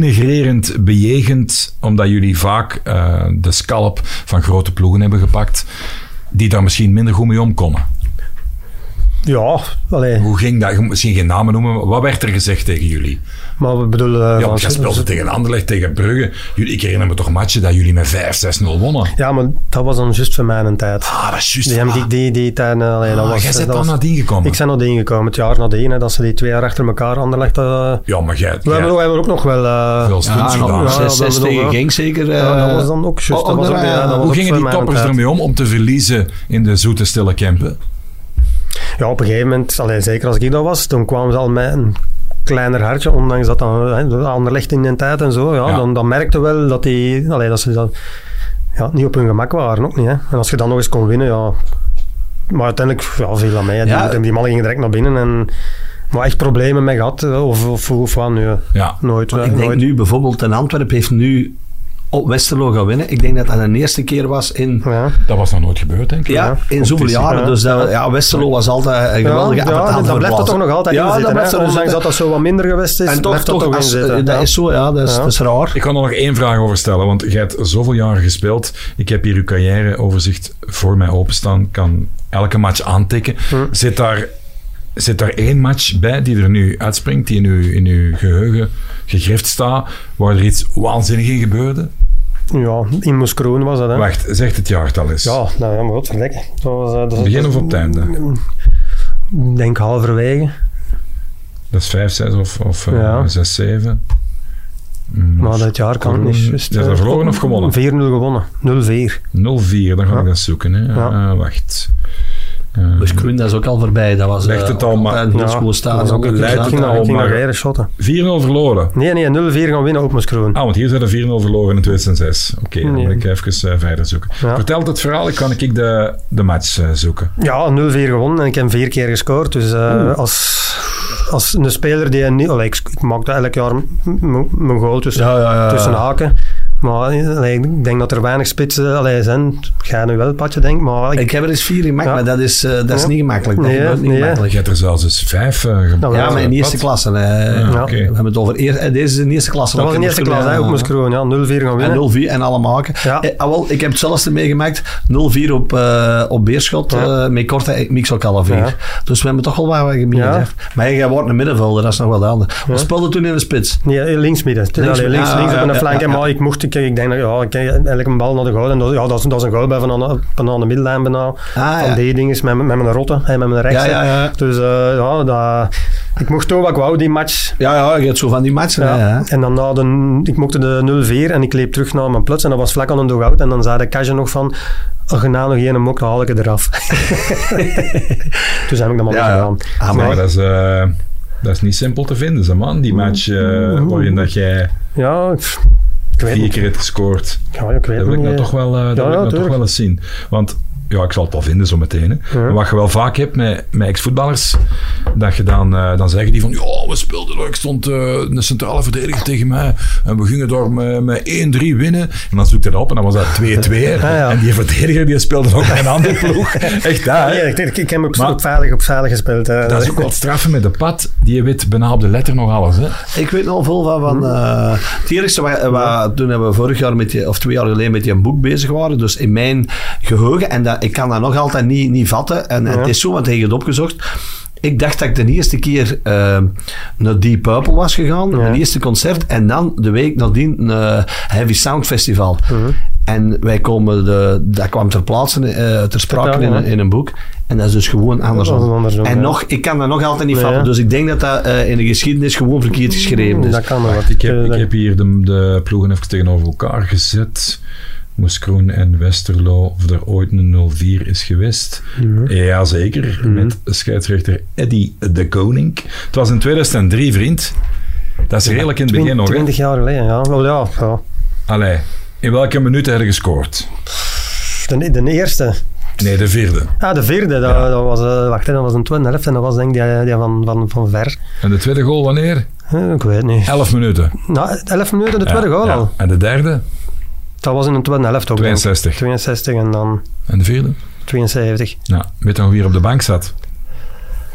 denigrerend bejegend, omdat jullie vaak eh, de scalp van grote ploegen hebben gepakt, die daar misschien minder goed mee omkomen?
Ja, allee.
Hoe ging dat? Je moet Misschien geen namen noemen, maar wat werd er gezegd tegen jullie?
Maar we bedoelen... eh,
Ja,
van-
want jij speelde tegen Anderlecht, tegen Brugge. Jullie, ik herinner me toch matchen dat jullie met 5-6-0 wonnen.
Ja, maar dat was dan juist voor mijn tijd.
Ah, dat is juist.
Die,
Ah,
die, die, die tijd... eh, allee, dat
ah,
was,
jij bent dan
dat was-
nadien gekomen.
Ik ben nadien gekomen, het jaar nadien, hè, dat ze die twee jaar achter elkaar Anderlecht... eh,
Ja, maar jij...
we, hebben, we hebben ook nog wel... eh,
Veel stunts
Ja,
gedaan.
nog
Ja,
6
dat bedoel
tegen
ik.
Genk zeker.
ja,
eh,
dat was dan ook juist.
oh,
dat was ook,
daar,
ja, dat
eh,
was
Hoe
ook
gingen
voor
die
mijn
toppers
tijd.
ermee om om te verliezen in de zoete, stille Kempen?
Ja, op een gegeven moment, allee, zeker als ik dat was, toen kwamen ze al met een kleiner hartje, ondanks dat dan hè, de Anderlecht in de tijd en zo. Ja,
Ja.
Dan, dan merkte wel dat, die, allee, dat ze dan, ja, niet op hun gemak waren, ook niet. Hè. En als je dan nog eens kon winnen, ja... Maar uiteindelijk ja, viel dat mee. hè. Die,
Ja.
die mannen gingen direct naar binnen en... Maar echt problemen mee gehad, hè, of, of, of wat nu?
Ja.
Nooit. hè,
Want ik denk
nooit.
nu bijvoorbeeld, een Antwerp heeft nu op Westerlo gaan winnen. Ik denk dat dat de eerste keer was in,
Ja.
Dat was nog nooit gebeurd, denk ik.
ja, in zoveel jaren.
ja.
Dus dat, ja, Westerlo was altijd eh, een geweldige
ja, ja, dat blijft er toch nog altijd in
ja,
zitten.
dat
hè.
blijft er nog
Ondanks dat dat zo wat minder geweest is,
En toch,
blijft dat
toch
toch in
als- eh,
zitten.
dat
ja.
is zo, ja, dat is,
Ja.
dat is raar.
Ik kan er nog één vraag over stellen, want jij hebt zoveel jaren gespeeld. Ik heb hier uw carrièreoverzicht voor mij openstaan. Kan elke match aantikken.
Hm.
Zit, daar, zit daar één match bij die er nu uitspringt, die in uw, in uw geheugen gegrift staat, waar er iets waanzinnigs in gebeurde?
Ja, in Moeskroen was dat, hè.
Wacht, zeg het jaartal eens.
Ja, nou ja, maar wat verdekken. Dat was, eh, dat was-
Begin of op het einde?
Ik denk halverwege.
Dat is 5, 6 of, of eh,
Ja.
6, 7.
Maar dat jaar kan het niet. juist,
Is dat
eh,
verloren of gewonnen?
4-0 gewonnen. 0-4.
04, dan ga ik
Ja.
dat zoeken. Hè.
Ja.
Eh, wacht. Eh,
Dus Kroen, dat is ook al voorbij. Dat was
Legt
eh,
het al maar.
altijd een heel
Ja,
school
dat
staat.
was ook
ook
een
een
leid-
zaterdag.
Ging
al,
naar, ging
maar-
naar eieren shotten.
4-0 verloren.
Nee, nee, 0-4 gaan winnen op Moeskroen.
Ah, want hier zijn er 4-0 verloren in 2006. Oké, dan moet
Nee.
ik even eh, verder zoeken.
Ja.
Vertel het verhaal, ik kan ik de, de match eh, zoeken.
Ja, 0-4 gewonnen en ik heb vier keer gescoord. Dus eh, als, als een speler die... Niet, allee, ik, ik maakte elk jaar m- m- mijn goal tussen,
Ja, eh. ja, ja.
tussen haken. Maar eh, allee, ik denk dat er weinig spitsen allee, zijn. Ga nu wel het padje, denk ik, maar... Ik,
Ik heb er eens vier in gemaakt,
Ja.
maar dat is, eh, dat is
Ja.
niet gemakkelijk. Dat
Nee,
gebeurt niet
nee.
Je
gemakkelijk.
hebt er zelfs eens 5 eh
Dat
gemaakt.
wel.
Ja, maar in
Wat?
eerste klasse. eh,
Ja,
Ja.
oké.
We hebben het over eer- eh, deze is in eerste klasse.
Ah, dat was
Ook
in eerste
Moeskroen,
klas, hè, op
eh,
Moeskroen. Ja, 0-4 gaan winnen.
En 0-4 en alle maken.
Ja.
Eh, ah, wel, ik heb het zelfs meegemaakt. 0-4 op, eh, op Beerschot.
Ja.
eh, met Korte en Mix ook al 4.
Ja.
Dus we hebben toch wel wat wat gemeen.
Ja.
hè. Maar jij wordt een middenvelder, dat is nog wel anders. We speelden toen in de spits.
Nee, linksmidden. Links,
Links-
Allee, links,
ah,
links
ja,
op een
ja,
flank.
ja,
hè,
ja.
Maar ik mocht, ik, ik denk, dat, ja, ik eh, elke bal naar de goal. En dat, ja, dat, is, dat is een goal bij van aan, de- van aan de middellijn bijna.
Ah, ja.
van die dingen met, met mijn rotte en met mijn rechts.
Ja, ja,
hè.
ja.
Dus eh, ja, dat, ik mocht doen wat ik wou die match.
Ja, ja, je hebt zo van die matchen.
Ja.
hè, hè.
En dan na de, ik mocht de 0-4 en ik leep terug naar mijn plots en dat was vlak aan een dugout. En dan zei de casje nog van, als je na nog één mok, dan haal ik het eraf. [laughs] Toen heb
Ja,
ik dat maar niet
ja.
gedaan.
Ah,
Maar
Nee. Mm.
dat is, eh, dat is niet simpel te vinden, ze, man. Die match eh, waarin dat jij
Ja, ik, ik weet
vier
niet.
keer hebt gescoord.
Ja, ik weet
Dat wil ik
niet,
nou
hè.
toch wel, eh, dat
ja,
wil ik nou toch
tuurlijk.
wel eens zien. Want ja, ik zal het wel vinden zo meteen. Hè.
Ja.
Maar Wat je wel vaak hebt met, met ex-voetballers, dat je dan, eh, dan zeggen die van, ja, we speelden, er, ik stond eh, een centrale verdediger tegen mij en we gingen daar met, met 1-3 winnen. En dan zoekt hij dat op en dan was dat 2-2.
[laughs] ja.
En die verdediger die speelde ook met een andere
[laughs]
ploeg. Echt daar.
Nee, Ah, ik, ik, ik heb ook
Maar-
op veilig op veilig gespeeld. eh.
Dat is
[laughs]
ook wat straffen met de pad. Die weet bijna op de letter nog alles. Hè.
Ik weet nog veel van. van eh, het eerste wat, eh, wat- toen hebben we vorig jaar met die, of twee jaar geleden met die boek bezig waren. Dus in mijn geheugen, en dat, ik kan dat nog altijd niet, niet vatten. En, en het is zo, want hij heeft opgezocht. Ik dacht dat ik de eerste keer eh, naar Deep Purple was gegaan, mijn eerste concert. En dan de week nadien naar Heavy Sound Festival. En wij komen, de, dat kwam ter plaatse, eh, ter sprake in,
Vertel,
een-
ja.
in een boek. En dat is dus gewoon andersom.
andersom,
en
ja.
nog, ik kan dat nog altijd niet
Nee,
vatten.
hè? Hmm,
Dus ik denk dat dat eh, in de geschiedenis gewoon verkeerd geschreven is.
eh, dat kan wel.
dus Wacht, ik heb, ik heb hier de, de ploegen even tegenover elkaar gezet. Moeskroen en Westerlo, of er ooit een 0-4 is geweest. Jazeker,
Mhm.
met scheidsrechter Eddy de Koning. Het was in 2003, vriend. Dat is redelijk in het begin nog. hè?
20 jaar geleden, ja. Wel ja, ja.
Allee, in welke minuut heb je gescoord?
De, de eerste.
Nee, de vierde.
Ah, de vierde. Dat, dat was, eh, wacht, hè, dat was een tweede helft en dat was denk ik die, die van, van, van ver.
En de tweede goal wanneer?
Eh, Ik weet niet.
Elf minuten.
Nou, 11 minuten de
Ja,
tweede goal
ja.
al.
En de derde?
Dat was in de tweede helft ook. denk ik.
62.
62 en dan
En de vierde?
72.
Nou, weet je nog wie er op de bank zat?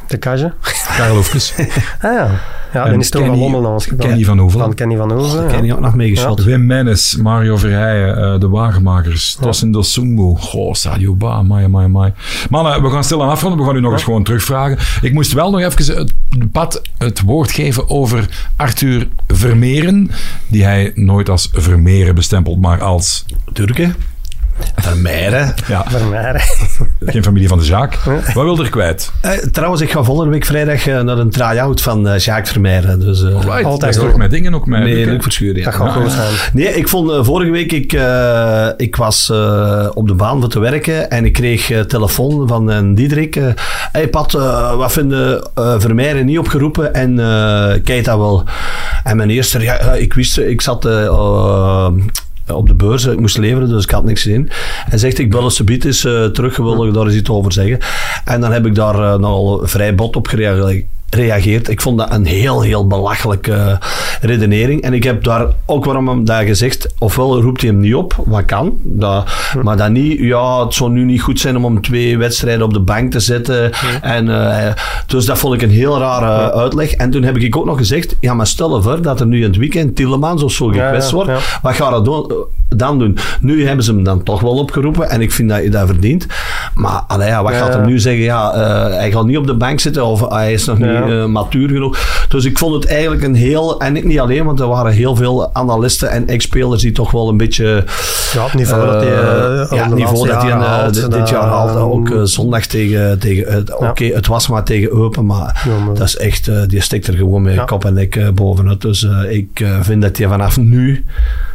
De Kaje.
Karel Hoefkes.
Ah ja, ja
En
dan is het toch wel
Kenny-
Lommel naast gedaan.
Kenny van Hoeveel.
Van Kenny van Hoeven.
Daar
ja.
ken je ook nog meegeschot.
Wim Mennis, Mario Verheijen, eh, de Wagenmakers, Tosin Del Sumbo. Goh, Sadio Ba, mai, mai, mai. Mannen, we gaan stil aan afronden. We gaan u nog eens gewoon terugvragen. Ik moest wel nog even het, pad, het woord geven over Arthur Vermeeren. Die hij nooit als Vermeeren bestempelt, maar als...
Turken. Vermeijden.
Ja,
Vermeer.
geen familie van de Zaak. Wat wil er kwijt?
Eh, trouwens, ik ga volgende week vrijdag eh, naar een try-out van eh Jacques Vermeijden. Dus, eh,
Right,
Altijd
dat is
goed.
toch met dingen ook met...
Nee,
Luc, hè?
Luc Verschuren. Ja.
Dat gaat
Ja.
goed zijn.
Nee, ik vond eh, vorige week, ik, eh, ik was eh, op de baan voor te werken en ik kreeg eh, telefoon van een Diederik. eh, hey Pat, eh, wat vinden eh Vermeijden niet opgeroepen en eh Keita wel? En mijn eerste, ja, eh, ik wist, eh, ik zat eh, eh, op de beurs, eh, ik moest leveren, dus ik had niks gezien. En zegt, ik bel ze biedt is eh terug, wil ik daar eens iets over zeggen. En dan heb ik daar eh, nogal vrij bot op gereageerd reageert. Ik vond dat een heel, heel belachelijke eh, redenering. En ik heb daar ook waarom hem daar gezegd, ofwel roept hij hem niet op, wat kan, dat, maar dan niet, ja, het zou nu niet goed zijn om hem twee wedstrijden op de bank te zetten. En, eh, dus dat vond ik een heel rare eh, uitleg. En toen heb ik ook nog gezegd, ja, maar stel je voor dat er nu in het weekend Tillemans of zo
ja,
gekwetst wordt,
ja.
wat gaat dat doen- Eh, dan doen? Nu hebben ze hem dan toch wel opgeroepen en ik vind dat je dat verdient. Maar allee, ja, wat
Ja,
gaat
ja.
hem nu zeggen? Ja, eh, hij gaat niet op de bank zitten of hij is nog niet
Ja.
eh, matuur genoeg. Dus ik vond het eigenlijk een heel... En ik niet alleen, want er waren heel veel analisten en ex-spelers die toch wel een beetje...
Ja, het niveau dat hij, eh,
eh,
al
ja,
de
het niveau
laatste
dat hij
jaren
eh,
haalt,
dit,
dat-
dit jaar haalde. Ook eh, zondag tegen... tegen eh, Oké,
Ja.
het was maar tegen Eupen, maar,
Ja, maar-
dat is echt... eh, die stikt er gewoon met
Ja.
kop en nek eh, bovenuit. Dus eh, ik eh, vind dat hij vanaf nu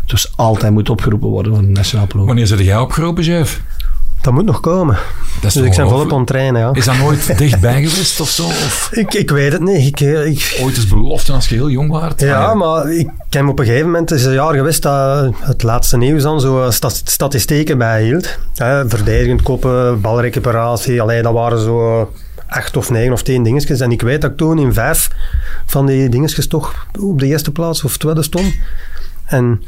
dus altijd moet opgeroepen worden van de nationale ploeg.
Wanneer zit jij opgeroepen, Jeff?
Dat moet nog komen.
Dat is
Dus
toch
ik ben volop
ongelooflijk.
aan het trainen, ja.
Is dat nooit dichtbij geweest of zo? Of
Ik, ik weet het niet. Ik, eh, ik,
ooit eens belofte als je heel jong Ah, waart?
ja, maar ik ken op een gegeven moment, het is een jaar geweest dat het laatste nieuws dan zo eh, sta- statistieken bijhield. Hè, verdedigend koppen, balrecuperatie, alleen dat waren zo eh, acht of negen of tien dingetjes. En ik weet dat ik toen in vijf van die dingetjes toch op de eerste plaats of tweede stond. En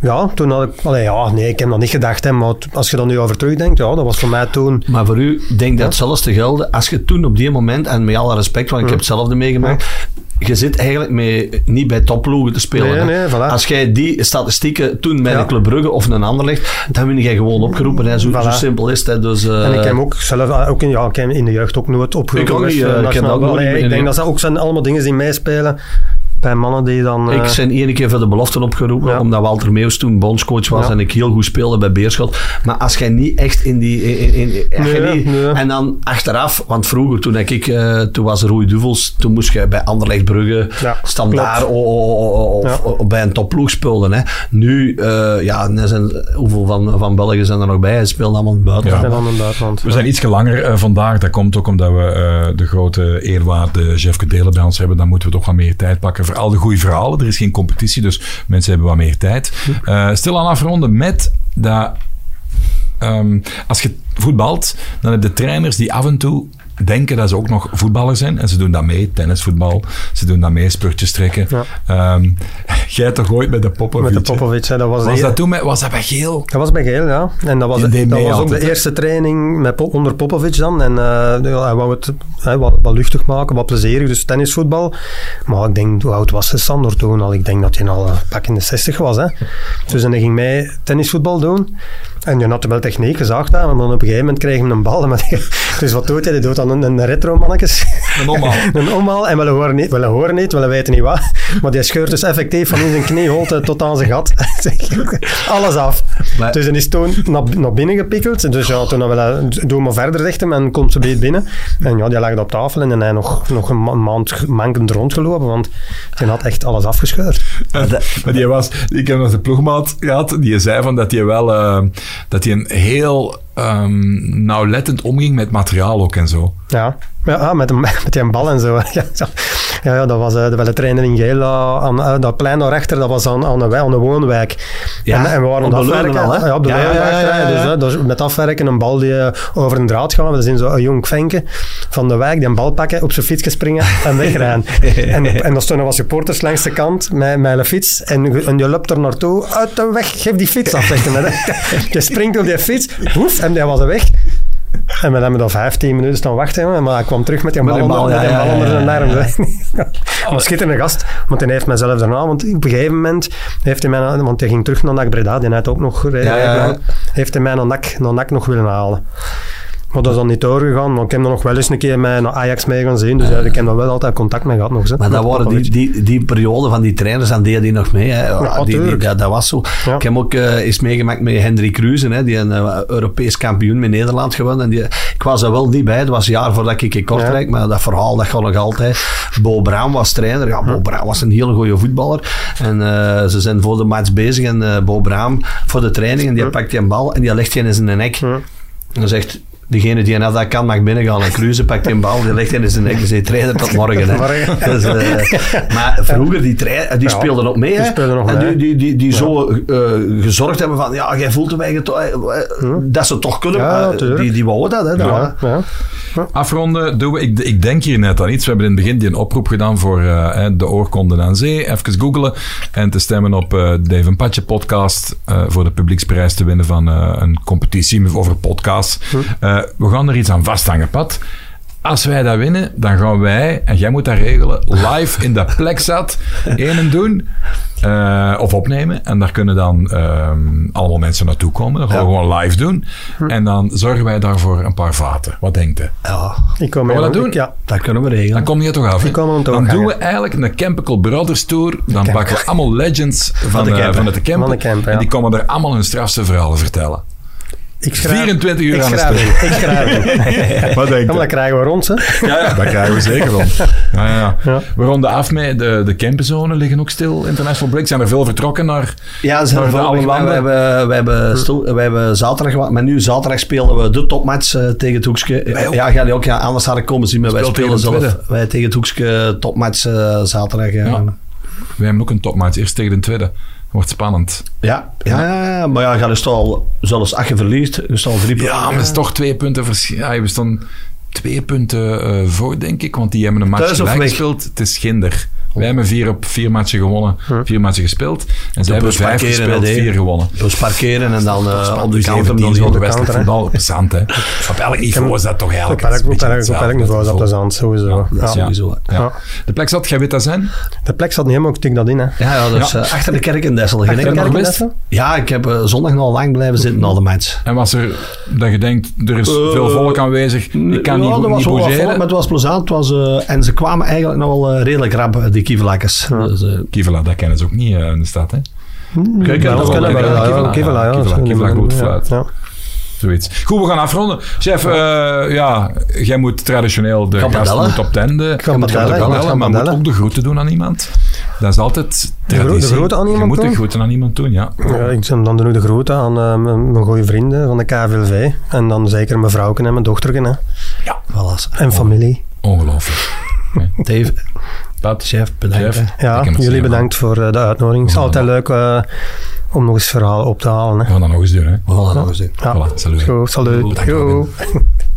ja, toen had ik, allee, ja, nee, ik heb dat niet gedacht, hè, maar t- als je dan nu over terugdenkt, ja, dat was voor mij toen
Maar voor u denk dat zelfs te gelden, als je toen op die moment, en met alle respect, want ik heb hetzelfde meegemaakt, je zit eigenlijk mee, niet bij topploegen te spelen.
Nee,
hè.
nee, voilà.
Als jij die statistieken toen bij
Ja.
een Club Brugge of een ander legt, dan win jij gewoon opgeroepen. Hè. Zo,
Voilà.
zo simpel is het. Hè. Dus, eh,
En ik heb hem ook zelf eh, ook in, ja, ik heb hem in de jeugd ook nooit opgeroepen.
Ik ook niet,
als, eh,
eh, ik heb dat
nationaal
ook nooit
ballet.
meer
Ik denk
gedaan.
dat dat ook zijn allemaal dingen die meespelen bij mannen die dan... eh,
Ik zijn één keer voor de belofte opgeroepen,
Ja.
omdat Walter Meus toen bondscoach was
Ja.
en ik heel goed speelde bij Beerschot. Maar als jij niet echt in die... In, in- in- als jij
Nee,
niet-
nee.
En dan achteraf, want vroeger toen ik, eh, toen was Roei Duvels, toen moest je bij Anderlecht Brugge
Ja,
standaard o-
klopt.
o- o- of,
Ja.
o- bij een topploeg spelen. Hè. Nu, eh, ja, er zijn, hoeveel van, van België zijn er nog bij? Ze spelen allemaal in het buitenland.
Ja.
en dan in het buitenland.
We zijn iets langer eh, vandaag. Dat komt ook omdat we eh, de grote eerwaarde Jeffke Delen bij ons hebben. Dan moeten we toch wat meer tijd pakken voor al de goede verhalen. Er is geen competitie, dus mensen hebben wat meer tijd. Eh stil aan afronden met dat... ehm, als je voetbalt, dan heb je trainers die af en toe denken dat ze ook nog voetballer zijn. En ze doen dat mee, tennisvoetbal. Ze doen dat mee, spurtjes trekken.
Ja.
Ehm, [laughs] jij toch ooit met de Popovic?
Met de
hè?
Popovic, hè, dat was,
Was
de,
dat toen met, was dat bij Geel?
dat was bij Geel, ja. En dat was,
Die deed
dat
mee
was ook
altijd,
de
hè?
eerste training met, Pop- onder Popovic dan. En eh, ja, hij wou het hè, wat, wat luchtig maken, wat plezierig, dus tennisvoetbal. Maar ik denk, hoe oud was hij, Sander toen al? Ik denk dat hij al eh, pak in de 60 was. Hè. Dus en hij ging mij tennisvoetbal doen. En je had wel techniek gezaagd aan, maar dan op een gegeven moment kreeg hij een bal. [laughs] Maar die- dus wat doet hij? Hij doet dan een, een retro mannetjes.
Een omhaal.
[laughs] Een omhaal en willen horen niet, willen horen niet, willen weten niet wat. Maar die scheurt dus effectief van in zijn knieholte tot aan zijn gat. [laughs] Alles af.
Maar-
dus hij is toen naar, naar binnen gepikkeld. Dus ja, toen hebben we dat- doe maar verder, zegt hem, en komt ze bij binnen. En ja, die lag op tafel en dan hij nog, nog een ma- maand mankend rondgelopen, want hij had echt alles afgescheurd.
[laughs] Maar die was, ik heb nog de ploegmaat gehad, die zei van dat hij wel, eh, dat hij een heel ehm, nauwlettend omging met materiaal ook en zo.
Ja, ja ah, met, een- [laughs] met die bal en zo. Ja, ja. ja, ja, dat was eh, bij de trainer in Geel, eh, aan, eh, dat plein daarachter, dat was aan, aan, een, wij- aan een woonwijk.
Ja,
en, en we waren
op
aan
de
het afwerken.
Leuven al, hè?
Ja, op de
Ja,
Leuven
ja, ja,
achter,
ja,
hè.
ja, ja.
Dus, eh, dus met afwerken, een bal die eh, over een draad gaat. We zien zo'n jong venke van de wijk, die een bal pakken, op zijn fietsje springen en
[laughs]
wegrijden. en, en dan stonden wat supporters langs de kant met, met een fiets. En, en je loopt er naartoe, uit [laughs] de weg, geef die fiets af. zegt hij. je springt op die fiets, hoef, en die was er weg. En we hebben dan 15 minuten staan wachten, hè, maar hij kwam terug met die
Met
bal
die
onder,
bal,
met die
ja,
bal
ja,
onder
ja,
zijn
ja,
arm. Maar [laughs] een schitterende gast, want hij heeft mijzelf daarna, want op een gegeven moment heeft hij mij, na- want hij ging terug naar NAC Breda, die had ook nog, hè,
ja, ja.
heeft hij mij naar NAC, naar NAC nog willen halen. Maar dat is dan niet doorgegaan, want ik heb dan nog wel eens een keer mij naar Ajax mee gaan zien, dus ja, ik heb daar wel altijd contact mee gehad nog. hè,
Maar
met
dat waren
Popovic.
die, die, die periode van die trainers, dan deden die nog mee. Hè. Ja, die- die-
tuurlijk.
dat, dat was zo.
Ja.
Ik heb ook eh, eens meegemaakt met Hendrik Kruse, hè, die een eh, Europees kampioen met Nederland gewonnen. En die, ik was er wel niet bij, het was een jaar voordat ik in Kortrijk, maar dat verhaal dat gaat nog altijd. Bo Braam was trainer. Ja,
Hm.
Bo Braam was een hele goede voetballer. En eh, ze zijn voor de match bezig en eh, Bo Braam voor de training
Hm.
en die pakt die een bal en die legt die in zijn nek. En zegt... Degene die naar dat kan mag binnengaan. En Kruse pakt die bal, die legt die in zijn nek. Die zegt, trainer tot morgen. Hè.
Morgen.
[laughs] Dus, eh, maar vroeger, die, trein, eh, die
Ja,
speelden ook mee.
die
hè?
speelden nog
en
mee.
Die, die, die, die zo eh, gezorgd hebben van, ja, jij voelt hem eigenlijk toch, eh, eh, dat ze toch kunnen.
Ja,
maar
natuurlijk.
die, die wouden dat, hè. dat
Ja,
waren-
ja.
Afronden doen we. Ik, ik denk hier net aan iets. We hebben in het begin die een oproep gedaan voor eh, de oorkonden aan zee. Even googelen en te stemmen op eh Dave en Patje podcast eh, voor de publieksprijs te winnen van eh, een competitie over podcasts. Eh, we gaan er iets aan vasthangen, Pat. Als wij dat winnen, dan gaan wij, en jij moet dat regelen, live in de plek zat, één doen eh, of opnemen. En daar kunnen dan ehm, allemaal mensen naartoe komen. Dat gaan we gewoon live doen. En dan zorgen wij daarvoor een paar vaten. Wat denkt u?
Ja,
Ik kom
we
mee,
dat
want
doen?
ik- Ja,
dat kunnen we regelen.
Dan kom je er toch af. hè?
Die komen er toch
dan
af,
doen
ja.
we eigenlijk een Campicle Brothers Tour. Dan pakken we allemaal legends van,
de
eh,
camper.
van het
Van de
campen.
camper,
En
ja.
die komen er allemaal hun strafste verhalen vertellen.
ik schrijf.
24 uur
ik
aan een
schrijf
stuk.
niet, Ik schrijf
[laughs]
niet.
Wat
[laughs] Ja,
denk
maar dat krijgen we rond, hè.
Ja, ja, dat krijgen we zeker van. [laughs] Ja, ja. We ronden af met de, de camperzones liggen ook stil. International Break zijn er veel vertrokken naar...
Ja, ze
Naar
hebben
de
volgende
alle
week-
landen.
we hebben, we hebben, stil- we hebben zaterdag, gewa- maar nu zaterdag spelen we de topmatch eh, tegen het Hoekske.
Wij ook.
Ja, gaan die ook, ja, anders hadden komen zien, maar wij
Speelt tegen
spelen zelf.
de
Wij tegen het Hoekske topmatch eh, zaterdag. eh.
Ja. Wij hebben ook een topmatch. Eerst tegen de tweede. Wordt spannend.
Ja, ja, ja, maar ja, je is toch al, zelfs als je verliest, je staat al drie punten.
Ja, maar het is toch twee punten verschil. Ja, we staan twee punten eh, voor, denk ik. Want die hebben een match
Thuis of
gelijk
weg?
gespeeld. Het is ginder. Wij hebben vier op vier matchen gewonnen,
Hm.
vier matchen gespeeld. dus En ze hebben
bus
vijf
parkeren,
gespeeld,
hè, die.
vier gewonnen.
Dus parkeren en dan eh, op de
Dus
kant
even
hem dan
die
zo
zo de
de
wedstrijd
counter, hè.
voetbal plezant, hè.
[laughs]
Op elk niveau is dat toch
Op
eigenlijk
elk,
een
op
beetje
elk, op elk
hetzelfde.
niveau is dat plezant, sowieso.
dat is
Ja.
sowieso.
Ja. De plek zat, jij weet dat zijn?
De plek zat niet helemaal, ik tik dat in, hè.
Ja, ja, dus
Ja.
eh, achter de kerk in Dessel. Geen
de
enkel
kerk in
mis.
Dessel?
Ja, ik heb eh, zondag nog lang blijven zitten na de match.
En was er, dat je denkt, er is veel volk aanwezig, ik kan
Eh, Ja,
niet,
er was
niet
wel wat volk,
bougeren.
maar het was plezant. Het was, eh, en ze kwamen eigenlijk nog wel eh, redelijk rap, eh, die kievelakkers. Dus, eh,
Kivela, dat kennen ze ook niet eh, in de stad, hè? eh,
Kijk,
ja,
Hmm. Ja,
dat
dat
wel
kennen we,
lekker.
ja,
Kivela,
ja, Kivela,
ja,
ja. dat is
Kivela,
een-
Kivela, goed,
ja,
fluit.
ja.
Zoiets. Goed, we gaan afronden. Chef, eh, ja, jij moet traditioneel de
Gaan
gasten
bellen.
moet op tenden.
gaan bellen, gaan
maar
bellen.
moet ook de groeten doen aan iemand. Dat is altijd
gro- de
traditie.
groeten aan
Je
iemand
moet de
doen?
groeten aan iemand doen, ja.
Ja, ik zou dan doe ik de groeten aan eh, mijn, mijn goede vrienden van de KVLV. En dan zeker mijn vrouwken en mijn dochterken. Hè.
voilà.
En familie.
Ongelooflijk.
Dave,
Dat,
chef, bedankt.
Chef.
hè.
Ik
Ja,
heb het
jullie
zien,
bedankt voor eh, de uitnodiging. Het is altijd leuk eh, om nog eens verhalen op te halen. Hè.
we gaan dat nog eens doen, hè.
We gaan dat nog eens doen.
Ja.
Voilà, salut.
Goed, salut.
Bedankt,
Goed.
Robin.